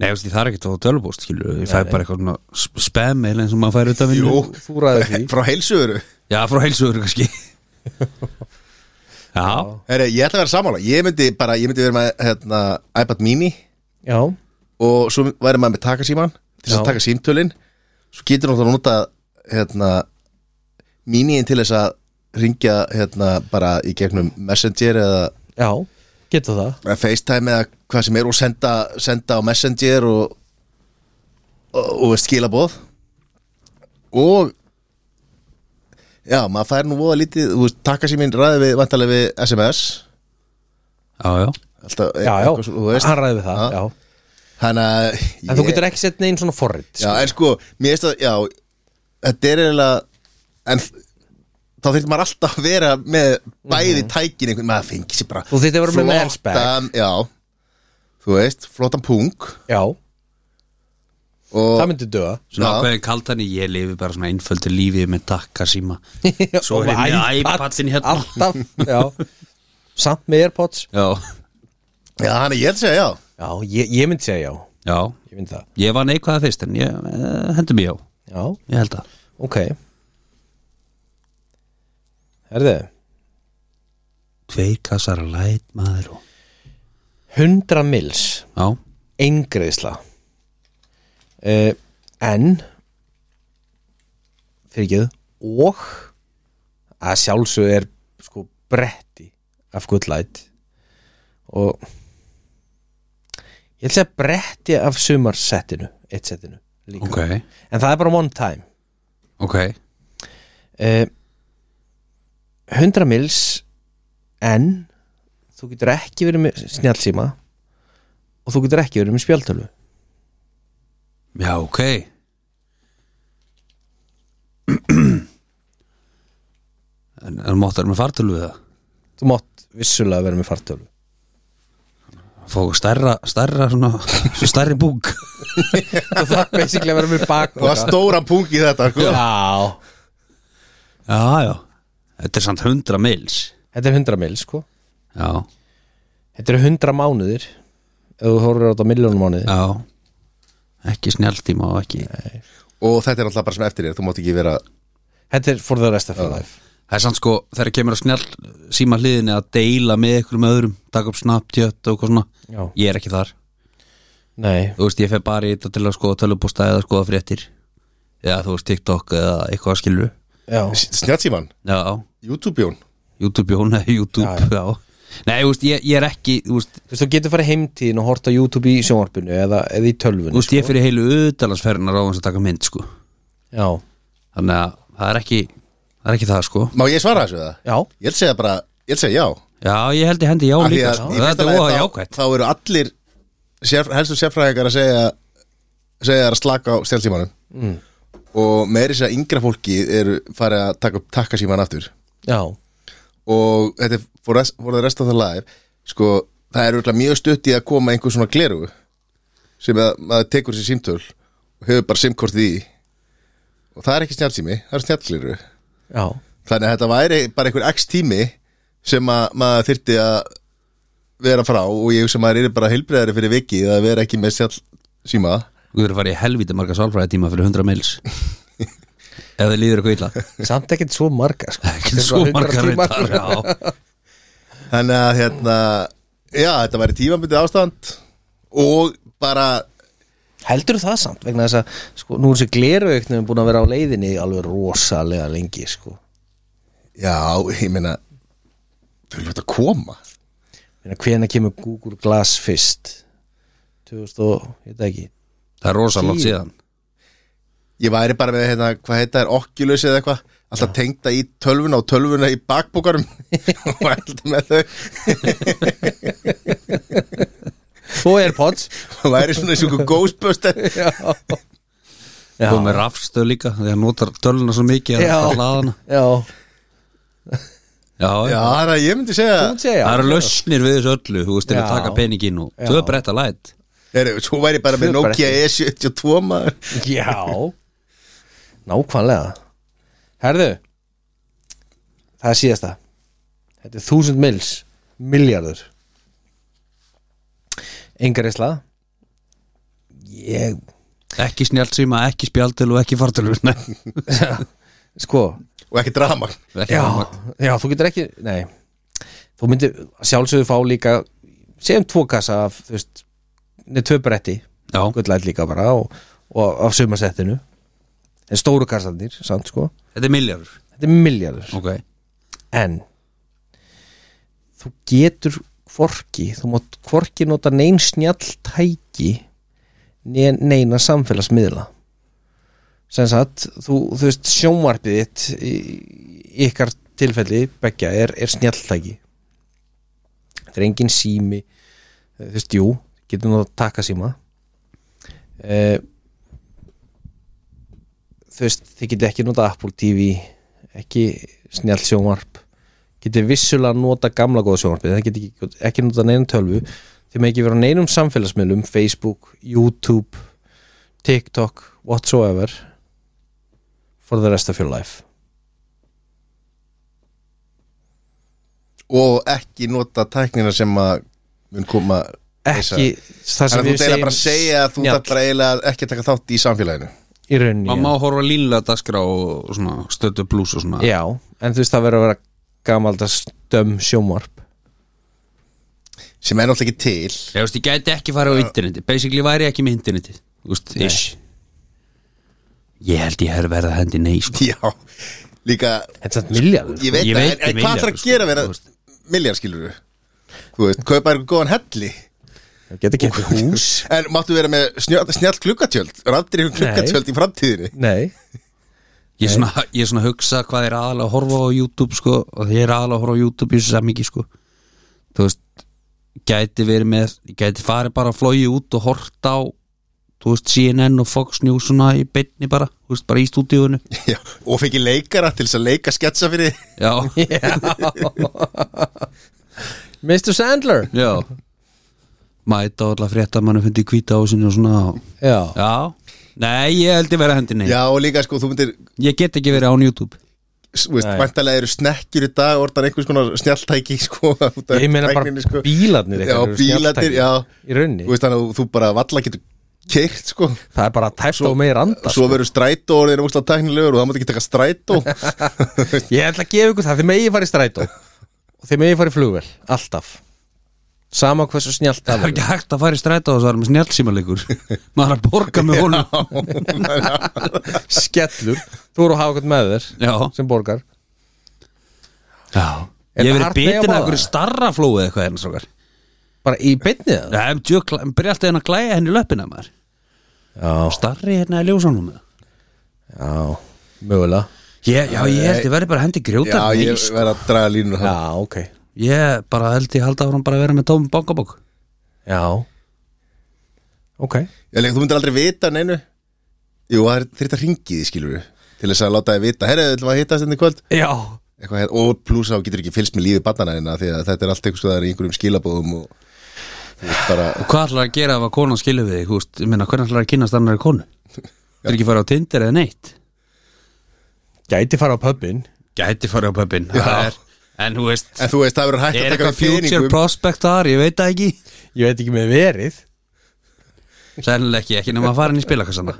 Speaker 3: Nei, þú veist, ég þarf ekki að fá tölvupóst, skilur Ég fæ bara eitthvað svona sp- spam eða eins og maður fær auðvitað vinnu
Speaker 1: Jú.
Speaker 2: Þú ræður því
Speaker 1: frá heilsugur
Speaker 3: Já, frá heilsuður kannski Já,
Speaker 1: Heri, ég ætla að vera samála, ég myndi bara ég myndi vera með hérna, iPad mini
Speaker 2: Já,
Speaker 1: og svo væri maður með takasíman til þess
Speaker 2: Já.
Speaker 1: að taka símtölin svo getur náttúrulega nota hérna, miniin til þess að ringja hérna, bara í gegnum Messenger eða
Speaker 2: já, getur það
Speaker 1: eða FaceTime eða hvað sem er og senda, senda á Messenger og, og, og skilaboð og já, maður fær nú voða lítið, þú veist, takka sér minn ræði við vantarlega við SMS
Speaker 3: já, já
Speaker 1: alltaf, e-
Speaker 2: Já, já,
Speaker 1: eitthvað svo, þú veist
Speaker 2: hann ræður við það
Speaker 1: Já.
Speaker 2: já.
Speaker 1: hann að
Speaker 2: En þú getur ekki sett neginn svona forrit
Speaker 1: já, en sko, mér veist að, já þetta er eiginlega en þá þurfti maður alltaf að vera með bæði tækin einhvern, maður fengi sér bara
Speaker 2: Mhm. Þú þyrftir að vera með með airbag.
Speaker 1: flottan- já, þú veist, flottan punk
Speaker 2: já
Speaker 1: og
Speaker 2: það myndi döða
Speaker 3: Svona
Speaker 1: Já.
Speaker 3: ákveðin kaldan í ég lifi bara svona einföldu lífi með takka síma Svo
Speaker 2: Og
Speaker 3: er ég
Speaker 2: með
Speaker 3: með
Speaker 2: iPad,
Speaker 3: iPadin hérna
Speaker 2: Alltaf, já Samt með AirPods
Speaker 3: Já,
Speaker 1: Já, hann er ég held að segja, já
Speaker 2: Já, ég, ég myndi segja já
Speaker 3: já,
Speaker 2: Ég myndi það
Speaker 3: ég var neikvæða fyrst en ég eh, hendur mig á,
Speaker 2: Já,
Speaker 3: ég held að
Speaker 2: ok Herðu
Speaker 3: Tveir kassar að læt maður og
Speaker 2: 100 mils
Speaker 3: Já,
Speaker 2: Eingreisla uh, En Fyrir ekki Og að sjálfsög er sko bretti af gullæt og ég ætla að segja bretti af sumarsettinu eitt settinu líka
Speaker 3: ok,
Speaker 2: en það er bara one time
Speaker 3: ok
Speaker 2: uh, 100 mils en þú getur ekki verið með snjálsíma og þú getur ekki verið með spjaldtölu
Speaker 3: Já, ok En, en máttar með fartölu við það
Speaker 2: þú mátt vissulega vera með fartölu
Speaker 3: Fá stærra, stærra svona, svo stærri búk
Speaker 2: þú þarf basically að vera með
Speaker 1: Það var
Speaker 2: bakboka
Speaker 1: stóra punk í þetta sko.
Speaker 2: já,
Speaker 3: Já, já Þetta er samt 100 mils
Speaker 2: þetta er 100 mil sko
Speaker 3: Já,
Speaker 2: þetta eru 100 mánuðir ef þú horfir á þetta miljónum mánuði
Speaker 3: já Ekki snjáltíma og ekki
Speaker 1: Og þetta er alltaf bara sem eftir er Þú mátt ekki vera
Speaker 2: þetta er for the rest
Speaker 3: Ah.
Speaker 2: of your life
Speaker 3: Það er samt sko, þegar kemur að snjall síma hliðinni að deila með ykkur með öðrum taka upp Snapchat og eitthvað svona
Speaker 2: já,
Speaker 3: Ég er ekki þar,
Speaker 2: nei,
Speaker 3: þú veist, ég fer bara í þetta til að skoða tölupústa eða skoða fréttir eða þú veist, TikTok eða eitthvað skilur
Speaker 2: já
Speaker 1: Snjátsíman,
Speaker 3: Já,
Speaker 1: YouTube-jón
Speaker 3: YouTube, jón, nei, YouTube,
Speaker 2: Já,
Speaker 3: já, Nei, þú veist, ég, ég er ekki, þú veist,
Speaker 2: Þú veist, þú getur farið heimtíðin og horta YouTube í sjónvarpinu eða, eða í tölvunni
Speaker 3: þú veist ég fyrir heilu auðdalansferðinar á hans að taka mynd, sko
Speaker 2: Já,
Speaker 3: Þannig að það er ekki, það er ekki það, sko
Speaker 1: Má ég svara þessu það?
Speaker 2: já,
Speaker 1: Ég held segja bara, ég held segja já
Speaker 3: Já, ég held ég hendi já
Speaker 1: Af því
Speaker 3: líka,
Speaker 1: að
Speaker 3: sko
Speaker 1: í fyrsta
Speaker 3: Þetta er
Speaker 1: lagi
Speaker 3: óða
Speaker 1: þá-
Speaker 3: jákvætt
Speaker 1: Þá eru allir sérf, helstu sérfræðingar að segja segja þær að slaka á stjálsímanum mm. Og meiri sér að yngra fólki eru farið að taka upp takkasíman aftur
Speaker 2: já
Speaker 1: Og þetta er for rest- for the rest of the life Sko, það er örugglega mjög stutt í að koma einhver svona gleru sem að maður tekur sér símtöl og hefur bara simkortið í og það er ekki snjálsími, það er snjálsliru
Speaker 2: Já,
Speaker 1: Þannig að þetta væri bara einhver x tími sem að maður þyrfti að vera frá og ég sem maður er bara heilbreyðari fyrir vikið að vera ekki með sjálf síma
Speaker 3: Þú verður að fara í helvítið marga sálfræði tíma fyrir 100 mils Ef þið líður eitthvað illa
Speaker 2: samt ekkert svo marga sko.
Speaker 3: Ekki svo marga reyndar já.
Speaker 1: Þannig að hérna Já, þetta væri tímabundið ástand og bara
Speaker 2: heldur það samt vegna þess að sko, nú er þessi glerauknum búin að vera á leiðinni alveg rosalega lengi sko.
Speaker 1: Já, ég meina Þú erum þetta að koma
Speaker 2: hvena kemur Google Glass fyrst 2000 og, ég veit það ekki
Speaker 3: Það er rosalótt síðan
Speaker 1: Ég væri bara með hérna, hvað heita er Oculus eða eitthvað Alltaf tengda í tölvuna og tölvuna í bakbúkarum og væri með þau
Speaker 2: svo er pods
Speaker 1: og væri svona eins og einhver Ghostbuster
Speaker 2: já, já,
Speaker 3: Komið rafstöð líka Þegar notar töluna svo mikið
Speaker 2: Já.
Speaker 3: að laðana
Speaker 2: já.
Speaker 3: Já,
Speaker 1: Já, þannig að ég myndi segja
Speaker 2: Þú segja,
Speaker 3: Það eru lausnir við þessu öllu Þú veist til að
Speaker 2: Já.
Speaker 3: taka peningin og Tvö bretta læt
Speaker 1: Heru, Svo væri ég bara með
Speaker 2: Tvö
Speaker 1: Nokia E72 maður
Speaker 2: já nákvæmlega herðu það er síðasta þetta er 1000 mils miljardur engarisla ég
Speaker 3: Ekki snjált síma, ekki spjaldil og ekki fartölu Nei,
Speaker 2: sko
Speaker 1: og ekki drama
Speaker 3: ekki
Speaker 2: já,
Speaker 3: rafmagn.
Speaker 2: já, þú getur ekki nei, þú myndir að sjálfsögðu fá líka segjum tvo kassa af, þú veist, neð tvö bretti
Speaker 3: já,
Speaker 2: gullætt líka bara og, og af sumasettinu en stóru kassandir, samt sko
Speaker 3: þetta er miljardur
Speaker 2: þetta er miljardur,
Speaker 3: Ok,
Speaker 2: en þú getur hvorki, þú mátt hvorki nota neyn snjalltæki né neina samfélagsmiðla sem sagt þú, þú veist sjónvarpið þitt í í ykkar tilfelli begja er, er snjalltæki þetta er engin sími eh, þú veist, jú, getur nú að taka síma eh, þú veist, þið getur ekki nota Apple TV ekki snjallt sjónvarp getur vissulega nota gamla góða sjónvarpið það getur ekki, ekki nota neinum tölvu þið með ekki vera á neinum samfélagsmiðlum Facebook, YouTube TikTok, whatsoever for the rest of your life
Speaker 1: og ekki nota tæknina sem að mun koma
Speaker 2: ekki það sem
Speaker 1: Þannig að þú
Speaker 2: við
Speaker 1: deila bara að segja að þú
Speaker 2: Snjall.
Speaker 1: þarf bara eiginlega að ekki taka þátt í samfélaginu
Speaker 2: í rauninni
Speaker 3: maður
Speaker 2: já.
Speaker 3: má horfa línlega dagskrá og svona stötu blús og svona
Speaker 2: já, en þú veist það verður að vera gamalda stömm sjónvarp
Speaker 1: sem er náttúrulega ekki til
Speaker 3: Ég veist, ég gæti ekki farið á interneti Basically væri ég ekki með interneti Þú veist, ish Ég held ég hefði verið að hendi nei sko.
Speaker 1: Já, líka
Speaker 2: þetta er samt miljardur
Speaker 1: Ég veit,
Speaker 3: Ég
Speaker 1: ég
Speaker 3: veit
Speaker 1: en, en
Speaker 3: um
Speaker 1: hvað þarf að
Speaker 3: milljarð, sko,
Speaker 1: gera
Speaker 3: þú
Speaker 1: vera
Speaker 3: veist.
Speaker 1: Miljar skilur Þú veist, kaupa eitthvað góðan helli
Speaker 2: getur ekki hús
Speaker 1: En máttu vera með snjall, snjall klukkatjöld Raftir ykkur klukkatjöld í framtíðinni
Speaker 2: nei,
Speaker 3: Ég svona, ég svona hugsa hvað er aðalega að horfa á YouTube sko, og ég er aðalega að horfa á YouTube í þessu samingi sko. þú veist gæti verið með, ég gæti farið bara að flói út og hort á þú veist, CNN og Fox News svona í beinni bara, þú veist, bara í stúdíunum
Speaker 1: Já, Og fengi leikara til þess að leika sketsa fyrir
Speaker 3: Já,
Speaker 2: Mr. Sandler
Speaker 3: já Mæta og allar frétta mann að fundi kvíta á sinni og svona
Speaker 2: já,
Speaker 3: Já, nei, ég held ég verið að hendi nei
Speaker 1: Já, og líka sko, þú myndir
Speaker 3: Ég get ekki verið án YouTube
Speaker 1: s- þú veist,
Speaker 2: Nei.
Speaker 1: Væntalega eru snekkjur í dag Orðan einhvers konar snjalltæki sko, út af
Speaker 2: ég meina bara
Speaker 1: tækninni, sko. Já,
Speaker 2: bílarnir ykkar eru
Speaker 1: bílarnir,
Speaker 2: snjalltæki.
Speaker 1: já
Speaker 2: í rauninni,
Speaker 1: Þú veist, þannig að þú bara valla getur keirt sko
Speaker 2: það er bara tæft á mig randa sko.
Speaker 1: Svo verður strætó orðin ósla tæknilegur og það mátt ekki taka strætó
Speaker 2: ég ætla að gefa ykkur það, þið megið farið strætó og þið megið farið flugvel, alltaf sama hversu snjallt það
Speaker 3: Það er
Speaker 2: verður
Speaker 3: ekki hægt að fara í stræta og það er með snjálfsímalegur Maður er að borga með honum
Speaker 2: skellur, þú eru að hafa eitthvað með þér
Speaker 3: Já,
Speaker 2: sem borgar
Speaker 3: já
Speaker 2: Er
Speaker 3: Ég
Speaker 2: það
Speaker 3: verið
Speaker 2: hart nei á
Speaker 3: bitin
Speaker 2: báða?
Speaker 3: að einhverju starra flóið eitthvað hérna svo
Speaker 2: bara í beinni það
Speaker 3: Það er djökla, en byrja alltaf hérna að glæja henni í löppina maður
Speaker 2: já,
Speaker 3: Starri hérna í ljósanum með
Speaker 2: já, mögulega
Speaker 3: Ég, já, ég held ég verið bara að hendi grjóta
Speaker 1: Já, ég
Speaker 3: Eh, ég,
Speaker 1: verð að draga línur
Speaker 2: já,
Speaker 1: hann
Speaker 2: ok,
Speaker 3: ég bara held ég halda áfram bara að vera með tómum bankabók
Speaker 2: já ok,
Speaker 1: Ég leik, þú myndir aldrei vita neinu Jú, það er þrýtt að ringi því skilur við Til þess að láta þið vita, herra, ætlum við að hittast hérna í kvöld
Speaker 2: já
Speaker 1: Eitthvað, hér- Og pluss þá getur ekki fylst með lífi barnana hérna Því að þetta er allt eitthvað það er í einhverjum skilabóðum og þú veist bara
Speaker 3: Og hvað ætlar að gera ef að konan skilja við þig, þú veist, ég meina, hvernig ætlar að kynast annari konu? Þú er ekki að fara á Tinder eða neitt
Speaker 2: gæti fara á pubin
Speaker 3: Gæti fara á pöppin, það er En þú veist,
Speaker 1: En þú veist, það verður hægt
Speaker 3: er
Speaker 1: að taka um
Speaker 3: eitthvað
Speaker 1: við
Speaker 3: future
Speaker 1: peningum
Speaker 3: prospect þar, ég veit það ekki
Speaker 2: Ég veit ekki með verið
Speaker 3: Sennilega ekki, ekki nema að fara inn í spilakassana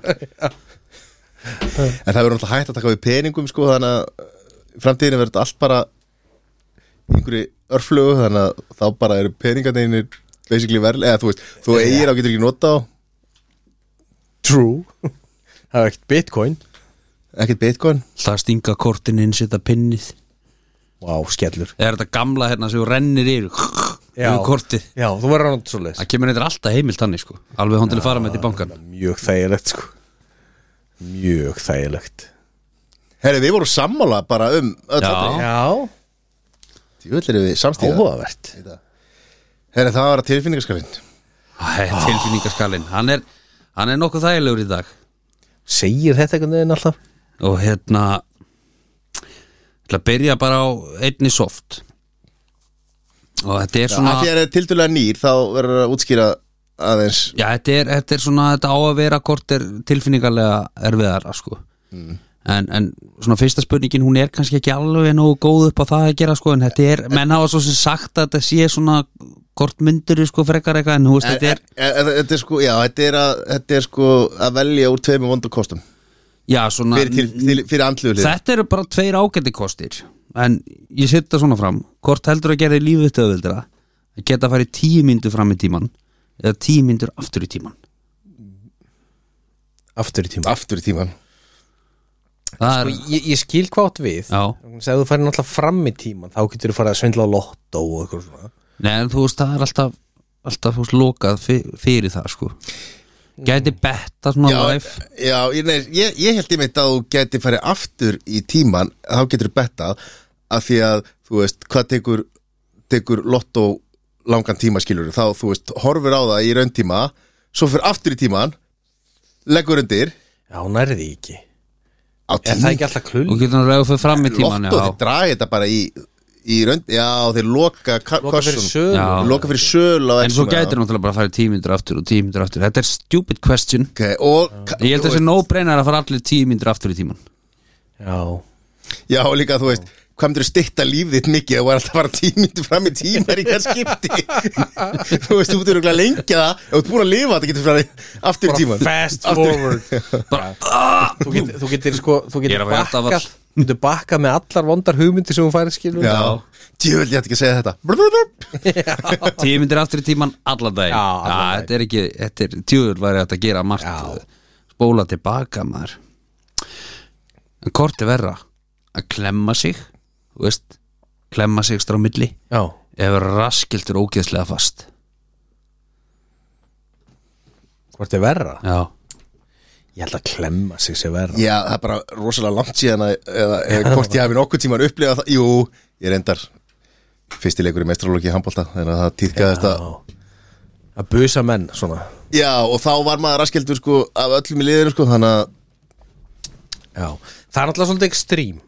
Speaker 1: En það verður náttúrulega hægt að taka við peningum sko, Þannig að framtíðinu verður þetta allt bara einhverju örflögu Þannig að þá bara eru peningarneinir basically verð Eða þú veist, þú eigir á getur ekki nota á
Speaker 2: True Það er ekkert bitcoin
Speaker 1: Ekkert bitcoin
Speaker 3: Það stinga kortin inn, setja pinnið
Speaker 2: Vá, skellur
Speaker 3: Eða er þetta gamla hérna sem þú rennir yfir
Speaker 2: Já.
Speaker 3: Yfir kortið
Speaker 2: Já, þú verður náttúrulega svo leis
Speaker 3: Það kemur eitthvað alltaf heimilt þannig sko Alveg hún til að fara með þetta í bankan
Speaker 2: Mjög þægilegt sko Mjög þægilegt
Speaker 1: Herri, við vorum sammála bara um öll
Speaker 3: Já.
Speaker 1: atriði.
Speaker 2: Já,
Speaker 1: Djöfull erum við samstíða
Speaker 2: áhugavert
Speaker 1: Herri, það var að tilfinningarskapin
Speaker 3: Æ, Tilfinningaskalinn hann er, hann er nokkuð þægilegur í dag
Speaker 2: Segir þetta einhvern veginn alltaf
Speaker 3: Og hérna Til að byrja bara á einni soft Og þetta er svona
Speaker 1: Af því að það er tildulega nýr þá verður að útskýra aðeins
Speaker 3: Já, þetta er, þetta er svona Þetta á að vera hvort er tilfinningarlega erfiðara sko
Speaker 1: Mm.
Speaker 3: En, en svona fyrsta spurningin hún er kannski ekki alveg nógu góð upp á það að gera sko en þetta er, menn hafa svo sem sagt að þetta sé svona hvort myndur sko frekar eitthvað en þú veist
Speaker 1: En-
Speaker 3: þetta er
Speaker 1: en- en- Þetta er sko, já, þetta er að, þetta er sko að velja úr tveimur vondukostum
Speaker 3: Já, svona
Speaker 1: fyrir, til, til, fyrir andluðu hlið
Speaker 3: Þetta eru bara tveir ágæti kostir En ég setja svona fram Hvort heldur að gera í lífið þetta auðveldara Að geta að fara í tíu myndur fram í tíman Eða tíu myndur aftur í tíman
Speaker 2: Aftur í tíma
Speaker 1: aftur í tíman Sko,
Speaker 3: Það er,
Speaker 2: Ég, ég skil hvað átt við
Speaker 3: já
Speaker 2: Þannig að ef þú færir náttúrulega fram í tíman þá getur þú farið að svindla á lottó og eitthvað svona
Speaker 3: Nei, en þú veist, það er alltaf Alltaf fórst lokað fyr- fyrir það, sko
Speaker 2: Mm.
Speaker 3: Gæti betta svona
Speaker 1: já,
Speaker 3: life
Speaker 1: já, ég, nei, ég, ég held ég mitt að þú geti farið aftur í tíman þá getur þú bettað af því að þú veist, hvað tekur tekur lottó langan tíma skilur þá þú veist, horfir á það í rauntíma svo fyrir aftur í tíman leggur undir
Speaker 2: Já, nærði því ekki
Speaker 1: á
Speaker 2: Er það ekki
Speaker 1: tíma
Speaker 2: alltaf klull?
Speaker 3: Þú getur náttúrulega fyrir fram í tíman
Speaker 1: lottó, þeir draga þetta bara í í raund, já, þeir loka
Speaker 2: Loka fyrir
Speaker 1: kossum,
Speaker 2: sölu
Speaker 3: Já.
Speaker 1: loka fyrir söl
Speaker 3: En svo gætir náttúrulega bara að fara í tíu myndur aftur og tíu myndur aftur Þetta er stupid question
Speaker 1: okay, og,
Speaker 3: Ég held að þessi no-brainer að fara allir tíu myndur aftur í tíman
Speaker 2: Já,
Speaker 1: Já, og líka þú veist, hvað myndir styrta líf þitt mikið ef þú var alltaf bara tímyndu fram í tímar í hver skipti Þú veist, þú myndir örugglega að lengja það ef þú ert búin að lifa það getur farið aftur í tíman
Speaker 2: fast forward bara, þú, getur, þú getur sko þú
Speaker 3: Ég er
Speaker 2: getur
Speaker 3: að vera
Speaker 2: bakkað
Speaker 3: alltaf-
Speaker 2: þú getur bakkað með allar vondar hugmyndir sem hún færi skilur
Speaker 1: Já, djöfull, ég ætti ekki að segja þetta Blub, blub, blub.
Speaker 3: Tíu myndir aftur í tíman allan daginn
Speaker 2: Já, allan
Speaker 3: Já,
Speaker 2: daginn.
Speaker 3: Þetta er ekki, þetta er tjúður væri hægt að gera margt eh,
Speaker 2: Já.
Speaker 3: Spóla tilbaka maður En hvort er verra Að klemma sig þú veist, Klemma sig strá milli
Speaker 2: já.
Speaker 3: Ef raskildur ógeðslega fast
Speaker 2: hvort er verra?
Speaker 3: Já
Speaker 2: ég held að klemma sig sé verra
Speaker 1: Já, það er bara rosalega langt síðan að, eða, eða hvort ég hafi nokkuð tíman upplifað það Jú, ég reyndar fyrsti leikur í mestralóki í handbólta þannig að það týðkaðist að
Speaker 2: að busa menn svona
Speaker 1: Já, og þá var maður raskildur sko af öllum í liðinu sko, þannig að
Speaker 2: já. það er alltaf svolítið ekstrím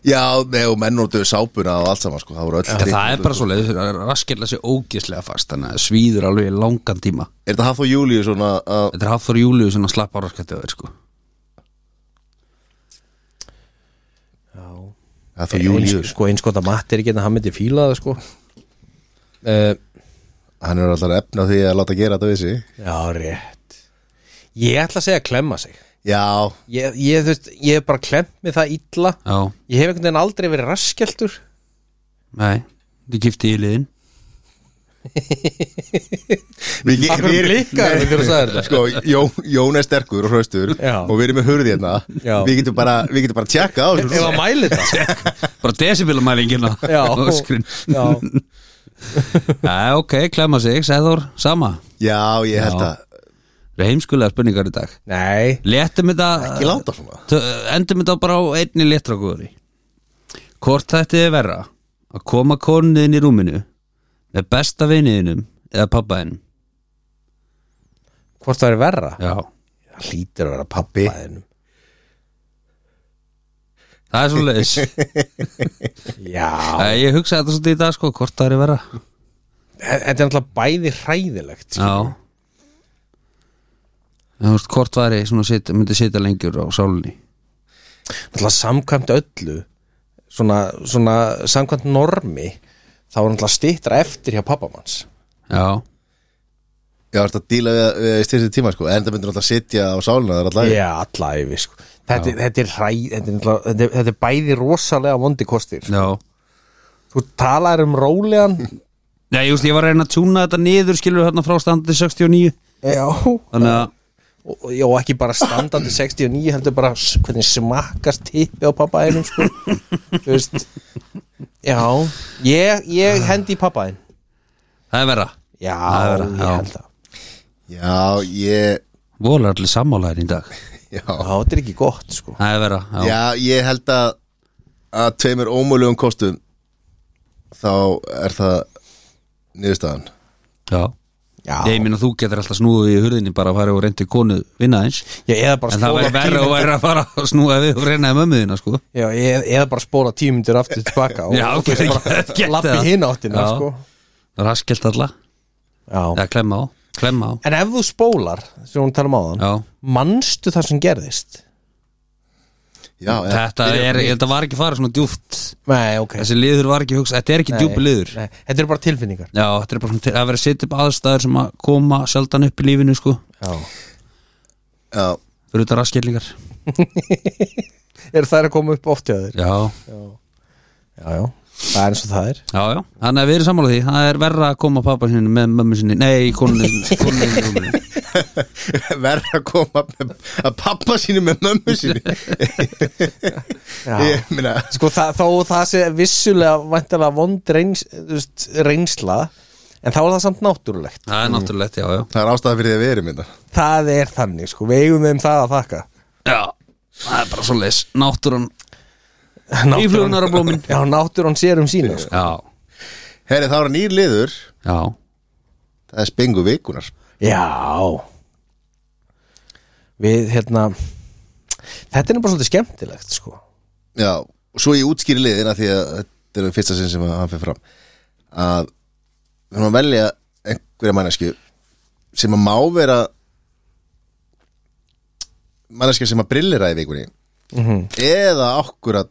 Speaker 1: Já, nei, og menn notuðu sápuna og allt saman sko, það voru öll
Speaker 3: Það, er bara svo leið Raskildur sig ógeðslega fast Þannig að svíður alveg í langan tíma
Speaker 1: Er þetta Hafþór Júlíu svona að
Speaker 3: Þetta er hafður júliðu sem að slappa á raskildur sko.
Speaker 2: já.
Speaker 1: Það þú Július,
Speaker 2: sko einskota matt er ekki en að hann myndi fíla það sko uh,
Speaker 1: hann er alltaf efna því að láta gera þetta við sig
Speaker 2: já rétt ég ætla að segja klemma sig
Speaker 1: Já,
Speaker 2: ég, ég, þú veist, ég hef bara klemt mig það illa
Speaker 3: Já,
Speaker 2: ég hef einhvern veginn aldrei verið raskjaldur
Speaker 3: nei Þið gifti í liðin
Speaker 1: við,
Speaker 2: Af hverju blikkaðu
Speaker 1: Nei,
Speaker 2: þegar þú sagðir þetta?
Speaker 1: sko, Jón, Jón er sterkur og hraustur
Speaker 2: Já.
Speaker 1: og við erum með hurði hérna
Speaker 2: Já.
Speaker 1: við getum, bara, við getum bara tjekka á
Speaker 2: ef að
Speaker 1: þessu
Speaker 2: mæli það
Speaker 3: Bara decibilumælingina
Speaker 2: Já. já,
Speaker 3: Já, ok, klemma sig, Sæður, sama
Speaker 1: Já, ég held
Speaker 3: Já.
Speaker 1: að
Speaker 3: Það er heimskulega spurningar í dag
Speaker 2: nei
Speaker 3: Léttum þetta
Speaker 1: Ekki láta svona
Speaker 3: Tö- Endum þetta bara á einni léttragúðari Hvort þetta er verra Að koma konuðin í rúminu Með besta viniðinum Eða pabbaðin
Speaker 2: hvort það er verra
Speaker 3: Já
Speaker 2: það hlýtir að vera pappi
Speaker 3: Það er svo leiðis
Speaker 2: já,
Speaker 3: Ég hugsaði þetta svolítið í dag sko Hvort það er verra
Speaker 2: þetta er náttúrulega bæði hræðilegt
Speaker 3: Já En Þú veist, hvort væri svona sit, myndi sitja lengjur á sálinni
Speaker 2: náttúrulega samkvæmt öllu svona, svona samkvæmt normi þá er hann alltaf stittra eftir hjá pappamanns
Speaker 3: já,
Speaker 1: Já, þetta díla við, við styrstu tíma sko En það myndir alltaf sitja á sálina þar alltaf
Speaker 2: Já, alla yfir sko. þetta, þetta, er hræ, þetta, er, náttúrulega- þetta, er- þetta er bæði rosalega vondi kostir
Speaker 3: já
Speaker 2: Þú talar um rólegan
Speaker 3: Já, ég, veist, ég var að reyna að tjúna þetta niður skilur þarna frá standið 69
Speaker 2: Já
Speaker 3: Þannig að,
Speaker 2: og, já, og ekki bara standandi 69 heldur bara s- hvernig smakkast tippi á pappaðinum sko. Þú veist Já, ég, ég hendi í pappaðin
Speaker 3: það er verra
Speaker 2: Já,
Speaker 3: Það er-
Speaker 2: ég
Speaker 3: já.
Speaker 2: held það
Speaker 1: Já, ég
Speaker 3: Vola allir sammálaðir í dag
Speaker 1: Já,
Speaker 2: Já, þetta er ekki gott sko
Speaker 3: Það er verra, já,
Speaker 1: já ég held að að tveimur ómögulegum kostum þá er það niðurstaðan
Speaker 3: já.
Speaker 2: Já,
Speaker 3: Ég meina þú getur alltaf snúið í hurðinni bara að fara og reynda konu vinna eins
Speaker 2: já eða bara
Speaker 3: En það
Speaker 2: spóla
Speaker 3: væri verra og
Speaker 2: tíu-
Speaker 3: væri að fara að snúa við og reyna um ömmuðina sko
Speaker 2: Já, eða, eða bara spóla tímundir aftur tilbaka og,
Speaker 3: Já,
Speaker 2: og þú veist,
Speaker 3: get-
Speaker 2: bara
Speaker 3: get- get
Speaker 2: lappa
Speaker 3: það.
Speaker 2: hinn áttina
Speaker 3: Já.
Speaker 2: sko
Speaker 3: Raskelt alla,
Speaker 2: Já.
Speaker 3: eða klemma á Klemma á,
Speaker 2: En ef þú spólar, sem hún tala um áðan
Speaker 3: já
Speaker 2: manstu það sem gerðist?
Speaker 1: Já, já,
Speaker 3: Þetta er, ég held að var ekki farið svona djúft
Speaker 2: Nei, ok
Speaker 3: Þessi liður var ekki hugsa, þetta er ekki
Speaker 2: Nei,
Speaker 3: djúpi liður
Speaker 2: nei, Þetta eru bara tilfinningar
Speaker 3: Já, þetta er bara svona, til- að vera að setja upp aðstæður sem að koma sjaldan upp í lífinu sko
Speaker 2: Já.
Speaker 1: já,
Speaker 3: Fyrir þetta raskellingar
Speaker 2: Er það að koma upp oft hjá þér?
Speaker 3: Já,
Speaker 2: Já, já, það er eins og það er
Speaker 3: já, já Þannig að við erum sammála því, það er verra að koma pappa sinni með mömmu sinni Nei, konunni sinni konunni sinni í rúminu.
Speaker 1: verður að koma með, að pappa sínu með mömmu sínu
Speaker 2: Já.
Speaker 1: Ég meina,
Speaker 2: Sko það, þó það sé vissulega væntanlega vond reyns, þú veist, reynsla en þá er það samt náttúrulegt
Speaker 3: Það er náttúrulegt, já, já
Speaker 1: það er ástæða fyrir því að við erum hérna. þetta
Speaker 2: Það er þannig, sko, við eigum þeim það að þakka
Speaker 3: Já, það er bara svo leis Náttúran,
Speaker 2: Náttúran-
Speaker 3: íflugunar á blómin
Speaker 2: Já, náttúran sér um sína sko.
Speaker 3: Já,
Speaker 1: Herri, það var nýr liður,
Speaker 3: já,
Speaker 1: það er spengu vikunar
Speaker 2: Já Við, hérna Þetta er bara svolítið skemmtilegt, sko
Speaker 1: Já, og svo ég útskýri liðin að því að þetta er fyrsta sinn sem að hann fyrir fram að við erum að velja einhverja mannesku sem að má vera manneska sem að brillera í vikunni eða akkurat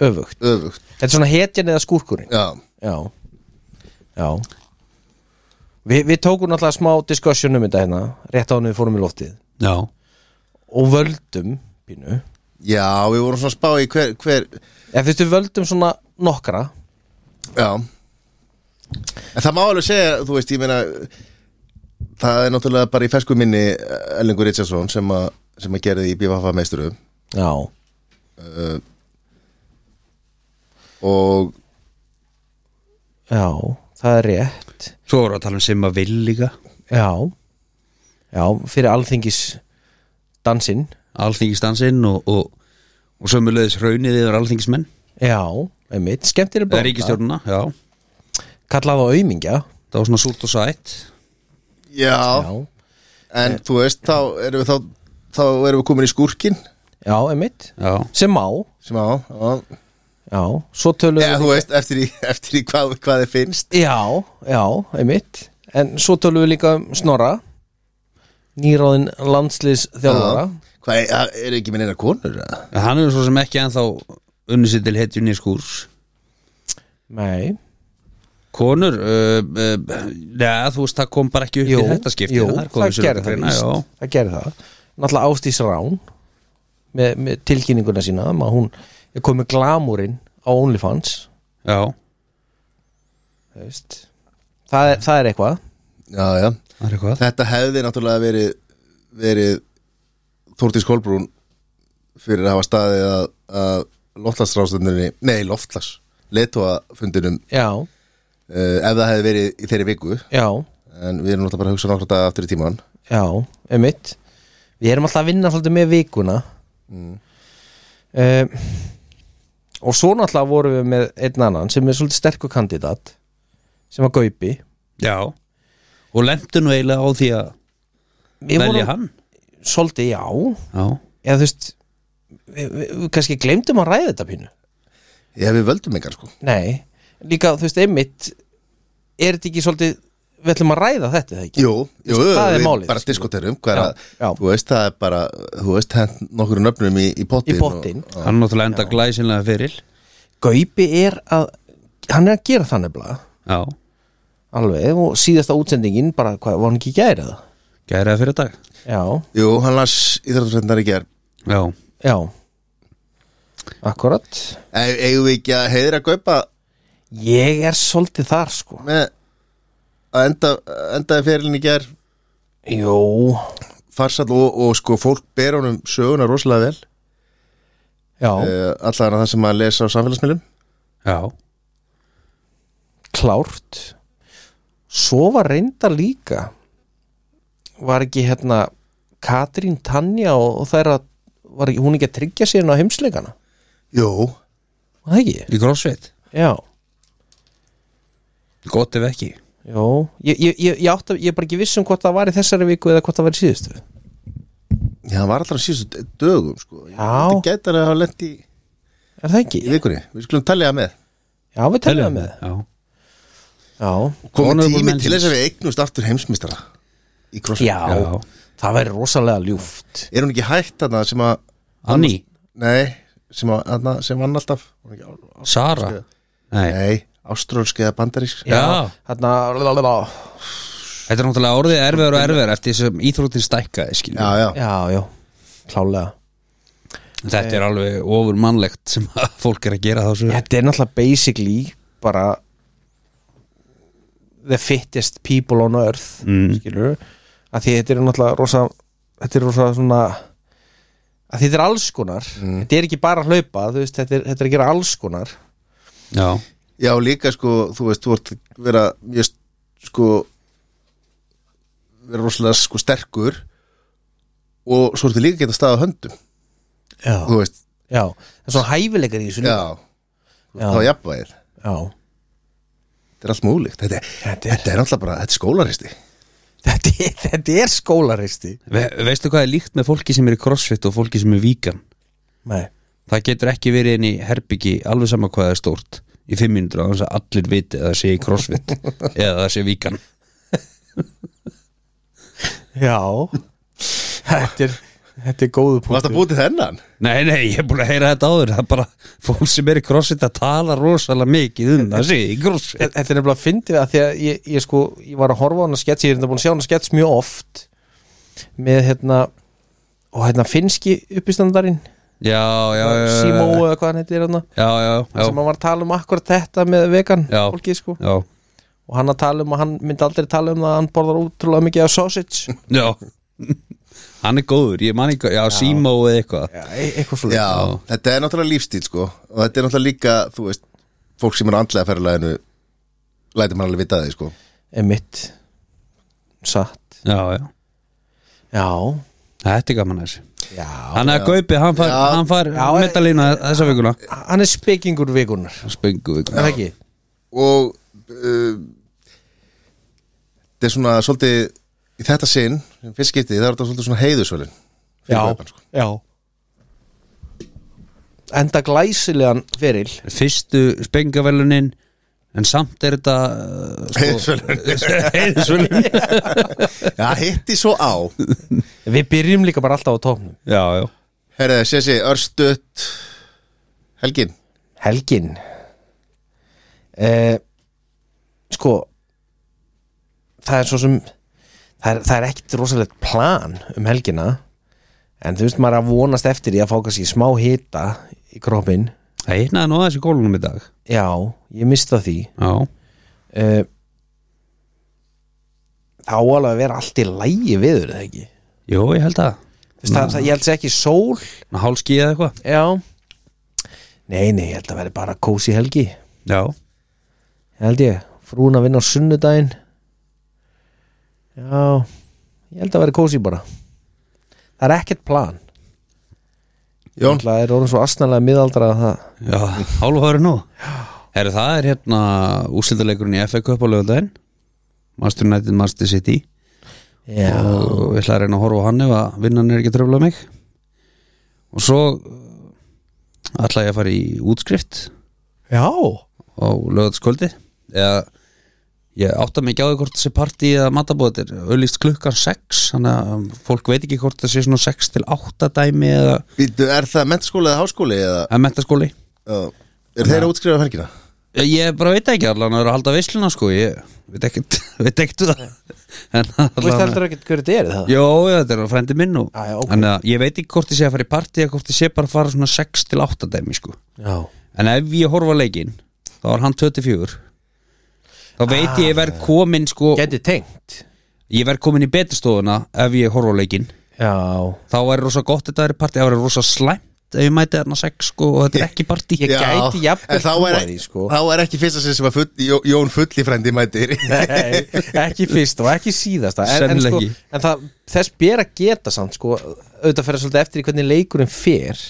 Speaker 2: Öfugt
Speaker 1: öfugt
Speaker 2: Þetta er svona hetjan eða skúrkurinn
Speaker 1: Já,
Speaker 2: Já, já Vi, Við tókum náttúrulega smá discussion um þetta hérna rétt á hann við fórum í loftið
Speaker 3: já
Speaker 2: og völdum pínu
Speaker 1: já við vorum svona að spá í hver, hver
Speaker 2: eða þú veist við völdum svona nokkra
Speaker 1: Já En það má alveg segja, þú veist, ég meina það er náttúrulega bara í fersku minni eh, Ellingur Richardson sem að sem að gerði í BFF meisturum
Speaker 2: Já,
Speaker 1: og
Speaker 2: já, það er rétt
Speaker 3: Svo voru að tala um Simma Vill líka
Speaker 2: Já, já, fyrir alþingis dansinn
Speaker 3: Alþingistansinn og, og, og sömulegis hraunið yfir alþingismenn
Speaker 2: Já, einmitt, skemmtileg
Speaker 3: Eða
Speaker 2: blóta
Speaker 3: ríkistjórnuna, já
Speaker 2: Kallað á aumingja
Speaker 3: Það var svona súrt og sætt
Speaker 1: já,
Speaker 2: Já,
Speaker 1: En þú veist, þá erum við þá þá erum við komin í skúrkin
Speaker 2: já, einmitt
Speaker 3: Já,
Speaker 2: sem má,
Speaker 1: sem á, á.
Speaker 2: já, svo töluðum
Speaker 1: Eða, þú veist, eftir í, eftir í hvað, hvað þið finnst
Speaker 2: Já, já, einmitt En svo tölum við líka um Snorra Nýráðin landsliðs þjálfara
Speaker 1: Hvað, er, er ekki minn eina konur? eða?
Speaker 3: En hann er svo sem ekki ennþá unni sér til hetjunni skúrs
Speaker 2: Nei,
Speaker 3: Konur, uh, uh, neða, þú veist, það kom bara ekki upp
Speaker 2: jú,
Speaker 3: í þetta skipti
Speaker 2: jú
Speaker 3: það,
Speaker 2: það gerði það
Speaker 3: greina,
Speaker 2: víst
Speaker 3: já,
Speaker 2: Það gerði það Náttúrulega Ástís Rán með, með tilkynninguna sína um að hún er komið glamúrin á OnlyFans
Speaker 3: já,
Speaker 2: þú veist. það er, það er eitthvað
Speaker 1: Já, já,
Speaker 3: það er eitthvað
Speaker 1: þetta hefði náttúrulega verið verið Þórtís Kolbrún fyrir að hafa staðið að, að loftlagsrástundinni, nei, loftlags leituafundinum uh,
Speaker 2: Já,
Speaker 1: eh, ef það hefði verið í þeirri viku
Speaker 2: já,
Speaker 1: en við erum náttúrulega bara að hugsa nokkra daga aftur í tíman
Speaker 2: já, einmitt Við erum alltaf að vinna svolítið með vikuna um, og svo náttúrulega vorum við með einn annan sem er svolítið sterkur kandidat sem var Gaupi
Speaker 3: Já, og lendu nú eiginlega á því að
Speaker 2: við
Speaker 3: velja hann
Speaker 2: svolítið já
Speaker 3: Já,
Speaker 2: eða þú veist við, við, við kannski glemdum að ræða þetta pínu
Speaker 1: Já, við völdum engan sko
Speaker 2: nei, líka þú veist einmitt er þetta ekki svolítið við ætlum að ræða þetta er það ekki
Speaker 1: Jú, jú,
Speaker 2: Þú veist, það er
Speaker 1: við
Speaker 2: málið,
Speaker 1: bara
Speaker 2: skilur.
Speaker 1: diskoterum hvað er
Speaker 2: Já,
Speaker 1: að,
Speaker 2: já.
Speaker 1: þú veist, það er bara þú veist, hent nokkur nöfnum í, í pottin
Speaker 2: í bottin
Speaker 1: og,
Speaker 3: hann náttúrulega enda glæsinlega fyrir
Speaker 2: Gaupi er að hann er að gera þannig blá
Speaker 3: Já,
Speaker 2: alveg og síðasta útsendingin bara, hvað, var hann ekki gærið?
Speaker 3: gæri það fyrir dag
Speaker 2: Já,
Speaker 1: Jú, hann las íþróttusendar í ger
Speaker 3: Já,
Speaker 2: já Akkurat
Speaker 1: e Eigum við ekki að heiðra gaupa
Speaker 2: Ég er svolítið þar sko
Speaker 1: með að enda, endaði fyrirlin í ger
Speaker 2: Jó,
Speaker 1: farsall og, og sko fólk ber honum söguna rosalega vel
Speaker 2: já,
Speaker 1: uh, allan að það sem að lesa á samfélagsmiðlum
Speaker 3: já,
Speaker 2: klárt Svo var reyndar líka Var ekki hérna Katrín Tanja og, og þær að var, ekki- hún ekki að tryggja sér inn á heimsleikana
Speaker 1: Jú,
Speaker 2: Var Það ekki?
Speaker 3: í crossfit
Speaker 2: Já,
Speaker 3: Gott ef ekki
Speaker 2: já Ég, ég, ég, ég, átta, ég er bara ekki viss um hvort það var í þessari viku eða hvort það var í síðustu
Speaker 1: já, hann var allra á síðustu dögum sko. Ég
Speaker 2: Já.
Speaker 1: held að gæti að hafa lent í,
Speaker 2: Er það ekki?
Speaker 1: í vikunni, við skulum talja með
Speaker 2: Já, við teljaðum með
Speaker 3: Já,
Speaker 2: Já,
Speaker 1: komið
Speaker 3: Honorable
Speaker 1: tími
Speaker 3: mentions.
Speaker 1: til þess að við eignumst aftur heimsmystara í crossfit
Speaker 2: já, það væri rosalega ljúft
Speaker 1: er hún ekki hægt þarna sem að
Speaker 3: Anni,
Speaker 1: nei, sem, að, þarna, sem vann alltaf Hún er ekki á- á-
Speaker 3: Sara Nei,
Speaker 1: nei, ástrálsk eða bandarísk
Speaker 3: Já.
Speaker 2: Þarna, lalalala.
Speaker 3: þetta er náttúrulega orðið erfiður og erfiður eftir þessum íþróttir stækkaði skilur
Speaker 1: já, já,
Speaker 2: já, já, klálega
Speaker 3: Þetta er alveg ofur mannlegt sem að fólk er að gera þá svo
Speaker 2: Þetta er náttúrulega basically bara the fittest people on earth mm. skilur að því þetta er náttúrulega rosa þetta er rosa svona að þetta er alls konar þetta er ekki bara að hlaupa, þú veist, þetta er, þetta er að gera alls konar
Speaker 3: Já,
Speaker 1: já, líka sko þú veist, þú ert að vera mjög sko vera rosalega sko sterkur og svo ertu líka að geta staðað á höndum
Speaker 2: já,
Speaker 1: þú veist,
Speaker 2: já, það er svona hæfileikar í þessu líka.
Speaker 1: já, já. þá jafnvægir
Speaker 2: já,
Speaker 1: þetta er allt múlíkt þetta,
Speaker 2: Þetta
Speaker 1: þetta,
Speaker 2: er-
Speaker 1: þetta er alltaf bara, þetta er skólaristi
Speaker 2: þetta er, þetta er skólaristi
Speaker 3: Ve veistu hvað er líkt með fólki sem er í crossfit og fólki sem er víkan
Speaker 2: nei,
Speaker 3: Það getur ekki verið inn í herbyggi alveg sama hvað það er stórt í fimm mínútur á þess að allir viti að það sé í crossfit eða það sé víkan
Speaker 2: já þetta er, þetta er góðu
Speaker 1: varst
Speaker 2: punktur
Speaker 1: að búið til þennan
Speaker 3: Nei, nei, ég er búin að heyra þetta áður það er bara fólk sem er í crossfit að tala rosalega mikið um það sé í crossfit
Speaker 2: Þetta er nefnilega fyndið að því að ég, ég sko ég var að horfa á hana skets, ég er þetta búin að sjá hana skets mjög oft með hérna og hérna finski uppistandarinn
Speaker 3: Já, já, já, já,
Speaker 2: Simo eða hvað hann heitir hérna
Speaker 3: já, já, já,
Speaker 2: sem hann var að tala um akkurat þetta með vegan
Speaker 3: Já.
Speaker 2: fólki sko
Speaker 3: já,
Speaker 2: og hann að tala um að hann myndi aldrei tala um það að hann borðar útrúlega mikið af sausage
Speaker 3: já. Hann er góður, ég man ekki, já, Simo eða eitthvað
Speaker 2: Já, e eitthvað svo
Speaker 1: já, þetta er náttúrulega lífstíl sko og þetta er náttúrulega líka, þú veist fólk sem er á andlega ferðalæðinu lætir mann alveg vita það sko
Speaker 2: emitt satt
Speaker 3: Já, já,
Speaker 2: já
Speaker 3: þetta er gaman að þessu
Speaker 2: já
Speaker 3: Þannig að Gaupi, hann fær,
Speaker 1: Já.
Speaker 3: hann fær
Speaker 2: Já,
Speaker 3: medalína þessa vikuna
Speaker 2: hann er spekingur vikunar
Speaker 3: Spengu vikuna
Speaker 2: er það ekki
Speaker 1: og uh, þetta er svona svolítið í þetta sinn, sem fyrst skiptið, það er þetta svolítið svona heiðusvölin
Speaker 2: já,
Speaker 1: Gaupan, sko.
Speaker 2: já enda glæsilegan feril
Speaker 3: Fyrstu spengavelunin En samt er þetta uh, sko,
Speaker 1: heiðusvölin,
Speaker 3: Heiðisvölun
Speaker 1: já, hitti svo á
Speaker 2: við byrjum líka bara alltaf á tóknum
Speaker 3: Já, já
Speaker 1: herðu, sé sé, örstutt helgin,
Speaker 2: helgin eh, sko það er svo sem það er, það er ekkit rosalegt plan um helgina en þú veist maður er að vonast eftir í að fá kannski smá hita í kroppin
Speaker 3: Það hitnaði nú aðeins í gólunum í dag
Speaker 2: já, ég mista því
Speaker 3: Já,
Speaker 2: eh, það á alveg að vera allt í lægi viður eða ekki
Speaker 3: jú, ég held að
Speaker 2: Þú veist, það, það, ég held sér ekki sól
Speaker 3: Hálski eða eitthvað
Speaker 2: Já Nei, nei, ég held að vera bara kósi helgi
Speaker 3: Já,
Speaker 2: Held ég, frúin að vinna á sunnudaginn Já Ég held að vera kósi bara Það er ekkert plan
Speaker 1: Jón
Speaker 2: Það er orðin svo astnalega miðaldra að það
Speaker 3: já, hálfa ári nú Herru, það er hérna úsildarleikurinn í FA Cup á lögudaginn Master United, Master City
Speaker 2: Já,
Speaker 3: og ég ætla að reyna að horfa á hann ef að vinnan er ekki að tröfla mig og svo uh, ætla ég að fara í útskrift
Speaker 2: já.
Speaker 3: á lögataskvöldi eða ég átta mig ekki á því hvort þessi partí eða matabóð þetta er auðlýst klukkan 6 þannig að fólk veit ekki hvort það sé svona 6 til 8 dæmi eða
Speaker 1: Býtu, er það mentaskóli eða háskóli eða
Speaker 3: að mentaskóli
Speaker 1: uh, Er þeir að útskrifa um helgina?
Speaker 3: Ég bara veit ekki allan að það eru að halda veisluna sko Ég veit ekkert, veit ekkert um það En
Speaker 2: Þú veist
Speaker 3: allan
Speaker 2: heldur ekki hverju þetta er það
Speaker 3: Jó, já, þetta er frændi minn og
Speaker 2: Já, já, ok.
Speaker 3: Þannig að ég veit ekki hvort ég sé að fara í partí eða hvort ég sé bara að fara svona 6 til 8 dæmi sko
Speaker 2: Já,
Speaker 3: En ef ég horfa á leikinn Þá er hann 24 Þá veit ég ég
Speaker 2: Ah.
Speaker 3: verð komin sko
Speaker 2: gæti tengt
Speaker 3: Ég verð komin í betastofuna ef ég horfa á leikinn
Speaker 2: Já,
Speaker 3: Þá er rosa gott þetta er partí Það er rosa slæmt ef ég mæti þarna 6 sko og þetta er ekki partí
Speaker 2: Ég- gæti jafnvel
Speaker 1: en þá er,
Speaker 2: trúað því, sko.
Speaker 1: þá er ekki fyrsta sinn sem að full, Jó- Jón fulli frændi mætir
Speaker 2: Nei, ekki fyrst og ekki síðasta en, en,
Speaker 3: Sennilega
Speaker 2: sko,
Speaker 3: ekki.
Speaker 2: en það, þess ber að geta samt sko, auðvitað fyrir svolítið eftir í hvernig leikurinn fer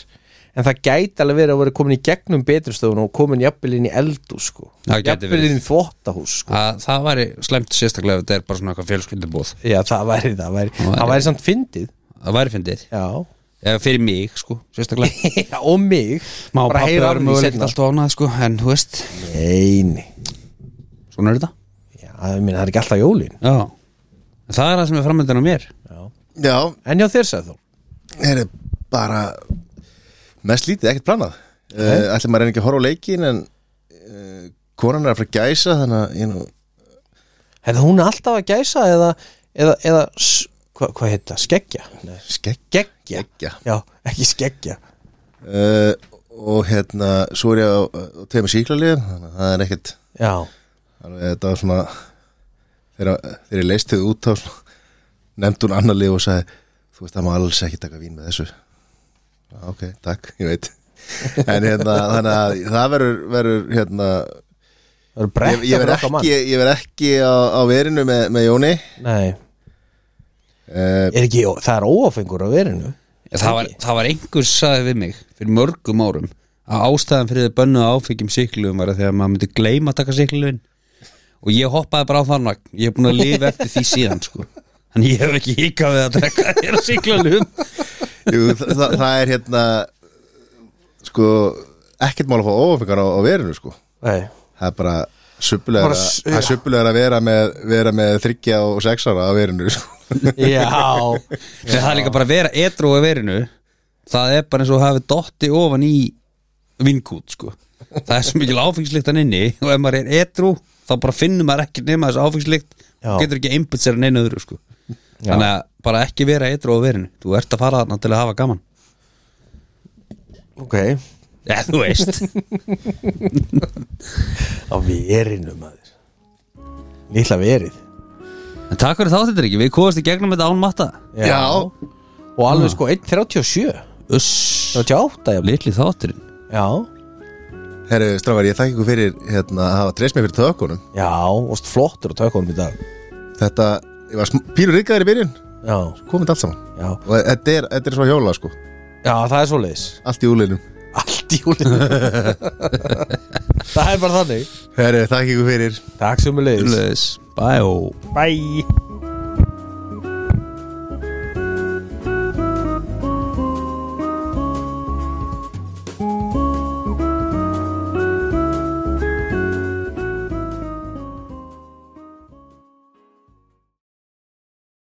Speaker 2: en það gæti alveg verið að vera komin í gegnum betrustöðun og komin jafnvel inn í eldu sko.
Speaker 3: Það gæti
Speaker 2: jafnvel
Speaker 3: verið.
Speaker 2: inn í þvóttahús sko.
Speaker 3: að það væri slæmt sérstaklega ef þetta er bara svona eitthvað fjölskyldubóð
Speaker 2: já, það væri það væri,
Speaker 3: væri-
Speaker 2: það væri samt fyndið
Speaker 3: það væri fyndið,
Speaker 2: já.
Speaker 3: eða fyrir mig sko, sérstaklega
Speaker 2: og mig
Speaker 3: má
Speaker 2: bara
Speaker 3: pappi
Speaker 2: heyra af
Speaker 3: vera
Speaker 2: því
Speaker 3: mögulegt
Speaker 2: setna
Speaker 3: alltaf ánað sko, en þú veist,
Speaker 2: neini,
Speaker 3: svona er þetta
Speaker 2: já, ég meina, það er ekki alltaf jólin
Speaker 3: já, En það er það sem er framöndan á mér
Speaker 1: Já,
Speaker 2: en já þér sagði þú
Speaker 1: er bara mest lítið, ekkert planað uh, Ætli maður er ekki að horfa á leikin en uh, konan er að fara að gæsa þannig að ég nú
Speaker 2: hefði hún alltaf að gæsa eða, eða, eða s- hvað hva heit það, skeggja Nei.
Speaker 1: skekk
Speaker 2: geggja
Speaker 1: Geggja.
Speaker 2: já, ekki skeggja
Speaker 1: uh, og hérna svo er ég á, á tveimur síklarliðum þannig að það er ekkert
Speaker 2: já,
Speaker 1: alveg, þetta var svona þegar, þegar ég leist þau út á nefndi hún annar lið og sagði þú veist það má alls ekki taka vín með þessu "Já, ok, takk, ég veit en hérna, þannig að það verður, verður hérna,
Speaker 2: það eru
Speaker 1: ég,
Speaker 2: brekka
Speaker 1: ég verð
Speaker 2: fyrir okkar mann
Speaker 1: ekki ég verð ekki á, á verinu með, með Jóni
Speaker 2: nei,
Speaker 1: uh,
Speaker 2: er ekki, það er óafengur á verinu
Speaker 3: það var, það var einhver saði við mig fyrir mörgum árum að ástæðan fyrir þið bönnuð áfengjum siklugum var að þegar maður myndi gleyma að taka siklugin og ég hoppaði bara á þann vagn ég er búin að lifa eftir því síðan sko Þannig ég hef ekki híkað við að drekka þér að sigla
Speaker 1: jú, það, það, það er hérna sko, ekkert mál að fá óafengar á, á verinu sko,
Speaker 2: nei,
Speaker 1: það er bara
Speaker 2: Bara
Speaker 1: suppulegur
Speaker 2: s-
Speaker 1: að, að vera með, vera með þryggja og sexara á verinu sko.
Speaker 2: já
Speaker 3: Nei, það er líka bara að vera etru á verinu Það er bara eins og að hafa dotti ofan í vinkút sko. Það er svo mikil áfengsliktan inni og ef maður er etru þá bara finnur maður ekki nema þessu áfengslikt
Speaker 2: Já.
Speaker 3: og getur ekki einbætt sér en einu öðru sko.
Speaker 2: Já.
Speaker 3: Þannig að bara ekki vera etru á verinu Þú ert að fara þarna til að hafa gaman
Speaker 2: ok,
Speaker 3: Já, þú veist
Speaker 2: á verinu maður lítla verið
Speaker 3: En takk fyrir þá þetta ekki, við komast í gegnum þetta án matta
Speaker 1: Já.
Speaker 2: og alveg sko 1.37
Speaker 3: Uss,
Speaker 2: 38 jafnvel.
Speaker 3: litli þátturinn
Speaker 2: já,
Speaker 1: Herru, strafar, ég þakka ykkur fyrir hérna, að hafa treyst mér fyrir tökunum
Speaker 2: já, og st- flottur á tökunum í dag
Speaker 1: Þetta, ég var sm- pínur rikkaður í byrjun
Speaker 2: já,
Speaker 1: komið allt saman
Speaker 2: já,
Speaker 1: og þetta er, þetta er svo hjóla sko,
Speaker 2: já það er svo leiðis
Speaker 1: allt í úlinum
Speaker 2: allt í júlinu það er bara þannig
Speaker 1: Herru, þakka ykkur fyrir
Speaker 2: takk sem er leiðis
Speaker 3: Bæ og
Speaker 2: bye